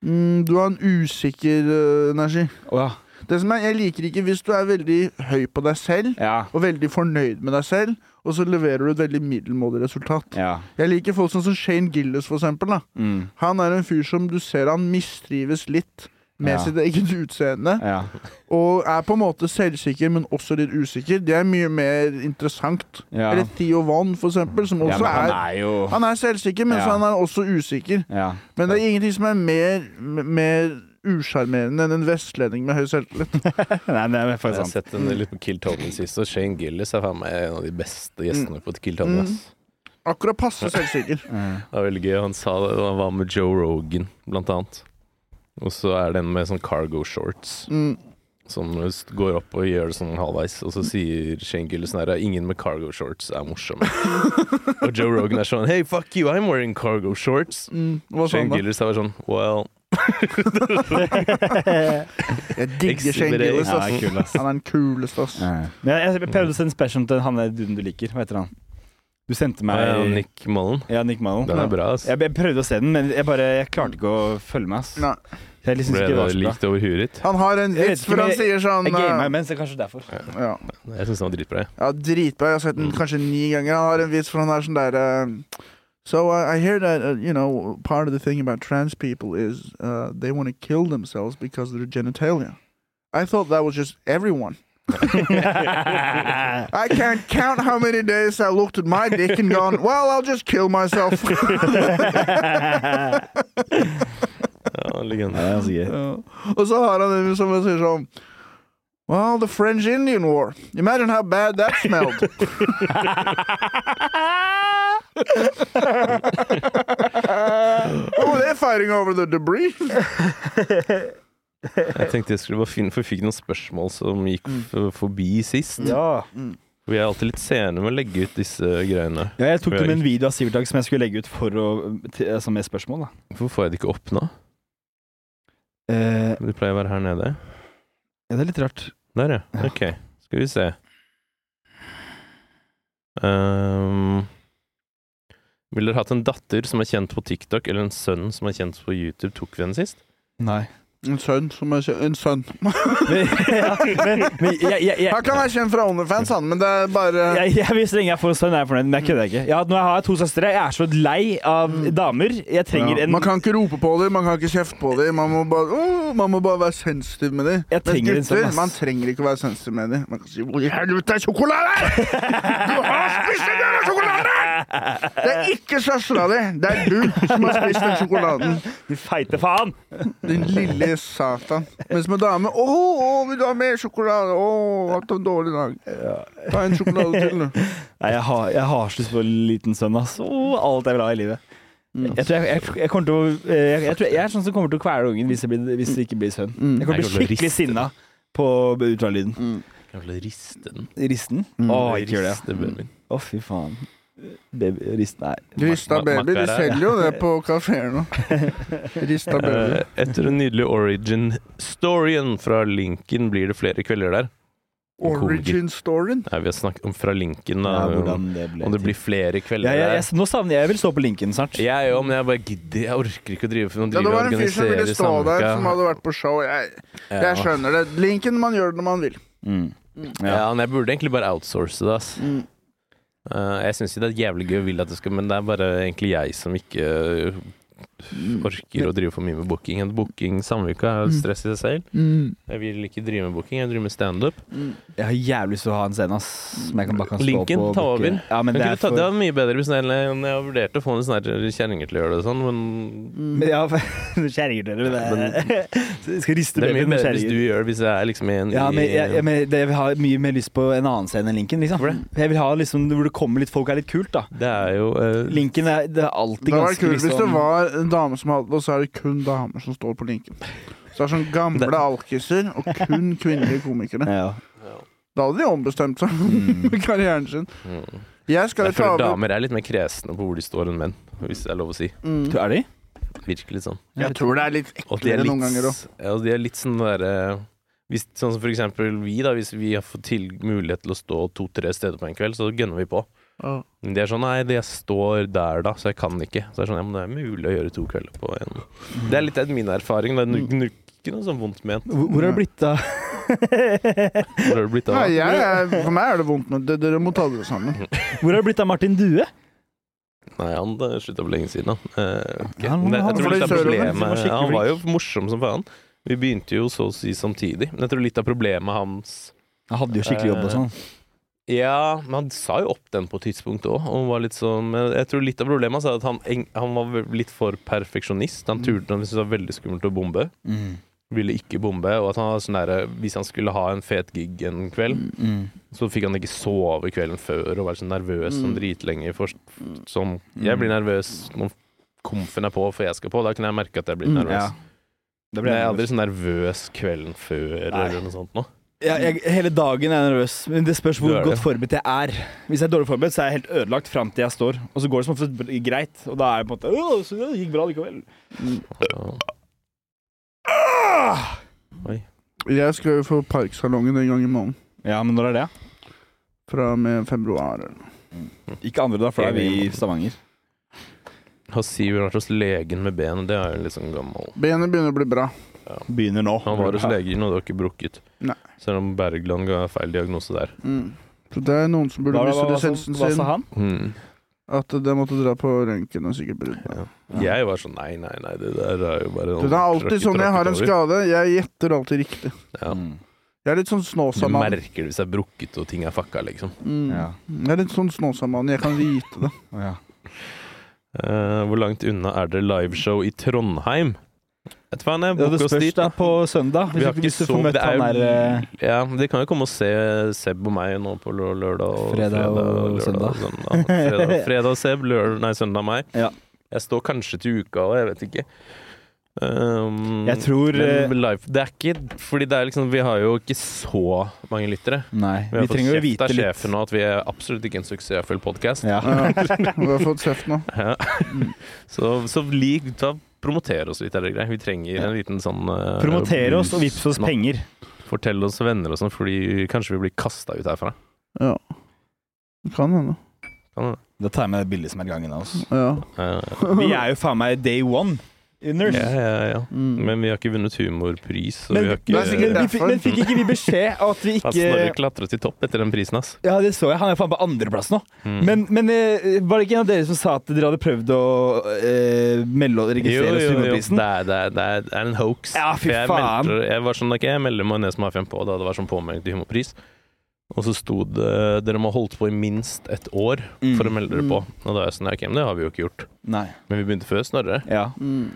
A: Mm, du har en usikker øh, energi.
C: Å ja.
A: Det som er, Jeg liker ikke hvis du er veldig høy på deg selv
C: Ja.
A: og veldig fornøyd med deg selv, og så leverer du et veldig middelmådig resultat.
C: ja.
A: Jeg liker folk sånn som Shane Gillis, for eksempel. Da.
C: Mm.
A: Han er en fyr som du ser han mistrives litt med
C: Ja.
A: sitt eget utseende.
C: ja.
A: Og er på en måte selvsikker, men også litt usikker. Det er mye mer interessant.
C: Ja.
A: Eller Theo Von, for eksempel, som
C: ja
A: også
C: men han
A: er
C: er jo
A: Han er selvsikker, men
C: Ja.
A: så han er også usikker.
C: Ja.
A: Men det er ingenting som er mer, m- mer usjarmerende enn en vestlending med høy selvtillit.
C: Nei, det er
B: Jeg
C: faktisk
B: har
C: sant.
B: sett en litt på Killtonen sist, og Shane Gillis er faen meg en av de beste gjestene
C: Mm.
B: på Killtonen. ass.
A: Akkurat passe selvsikker.
B: Det er veldig gøy. Han sa det da han var med Joe Rogan, blant annet. Og så er den med sånn cargo shorts.
A: Mm.
B: Som s- går opp og gjør det sånn halvveis, og så sier Shane Gillis sånn her Ingen med cargo shorts er morsomme. og Joe Rogan er sånn Hey, fuck you, I'm wearing cargo shorts.
A: Mm, hva sa
B: Shane
A: han da?
B: Gillis er bare sånn Well
A: Jeg digger Shane
B: Exhibiting.
A: Gillis,
C: Ja,
A: ass.
C: kul, ass.
A: Han er den kuleste, ass.
C: Men jeg, jeg prøvde å sende special til han der duden du liker. Hva heter han? Du sendte meg
B: Meg og Nick Mullen.
C: Ja, Nick Mullen.
B: Den er bra, ass.
C: Jeg, jeg prøvde å se den, men jeg bare jeg klarte ikke å følge med. ass.
A: Nei.
C: Jeg liksom
B: Ble
C: ikke det var
B: det
C: så bra.
B: likt over huet ditt?
A: Han har en
C: Jeg vet
A: vits,
C: ikke,
A: for
C: men
A: han sier sånn
C: Jeg gamer
A: eh,
C: imens, det er kanskje derfor.
A: ja.
B: Jeg syns den var dritbra. jeg.
A: Ja, dritbra. Jeg har sett den kanskje ni ganger. Han har en vits for han er sånn der eh, So uh, I hear that uh, you know part of the thing about trans people is uh, they want to kill themselves because of their genitalia. I thought that was just everyone. I can't count how many days I looked at my dick and gone, well, I'll just kill myself.
B: Ja, legende.
C: Ja, det er ganske gøy.
A: Ja. Og så har han en som sier sånn Well, the French Indian War. Imagine how bad that smelled. oh, they're fighting over the debris.
B: Jeg tenkte jeg skulle bare finne For vi fikk noen spørsmål som gikk f forbi sist.
C: Mm. Ja.
B: Vi er alltid litt sene med å legge ut disse greiene.
C: ja, jeg tok det med en video av Sivertag som jeg skulle legge ut for å, til, altså med spørsmål. da.
B: Hvorfor får jeg det ikke opp nå?
C: Eh,
B: Du pleier å være her nede.
C: ja, det er litt rart.
B: Der, ja. Ok. Skal vi se. Ehm, ville dere hatt en datter som er kjent på TikTok, eller en sønn som er kjent på YouTube? Tok vi den sist?
C: Nei.
A: En sønn som er kjent En sønn.
C: Men, ja, men, men jeg, jeg, jeg,
A: Han kan være kjent fra OnlyFans, han, men det er bare
C: jeg, jeg, hvis så lenge jeg får en sønn, er jeg fornøyd. Men jeg kødder ikke. Ja, nå har jeg to søstre. Jeg er så lei av damer. Jeg trenger
A: Mm. Ja.
C: en
A: Man kan ikke rope på dem, man kan ikke kjefte på dem. Man må bare, åh, man må bare være sensitiv med dem.
C: Jeg trenger en sånn, ass.
A: man trenger ikke å være sensitiv med dem. Man kan si 'Hvor i helvete er sjokoladen?' Du har spist den jævla sjokoladen! Det er ikke søstera di, det er du som har spist den sjokoladen.
C: Du feite faen!
A: Din lille satan. Mens med dame 'Å, å, vil du ha mer sjokolade?' 'Å, hatt en dårlig dag'. Ta en sjokolade til, du.
C: Nei, jeg har, jeg har så lyst på en liten sønn, ass. Åh, alt jeg vil ha i livet. Jeg tror jeg, jeg, jeg kommer til å eh, jeg, jeg, tror jeg er sånn som kommer til å kvele ungen hvis, jeg blir, hvis det ikke blir sønn.
A: Mm.
B: Jeg
C: Jeg kommer til å
B: kommer
C: bli
B: til å
C: skikkelig
B: riste.
C: sinna på utvalglyden.
B: Jeg vil riste den.
C: Risten?
B: Mm.
C: Å, ikke gjør det.
B: Riste babyen.
C: Å, fy faen. Baby, rist, nei.
A: Rista baby. De
B: Makkara, ja.
A: selger jo det på kafeer nå. Rista baby.
B: Eh, etter en nydelig origin-storyen fra Lincoln blir det flere kvelder der.
A: Origin storyen.
B: Nei, vi har snakket om fra Lincoln, da.
C: Ja, hvordan det ble
B: om det
C: til.
B: blir flere kvelder
C: ja, jeg,
B: der.
C: jeg, Nå savner jeg Jeg vil stå på linken snart.
B: Jeg òg, men jeg bare gidder. Jeg orker ikke å drive for å
A: Ja, det
B: drive og
A: var en fyr som ville
B: organisere
A: stå der, som
B: samlinga.
A: hadde vært på show. Jeg, jeg skjønner det. Linken man gjør det når man vil.
C: Mm.
B: Ja. men jeg burde egentlig bare outsource det, ass.
A: Mm.
B: Eh, jeg syns jo det er jævlig gøy å ville at det skal, men det er bare egentlig jeg som ikke eh, orker å drive for mye med booking. En booking samvika er jo stress i seg selv. Jeg vil ikke drive med booking, jeg driver med standup.
C: Jeg har jævlig lyst til å ha en scene, ass. Som jeg kan bare kan stå
B: Lincoln,
C: på. og
B: ta
C: booke.
B: over.
C: Ja, men
B: Men
C: det
B: kunne
C: er
B: tatt-
C: for...
B: Det var mye bedre hvis jeg, jeg vurderte å få noen sånne her kjerringer til å gjøre det og sånn, men
C: Men ja, kjerringer dere, men det Jeg Skal riste
B: det er mye
C: babyen
B: bedre
C: med
B: hvis
C: kjerringer.
B: du gjør det, hvis jeg er liksom i en
C: Ja, men
B: i-
C: jeg, jeg, men det, jeg vil ha mye mer lyst på en annen scene enn Lincoln. Liksom.
B: Hvorfor
C: Jeg vil ha liksom hvor det kommer litt folk er litt kult, da.
B: Det er jo eh,
C: Lincoln er, det er alltid
A: Det hadde vært
C: ganske
A: kult hvis det
C: liksom
A: var en dame som hadde det, og så er det kun damer som står på linken. Så det er sånn gamle
B: Det-
A: alkiser og kun kvinnelige komikere.
C: ja.
A: Da hadde de ombestemt seg med karrieren sin.
B: mm.
A: Jeg skal
B: Jeg
A: jo ta
B: føler
A: over
B: damer er litt mer kresne på hvor de står enn menn, hvis det er lov å si.
A: mm.
C: Er de?
B: Virkelig sånn.
A: Jeg tror det er litt
B: Og de er
A: eklere
B: litt,
A: noen ganger òg.
B: ja, og de er litt sånn derre hvis, Sånn som for eksempel vi, da. Hvis vi har fått til mulighet til å stå to-tre steder på en kveld, så gønner vi på. Men de er sånn Nei, det jeg står der, da, så jeg kan ikke. Så jeg er sånn, ja, men det er mulig å gjøre to kvelder på en Det er litt av min erfaring. Det er
C: Mm.
B: nu- nu- ikke noe sånn vondt ment.
C: Hvor, hvor er det blitt av?
B: Hvor har det blitt av?
A: Nei, jeg, er- for meg er det vondt, men det, dere må ta dere sammen.
C: Hvor er det blitt av Martin Due?
B: Nei, han eh, slutta for lenge siden, da. Eh, ok.
C: Ja, han-
B: Men jeg,
C: han
B: jeg tror
A: var
B: litt av
A: litt sørover,
B: problemet
C: så han var skikkelig
B: ja, Han var jo
C: flink.
B: morsom som faen. Vi begynte jo så å si samtidig. Men jeg tror litt av problemet hans
C: Han hadde jo skikkelig jobb og sånn.
B: Ja, men han sa jo opp den på et tidspunkt òg. Og var litt sånn, men jeg tror litt av problemet hans er at han, eng- han var vel- litt for perfeksjonist. Han turte han syntes det var veldig skummelt å bombe.
C: Mm.
B: Ville ikke bombe. Og at han var sånn der, hvis han skulle ha en fet gig en kveld,
C: Mm.
B: så fikk han ikke sove kvelden før og være så nervøs
A: Mm.
B: sånn dritlenge. For, sånn,
C: Mm.
B: jeg blir nervøs når komfen er på, for jeg skal på. Da kunne jeg merke at jeg blir
C: Mm,
B: nervøs.
C: ja.
B: Men
C: Det ble
B: jeg er
C: jeg
B: aldri så nervøs kvelden før
C: Nei.
B: eller noe sånt nå.
C: jeg, jeg, hele dagen er jeg nervøs, men det spørs
B: Du
C: hvor
B: er det.
C: godt forberedt jeg er. Hvis jeg er dårlig forberedt, så er jeg helt ødelagt fram til jeg står. Og så går det som oftest br- greit, og da er jeg på en måte «Åh, så det gikk bra likevel.
B: Så-
C: Ah!
A: Jeg skal jo få Parksalongen en gang i måneden.
C: Ja, men når er det?
A: Fra og med februar. eller noe.
C: Ikke andre, da, for da er vi i Stavanger.
B: Har Sivert vært hos legen med benet? Det er jo litt sånn gammel
A: Benet begynner å bli bra.
C: Begynner nå.
B: Han var hos legen, og det var ikke brukket.
A: Nei.
B: Selv om Bergland ga feil diagnose der.
A: Mm. Så det er noen som burde
C: Hva-
A: miste
C: hva- hva-
A: lisensen
C: Hva
A: sin.
C: sa han?
B: Mm.
A: At det måtte dra på røntgen og sikkert brudd.
B: Ja. Jeg var sånn nei, nei, nei, det der er jo bare
A: Det er alltid sånn jeg har en
B: trakket over.
A: skade. Jeg gjetter alltid riktig.
B: Ja.
C: Mm.
A: Jeg er litt sånn
B: Du
A: Snåsamann.
B: merker det hvis det er brukket og ting er fucka, liksom.
A: Mm.
C: Ja.
A: Jeg er litt sånn Snåsamann. Jeg kan vite det.
C: Å, ja.
B: Eh, hvor langt unna er det liveshow i Trondheim? Vet du hva, jeg
C: Ja, det
B: booker oss
C: spørs
B: dit.
C: da på søndag.
B: Vi
C: Hvis,
B: har
C: ikke,
B: ikke
C: hvis du
B: så-
C: får møtt
B: det er
C: han
B: jo-
C: der eh,
B: Ja, de kan jo komme og se Seb og meg nå på lø- lørdag og
C: Fredag og
B: lørdag
C: søndag.
B: og søndag. Fredag, fredag og Seb, lørdag, nei, søndag og meg.
C: Ja.
B: Jeg står kanskje til uka, og jeg vet ikke. Um,
C: Jeg tror eh,
B: men live, Det er ikke Fordi det er liksom Vi har jo ikke så mange lyttere.
C: Nei,
B: Vi har
C: vi trenger jo
B: fått kjeft
C: vite
B: av
C: litt.
B: sjefen nå at vi er absolutt ikke en suksessfull podkast.
C: Ja.
A: Ja. Vi har fått kjeft nå.
B: Så, så lik, ta, promoter oss litt, er det greit? Vi trenger en liten sånn eh,
C: Promotere oss og vips oss
B: nå.
C: penger.
B: Fortell oss venner og sånn, fordi kanskje vi blir kasta ut herfra.
A: Ja. Det kan hende.
B: Kan det?
C: Da tar jeg med det bildet som er gangen av oss.
A: Ja.
B: Eh,
C: Vi er jo faen meg day one. Inners.
B: ja, ja, ja.
A: Mm.
B: Men vi har ikke vunnet humorpris. Og
C: Men,
B: vi har
A: det
C: men,
A: er sikkert
B: ikke
C: vi, fikk- men fikk ikke vi beskjed av at vi
B: Han Snorre
C: ikke
B: klatra til topp etter den prisen, ass.
C: Ja, det så jeg. Han er faen på andreplass nå.
B: Mm.
C: Men, men eh, var det ikke en av dere som sa at dere hadde prøvd å eh, melde og
B: Jo,
C: registrere oss
B: jo,
C: til
B: jo.
C: humorprisen?
B: Det, er, det, er, det er- det er en hoax.
C: Ja, fy
B: For jeg
C: faen.
B: meldte- jeg var sånn, ok, jeg melder Majones Mafiaen på da det var sånn påmelding til Humorpris. Og så sto det dere må ha holdt på i minst et år for å melde dere på. Og da er jeg sånn, ok, men det har vi jo ikke gjort.
C: Mm. Nei.
B: Men vi begynte før Snorre.
C: Ja.
A: Mm.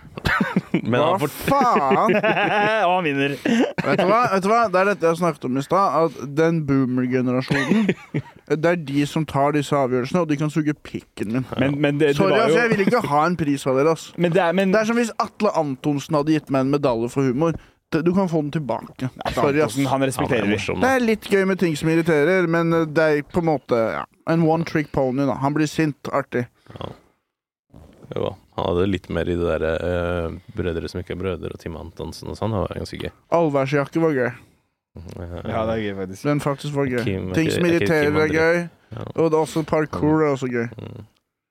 B: Men
A: Hva
B: han fort
A: faen?
C: og han vinner.
A: Vet du, hva? Vet du hva? Det er dette jeg snakket om i stad. At den boomer-generasjonen Det er de som tar disse avgjørelsene, og de kan suge pikken min.
C: Men, men det, det
A: Sorry,
C: var
A: altså,
C: jo
A: jeg vil ikke ha en pris av dere. ass.
C: men det er, men,
A: Det er som hvis Atle Antonsen hadde gitt meg en medalje for humor. Det- Du kan få den tilbake. Sorry, ass.
C: Antonsen, han
B: Han er
C: respekterer vi.
B: morsom.
A: Det
B: da.
A: er litt gøy med ting som irriterer, men eh, det er på en måte ja. en one trick pony. da. Han blir sint. Artig.
B: Jo, han hadde litt mer i det derre eh, Brødre som ikke er brødre, og Tim Antonsen og sånn. Det var ganske gøy.
A: Allværsjakke var gøy.
B: Eh,
C: Ja, det er gøy, faktisk.
A: Den faktisk var gøy.
B: Kim-
A: ting som
B: er ikke
A: irriterer,
B: Kim
A: er
B: André?
A: gøy.
B: Ja.
A: Og det er også parkour er også gøy.
B: Mm.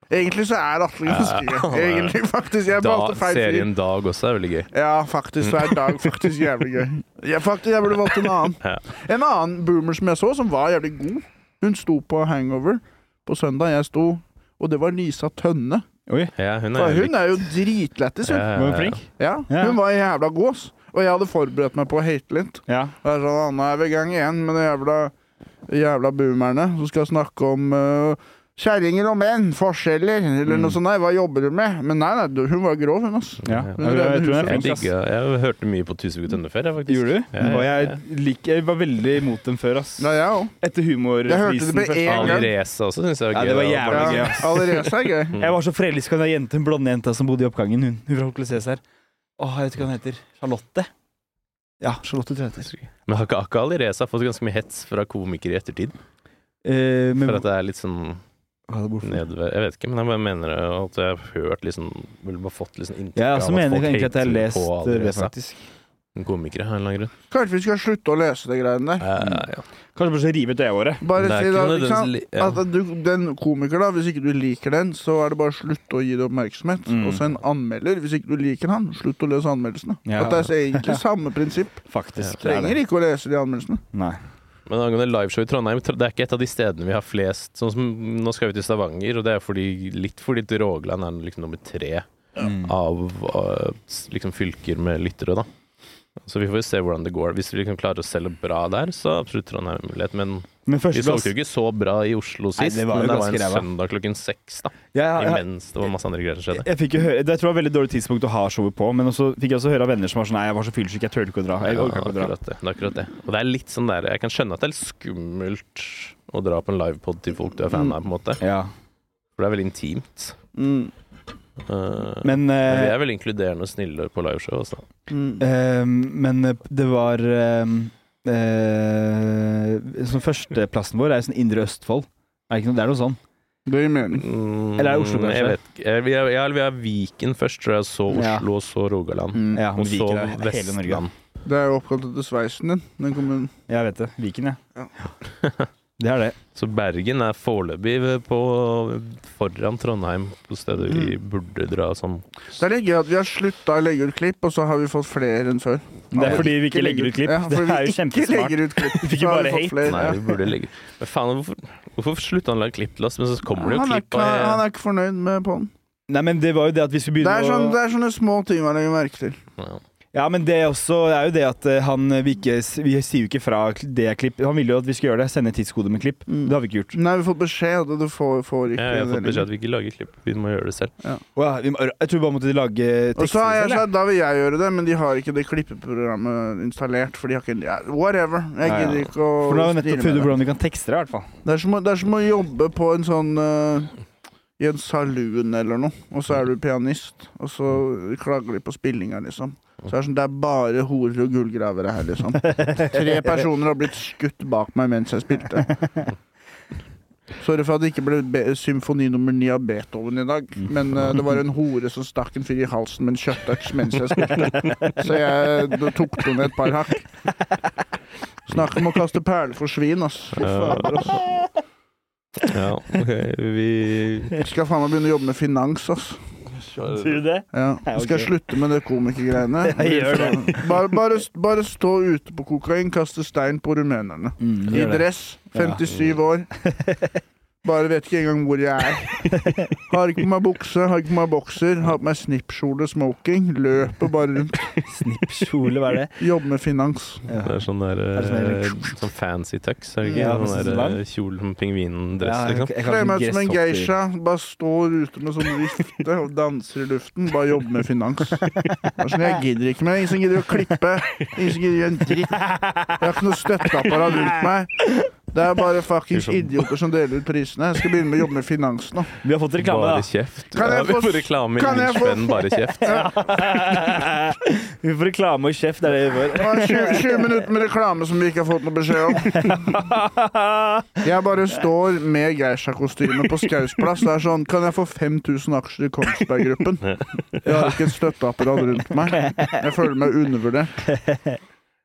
A: Egentlig så er Atle ganske
B: Ja.
A: gøy. Egentlig, faktisk. Jeg
B: Da,
A: valgte feil fyr.
B: serien Dag også er veldig gøy.
A: Ja, faktisk så er Dag faktisk jævlig gøy. Jeg, faktisk, jeg burde valgt en annen.
B: Ja.
A: En annen boomer som jeg så, som var jævlig god. Hun sto på Hangover på søndag. Jeg sto, og det var Lisa Tønne.
B: Ja, hun er
A: For
B: jævlig
A: hun er jo dritlættis, hun.
B: Ja, ja,
C: Var du
B: ja.
C: flink?
A: Ja,
C: Ja.
A: hun var jævla god, ass. Og jeg hadde forberedt meg på å hate litt.
C: Ja.
A: Og jeg sa «Ah, nå er vi i gang igjen med de jævla, jævla boomerne som skal snakke om uh, kjerringer og menn, forskjeller, eller noe sånt. Nei, hva jobber du med? Men nei, nei, du- hun var grov, hun, altså. ass.
C: ja.
B: Ja.
C: Jeg, tror- jeg tror det er
B: Jeg
C: flink, ass.
B: digga Jeg hørte mye på Tusvik og Tønne før, jeg, faktisk.
C: Gjorde du?
B: Ja, ja,
C: Og
B: ja.
C: jeg, liker, jeg var veldig imot dem før, ass.
A: Ja, jeg òg.
C: Etter
A: Jeg
C: humorprisen.
A: hørte det med
C: først.
A: en gang.
B: Alireza også syns jeg var
C: Ja,
B: gøy.
C: det var jævla
B: bare-
C: gøy.
A: Ja,
C: ass.
A: Alireza er gøy.
C: Jeg var så forelska i den jenta, den blonde jenta som bodde i oppgangen. Hun, hun fra Hotel Cæsar. Åh, jeg vet ikke hva hun heter. Charlotte? Ja, Charlotte tror jeg det heter.
B: Men har ikke Akka Alireza fått ganske mye hets fra komikere i ettertid?
C: Eh, men
B: For at det er litt sånn
C: Hva er det borte?
B: nedved... Jeg vet ikke, men jeg bare mener at jeg har hørt liksom Vel bare fått liksom inntrykk
C: Jeg også mener
B: folk
C: egentlig at jeg har
B: hater
C: lest eh,
B: på
C: det,
B: Alireza.
C: faktisk.
B: Komikere, av en eller annen grunn.
A: Kanskje vi skal slutte å lese de greiene der.
B: Eh, ja.
C: Kanskje bare så rive ut øya våre.
A: Bare
B: Det er
A: si
B: ikke
A: da,
B: noe
A: ikke sant?
B: nødvendigvis- ja.
A: At du, den komiker da, Hvis ikke du liker den, så er det bare å slutte å gi det oppmerksomhet.
C: Mm.
A: Og så en anmelder. Hvis ikke du liker han, slutt å lese anmeldelsene.
C: Ja.
A: At det er egentlig samme prinsipp.
C: Faktisk. det er
A: Trenger
C: det.
A: ikke å lese de anmeldelsene.
C: Nei.
B: Men angående liveshow i Trondheim, det er ikke et av de stedene vi har flest Sånn som Nå skal vi til Stavanger, og det er fordi, litt fordi Rogaland er liksom nummer tre
C: Mm.
B: av eh, s- liksom fylker med lyttere, da. Så vi får jo se hvordan det går. Hvis vi liksom klarer å selge bra der, så er absolutt Trondheim en mulighet. Men
C: Men
B: vi solgte
C: førsteplass
B: jo ikke så bra i Oslo sist.
C: Nei, det var
B: men
C: jo
B: det var
C: ganske
B: en
C: ræva.
B: søndag klokken seks, da.
C: Ja, ja, ja.
B: Imens det var masse andre greier som skjedde.
C: Jeg fikk jo høre, det tror jeg var et veldig dårlig tidspunkt å ha showet på, men også fikk jeg også høre av venner som var sånn Nei, jeg var så fyllesyk, jeg turte ikke å dra. Jeg
B: Ja,
C: orker ikke å dra.
B: akkurat det. det er akkurat det. Og det er litt sånn der Jeg kan skjønne at det er litt skummelt å dra på en livepod til folk du er fan av, på en måte.
C: Ja.
B: For det er veldig intimt.
A: Mm.
B: Eh, men,
C: Men, eh,
B: vi er veldig inkluderende og snille på liveshow, altså.
A: Mm.
C: eh, men eh, det var eh, eh, sånn Førsteplassen vår er jo sånn Indre Østfold. Er det, ikke noe, det er noe sånn.
A: Det gir mening.
B: Mm,
C: Eller er det Oslo, kanskje?
B: Jeg vet ikke. Eh, Vi er, ja, eller vi er Viken først, tror jeg. Så
C: Ja.
B: Oslo, og så Rogaland.
A: Mm.
C: Ja, men
B: Og så
C: Viken er hele Norge.
B: Vestland.
A: Det er jo oppkalt etter sveisen din. Den kommunen.
C: Jeg vet det. Viken, ja.
A: Ja.
C: Det er det.
B: Så Bergen er foreløpig på foran Trondheim, på stedet vi
C: Mm.
B: burde dra sånn som
A: Det er litt gøy at vi har slutta å legge ut klipp, og så har vi fått flere enn før.
C: Det er fordi vi ikke legger ut klipp.
A: Ja,
C: Det
A: fordi
C: er
A: vi
C: jo
A: ikke
C: kjempesmart.
A: legger ut klipp.
C: Vi fikk
A: Så har
C: bare
A: vi fått
C: hate.
A: flere,
B: Nei,
A: ja.
B: vi burde legge Men faen, hvorfor, hvorfor slutta han å lage klipp til oss? Men så kommer det jo
A: han, er
B: klipp.
A: ikke, han
B: av-
A: er ikke fornøyd med på den.
C: Nei, men det var jo det at vi skulle
A: Det
C: begynne
A: er, sånn,
C: å
A: det er sånne små ting man legger merke til.
B: Ja.
C: Ja, men det er, også, det er jo det at eh, han eh, vi, ikke, vi sier jo ikke fra det klipp. Han ville jo at vi skulle gjøre det. Sende tidskode med klipp.
A: Mm.
C: Det har vi ikke gjort.
A: Nei, vi har fått beskjed om at du får, får ikke
B: Ja, jeg har fått
A: det
B: beskjed
A: lenger.
B: at vi ikke lager klipp, vi må gjøre det selv.
C: Å ja, vi må, jeg tror vi bare måtte lage tekster
A: Og så har jeg
C: selv. jeg.
A: sagt da vil jeg gjøre det, men de har ikke det klippeprogrammet installert. For de har ikke ja, Whatever. Jeg
C: Ja, ja.
A: gidder ikke å
C: For nå har vi nettopp
A: styre
C: funnet ut
A: med det.
C: hvordan vi kan tekstre det, i hvert fall.
A: Det er, som, å- det er som å jobbe på en sånn eh, I en saloon eller noe, og så er du pianist, og så klager de på spillinga, liksom. Så er det, sånn, det er bare horer og gullgravere her, liksom. Tre personer har blitt skutt bak meg mens jeg spilte. Sorry for at det ikke ble be symfoni nummer ni av Beethoven i dag. Men eh, det var en hore som stakk en fyr i halsen med en kjøttøks mens jeg spilte. Så jeg da tok den et par hakk. Snakk om å kaste perler for svin, ass. Fy fader, ass.
B: Ja, ok, vi
A: Jeg skal faen meg begynne å jobbe med finans, ass.
C: Tror du det?
A: Ja. Jeg skal
C: ok.
A: slutte med det komikergreiene.
C: Jeg gjør
A: Bare, bare, bare stå ute på kokain, kaste stein på rumenerne.
C: Mm,
A: I
C: gjør det.
A: dress, 57 år. Bare vet ikke engang hvor jeg er. Har ikke på meg bukse, har ikke på meg bokser, har på meg snippskjole, smoking. Løper bare rundt.
C: Snippkjole, hva er det?
A: Jobber med finans.
C: Ja.
B: Det er sånn der
C: Er det sånn
B: eh, Sånn fancy tux, er det ikke?
C: Ja, men
B: sånn
C: sånn
B: der
C: lang.
B: eh, kjole som pingvindress,
C: Ja, jeg-
B: liksom.
C: jeg kan
A: Kler
C: ikke
A: meg ut som en
C: gresshopper.
A: geisha. Bare står ute med sånn vifte og danser i luften. Bare jobber med finans. Det er sånn, Jeg gidder ikke mer. Ingen som gidder å klippe. Ingen som gidder å gjøre en dritt. Jeg har ikke noe støtteapparat rundt meg. Det er bare fuckings idioter som deler ut prisene. Jeg skal begynne med å jobbe med finans nå.
C: Vi har fått reklame,
B: Bare
C: da.
B: kjeft.
A: Kan jeg
B: ja, vi
A: få-
B: får reklame i
A: kan jeg
B: min
A: få-
B: spenn, bare kjeft.
C: vi får reklame og kjeft, det er det vi får.
A: Det var 20, 20 minutter med reklame som vi ikke har fått noe beskjed om. Jeg bare står med Geisha-kostyme på Skaus plass. Det er sånn Kan jeg få 5000 aksjer i Kongsberg Gruppen? Jeg har ikke et støtteapparat rundt meg. Jeg føler meg undervurdert.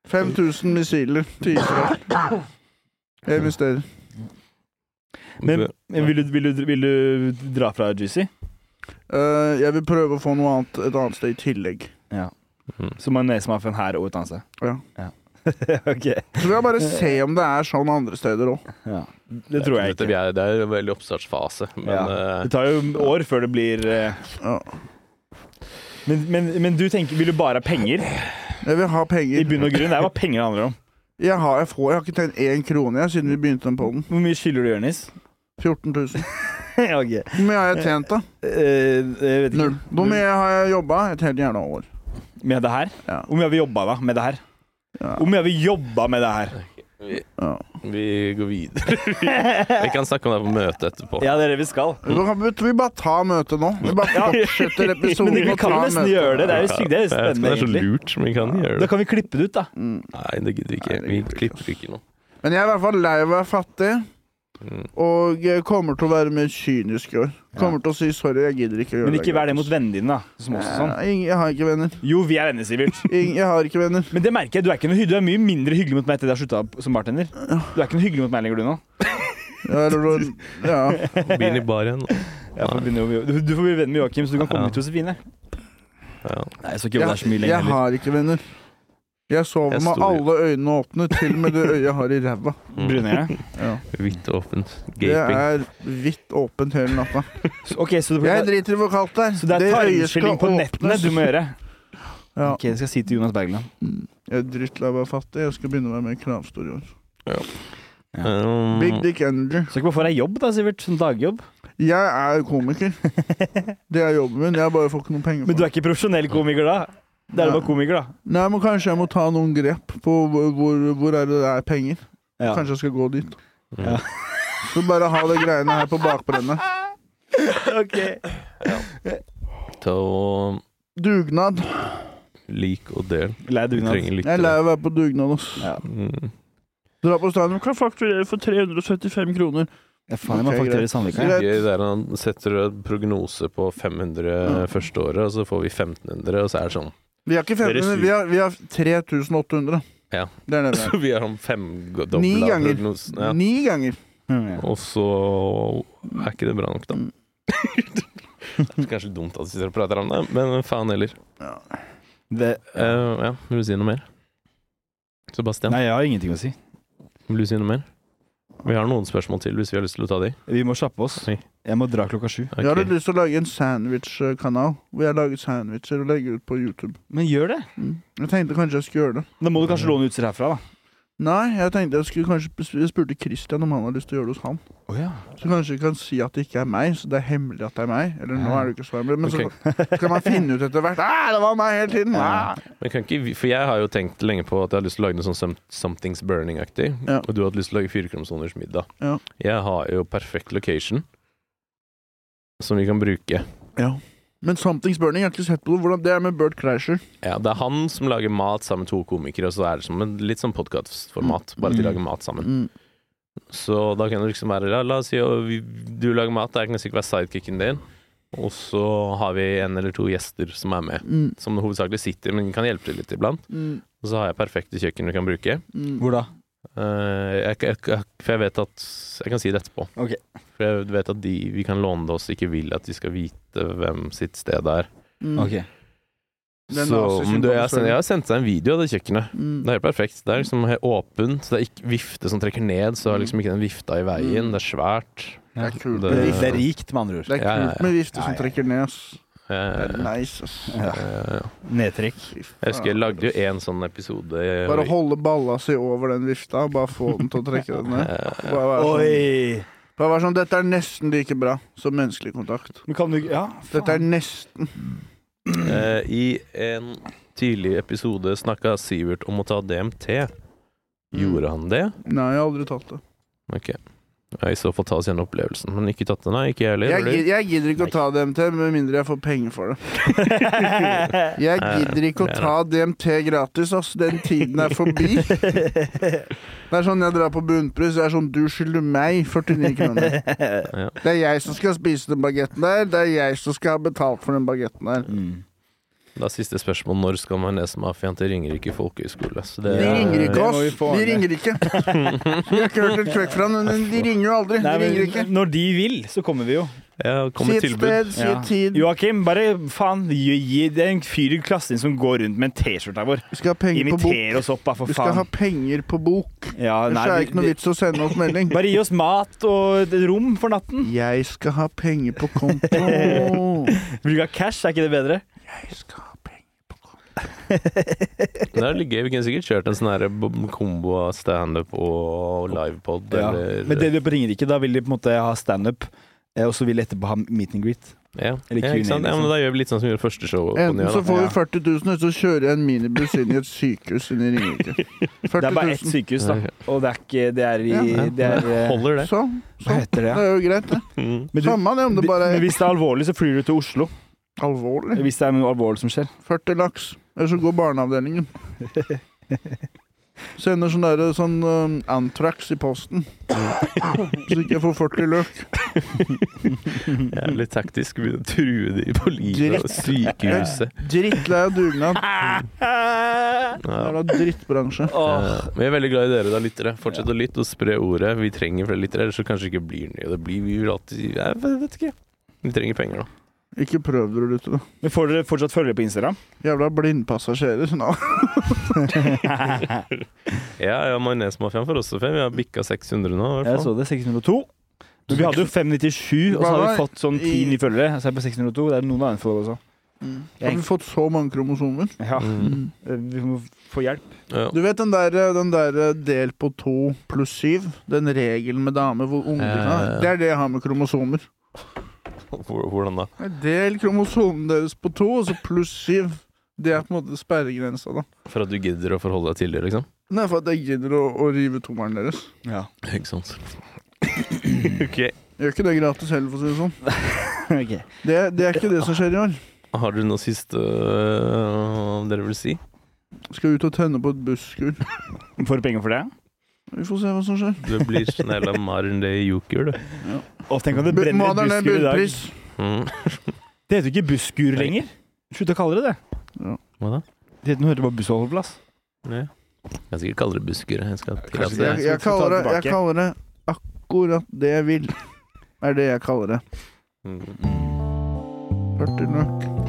A: 5000 missiler til Israel. Jeg investerer.
C: Men, men vil, du, vil, du, vil du dra fra Juicy?
A: Eh, jeg vil prøve å få noe annet et annet sted i tillegg.
C: Som en nesmaffen her og et annet sted?
A: Ja.
C: ok.
A: Så vil jeg bare se om det er sånn andre steder òg.
C: Ja. Det tror jeg
B: Dette,
C: ikke.
B: vi er, det er en veldig oppstartsfase, men
C: Ja.
B: eh,
C: Det tar jo år før det blir eh,
A: Ja.
C: men, men, men du tenker Vil du bare ha penger?
A: Jeg vil ha
C: I
A: penger.
C: bunn og grunn, det er hva penger det handler om.
A: Jeg har, jeg, får, jeg har ikke tjent én krone jeg, siden vi begynte den podden.
C: Hvor mye skylder du Jonis?
A: 14 000.
C: okay.
A: Hvor mye har jeg tjent, da?
C: Eh, jeg vet ikke.
A: Null. Hvor mye har jeg jobba? Et helt gjerne år.
C: Med det her?
A: Ja.
C: Hvor mye har vi jobba da, med det her?
A: Ja.
C: Hvor mye har vi jobba med det her?
A: Ja.
B: vi går videre. vi kan snakke om det på møtet etterpå.
C: Ja, det er det vi skal.
A: Vi kan vi vi bare ta møtet nå. Vi bare
C: Ja.
A: fortsetter episoden
C: Men vi
A: og tar
C: kan jo nesten
A: møtet.
C: gjøre det. Det er
B: Ja,
C: jo sykt, det er jo
B: jeg vet ikke om
C: spennende,
B: det er så
C: egentlig.
B: lurt, men vi kan gjøre
C: Da
B: det.
C: kan vi klippe det ut, da.
A: Mm.
B: Nei, det gidder vi ikke.
A: Nei, det
B: Vi
A: gidder vi ikke,
B: klipper ikke noe.
A: Men jeg er i hvert fall lei av å være fattig,
B: Mm.
A: og jeg kommer til å være mer kynisk i år. Kommer til å si sorry, jeg gidder ikke å gjøre
C: Men ikke vær det mot
A: gratis.
C: vennene dine, da. Som også sånn.
A: Nei, ingen- Jeg har ikke venner.
C: Jo, vi er venner, Sivert.
A: Ingen- Jeg har ikke venner.
C: Men det merker jeg. Du er ikke noe hy- Du er mye mindre hyggelig mot meg etter at jeg har slutta som bartender. Du er ikke noe hyggelig mot meg lenger, du nå.
A: Ja, eller, ja.
B: Begynn i bar igjen.
C: Jeg får begynne å- Du du får bli venn med Joakim, så du kan komme
B: Ja.
C: ut til Josefine.
B: Ja.
C: Nei, jeg skal ikke jobbe der så mye
A: Jeg,
C: lenger
A: jeg
C: heller.
A: har ikke venner. Jeg sover
B: Jeg
A: med
B: står-
A: alle øynene åpne, til og med det øyet jeg har i ræva.
B: Mm.
C: Brune øyne.
A: Ja.
B: Hvitt åpent.
A: Det
B: Gaping.
A: er vidt åpent hele natta.
C: Så- Ok, så du
A: Jeg driter i hvor kaldt det er.
C: så det er
A: øyet skal
C: tarmskylling på
A: åpnes.
C: nettene du må gjøre?
A: Ja.
C: Ok, det skal jeg si til Jonas Bergland.
A: Jeg er drittlei av å være fattig. Jeg skal begynne å være mer kravstor i år.
B: Um,
A: Big Dick Energy.
C: Så ikke bare få deg jobb, da, Sivert. Som dagjobb.
A: Jeg er komiker. Det er jobben min. Jeg bare får ikke noe penger
C: Men
A: for
C: du
A: det.
C: er ikke profesjonell komiker, da? Det er du
A: Nei.
C: bare komiker, da.
A: Nei, men kanskje jeg må ta noen grep på hvor, hvor, hvor er det det er penger.
C: Ja.
A: Kanskje jeg skal gå dit.
B: Ja.
A: Så bare ha de greiene her på bakbrennet.
C: Ok.
B: til å
A: Dugnad.
B: like og dele.
C: Lei
B: Vi
C: dugnad.
B: trenger
A: Jeg er lei
B: lyttere.
A: av å være på dugnad, ass.
C: Ja.
B: Mm.
A: Dra på stadion, kan fakturere for 375 kroner.
C: Ja, faen, jeg må
A: Ok,
C: fakturere
A: greit.
C: Sandvika. jeg.
A: Greit.
B: Gøy der han setter en prognose på 500 første året, og så får vi 1500, og så er det sånn.
A: Vi har ikke
B: Dere
A: 1500,
B: suger.
A: vi har, vi har 3800.
B: Ja.
A: Det er det vi har.
B: Så vi har sånn
A: Ni
B: femdobla
A: ganger.
B: prognosen. Ja.
A: Ni ganger.
C: Mm, ja.
B: Og så er ikke det bra nok,
A: Mm.
B: da. det er kanskje litt dumt at vi sitter og prater om det, men faen heller.
A: Ja.
C: Det,
B: Eh, ja, vil du si noe mer? Sebastian,
C: nei, jeg har ingenting å si.
B: vil du si noe mer? Vi har noen spørsmål til hvis vi har lyst til å ta de.
C: Vi må kjappe oss.
B: Oi.
C: Jeg må dra klokka sju.
B: Ok.
A: Jeg hadde lyst til å lage en sandwich-kanal, hvor jeg lager sandwicher og legger ut på YouTube.
C: Men gjør det!
A: Mm. Jeg tenkte kanskje jeg skulle gjøre det.
C: Da må du kanskje låne utstyr herfra, da.
A: Nei, jeg tenkte jeg skulle kanskje jeg spurte Christian om han har lyst til å gjøre det hos han.
C: Oh, ja.
A: Så kanskje vi kan si at det ikke er meg, så det er hemmelig at det er meg. Eller nå
C: Ja.
A: er det ikke så hemmelig, men
B: Ok.
A: så kan man finne ut etter hvert. Ah, det var meg hele tiden!
C: Ja.
A: Ah.
B: Men kan ikke, vi- for jeg har jo tenkt lenge på at jeg har lyst til å lage noe sånn som- Something's Burning-aktig.
A: Ja.
B: Og du har hatt lyst til å lage Firekrumsoners middag.
A: Ja.
B: Jeg har jo perfekt location som vi kan bruke.
A: Ja. Men Something's Burning, jeg har ikke sett på det. Hvordan det er med Bert Kreischer.
B: Ja, det er han som lager mat sammen med to komikere, og så er det som en, litt sånn podkastformat. Bare at de
C: Mm.
B: lager mat sammen.
A: Mm.
B: Så da kan det liksom være La, la oss si å, vi, du lager mat, jeg kan sikkert være sidekicken din. Og så har vi en eller to gjester som er med.
A: Mm.
B: Som hovedsakelig sitter, men kan hjelpe til litt iblant.
A: Mm.
B: Og så har jeg perfekte kjøkken vi kan bruke.
A: Mm.
C: Hvor da?
B: Eh, jeg, jeg, jeg, for jeg vet at Jeg kan si det etterpå.
C: Ok.
B: For jeg vet at de vi kan låne det oss, ikke vil at de skal vite hvem sitt sted er.
A: Mm.
C: Ok.
A: Det er
B: Så
A: nazisymbolet,
B: men du, jeg, har sendt-
A: sorry.
B: jeg har sendt deg en video av det kjøkkenet.
A: Mm.
B: Det er helt perfekt. Det er liksom helt åpent. Det er ikke vifte som trekker ned, så det er liksom ikke den vifta i veien.
A: Mm.
B: Det er svært.
A: Det er kult.
B: Det-
A: med
C: Det
A: vifte.
C: er rikt, med andre ord.
A: Det er
B: Ja, ja, ja.
A: kult med vifte
C: Ja,
A: som
C: ja.
A: trekker ned, ass. Det er
B: Eh,
A: nice, ass.
C: Ja.
B: eh,
C: Nedtrekk.
A: Fy faen. altså.
B: jeg husker jeg lagde jo en sånn episode i-
A: Bare holde balla si over den vifta, bare få den til å trekke den ned.
B: Eh,
A: Bare være sånn,
C: Oi!
A: bare være sånn Dette er nesten like bra som menneskelig kontakt.
C: Men kan du Ja,
A: Dette er
C: faen.
A: nesten
B: eh, I en tidlig episode snakka Sivert om å ta DMT. Gjorde han det?
A: Nei, jeg har aldri tatt det.
B: Ok. Ja, I så fall ta oss gjennom opplevelsen. Men ikke tatt den, nei. Ikke jeg heller.
A: Jeg,
B: eller?
A: gi- jeg gidder ikke å ta DMT med mindre jeg får penger for det. Jeg gidder ikke å ta DMT gratis, ass. Den tiden er forbi. Det er sånn jeg drar på bunnpris. Det er sånn du skylder meg 49 kroner. Det er jeg som skal spise den bagetten der. Det er jeg som skal ha betalt for den bagetten der.
C: Mm.
B: Da er siste spørsmål når skal man lese mafiaen til Ringerike folkehøgskole? Så det
A: De ringer ikke
C: det må vi
A: oss.
C: få
A: De
C: ordne.
A: ringer ikke. Vi har ikke hørt et kvekk fra dem. men De ringer jo aldri.
C: Nei,
A: De ringer ikke.
C: men når de vil, så kommer vi jo.
B: Ja, kom
A: Si
B: med
A: et
B: tilbud.
A: sted, si et tid.
C: Joakim, bare faen, gi, gi det er en fyr i klassen din som går rundt med en T-skjorte vår.
A: Vi skal ha penger på bok.
C: Inviter oss opp, da, for
A: Vi skal ha
C: faen.
A: penger på bok.
C: Ja,
A: Ellers
C: nei,
A: er det
C: vi-
A: ikke noe vits å sende oss melding.
C: Bare gi oss mat og et rom for natten.
A: Jeg skal ha penger på konto.
C: Bruk av cash, er ikke det bedre?
A: Jeg skal ha penger på konto.
B: Det er litt gøy. Vi kunne sikkert kjørt en sånn her b- kombo av standup og livepod.
C: Ja.
B: Eller,
C: Men det du gjør på Ringerike, da vil de på en måte ha standup, eh, og så vil de etterpå ha meet and liksom. greet.
B: ja.
C: eller
B: ja, ikke sant?
C: Q&A,
B: ja, men Da gjør vi litt sånn som vi gjorde første show. på
A: Enten
B: nye,
A: så
B: da.
A: får vi
C: Ja.
A: 40 000, eller så kjører jeg en minibuss inn i et sykehus inne i Ringerike.
C: Det er
A: 40
C: bare ett
A: 000.
C: sykehus, da. Og det er ikke Det er i
A: Ja.
C: det er, eh,
B: Holder det.
A: Sånn.
C: Hva
A: sånn.
C: heter det?
A: Det er jo greit, det.
B: Mm.
C: Men, du,
A: Samme det om det bare
C: men
A: er
C: hvis det er alvorlig, så flyr du til Oslo.
A: alvorlig.
C: Hvis det er noe alvorlig som skjer.
A: 40 laks. Eller så går barneavdelingen. Sender sånn derre sånn um, Antrax i posten. Så ikke jeg får 40 løk.
B: Jævlig taktisk. Begynne å true de på livet og sykehuset.
A: Drittlei av dugnad.
B: Ja.
A: Jævla drittbransje.
B: Eh, Men jeg er veldig glad i dere da, lyttere. Fortsett å lytte og spre ordet. Vi trenger flere lyttere, ellers så kanskje det ikke blir nye. Det blir vi vil alltid Jeg vet ikke. Vi trenger penger, da.
A: Ikke prøv dere å lytte, da.
C: Men får dere fortsatt følge på Instagram?
A: Jævla blindpassasjerer. sånn. Nå.
B: Ja, ja Majonesmafiaen får også fem. Vi har bikka 600 nå. I
C: Jeg
B: hvert fall.
C: så det. 602. Men vi hadde jo 597, og så har vi fått sånn 10 nye følgere. Så er jeg på 602. Det er noen andre folk også.
A: Har vi fått så mange kromosomer?
C: Ja,
B: Mm.
C: Eh, vi må få hjelp.
B: Ja.
A: Du vet den der, eh, den der del på to pluss syv? Den regelen med damer hvor unge de kan
B: Eh.
A: Det er det jeg har med kromosomer.
B: Hvor- Hvordan da?
A: Del kromosomene deres på to, og så pluss syv. Det er på en måte sperregrensa, da.
B: For at du gidder å forholde deg til det, liksom?
A: Nei, for at jeg gidder å, å rive tommelen deres.
C: Ja.
B: Ikke sant. ok.
A: Jeg Gjør ikke det gratis heller, for å si det sånn.
C: Ok.
A: Det, det er ikke det som skjer i år.
B: Har dere noe siste øh, dere vil si?
A: Skal ut og tenne på et busskur.
C: Får du penger for det?
A: Vi får se hva som skjer.
B: Du blir snell av marn det i joker, du.
C: Å, tenk om det
A: Bu-
C: brenner
A: Moderne
C: et busskur i dag.
A: bunnpris.
B: Mm.
C: Det heter jo ikke busskur lenger. Slutt å kalle det det.
B: Hva da?
C: Det heter, nå heter det bare bussholdeplass.
B: Ja. Jeg skal ikke kalle det busker. Jeg skal
A: Jeg,
B: tillate
A: jeg,
B: det.
A: jeg,
C: skal ta
A: kaller det,
C: det
A: jeg
C: tilbake.
A: kaller det akkurat det jeg vil. Er det jeg kaller det.
B: Mm.
A: Hørte du nok?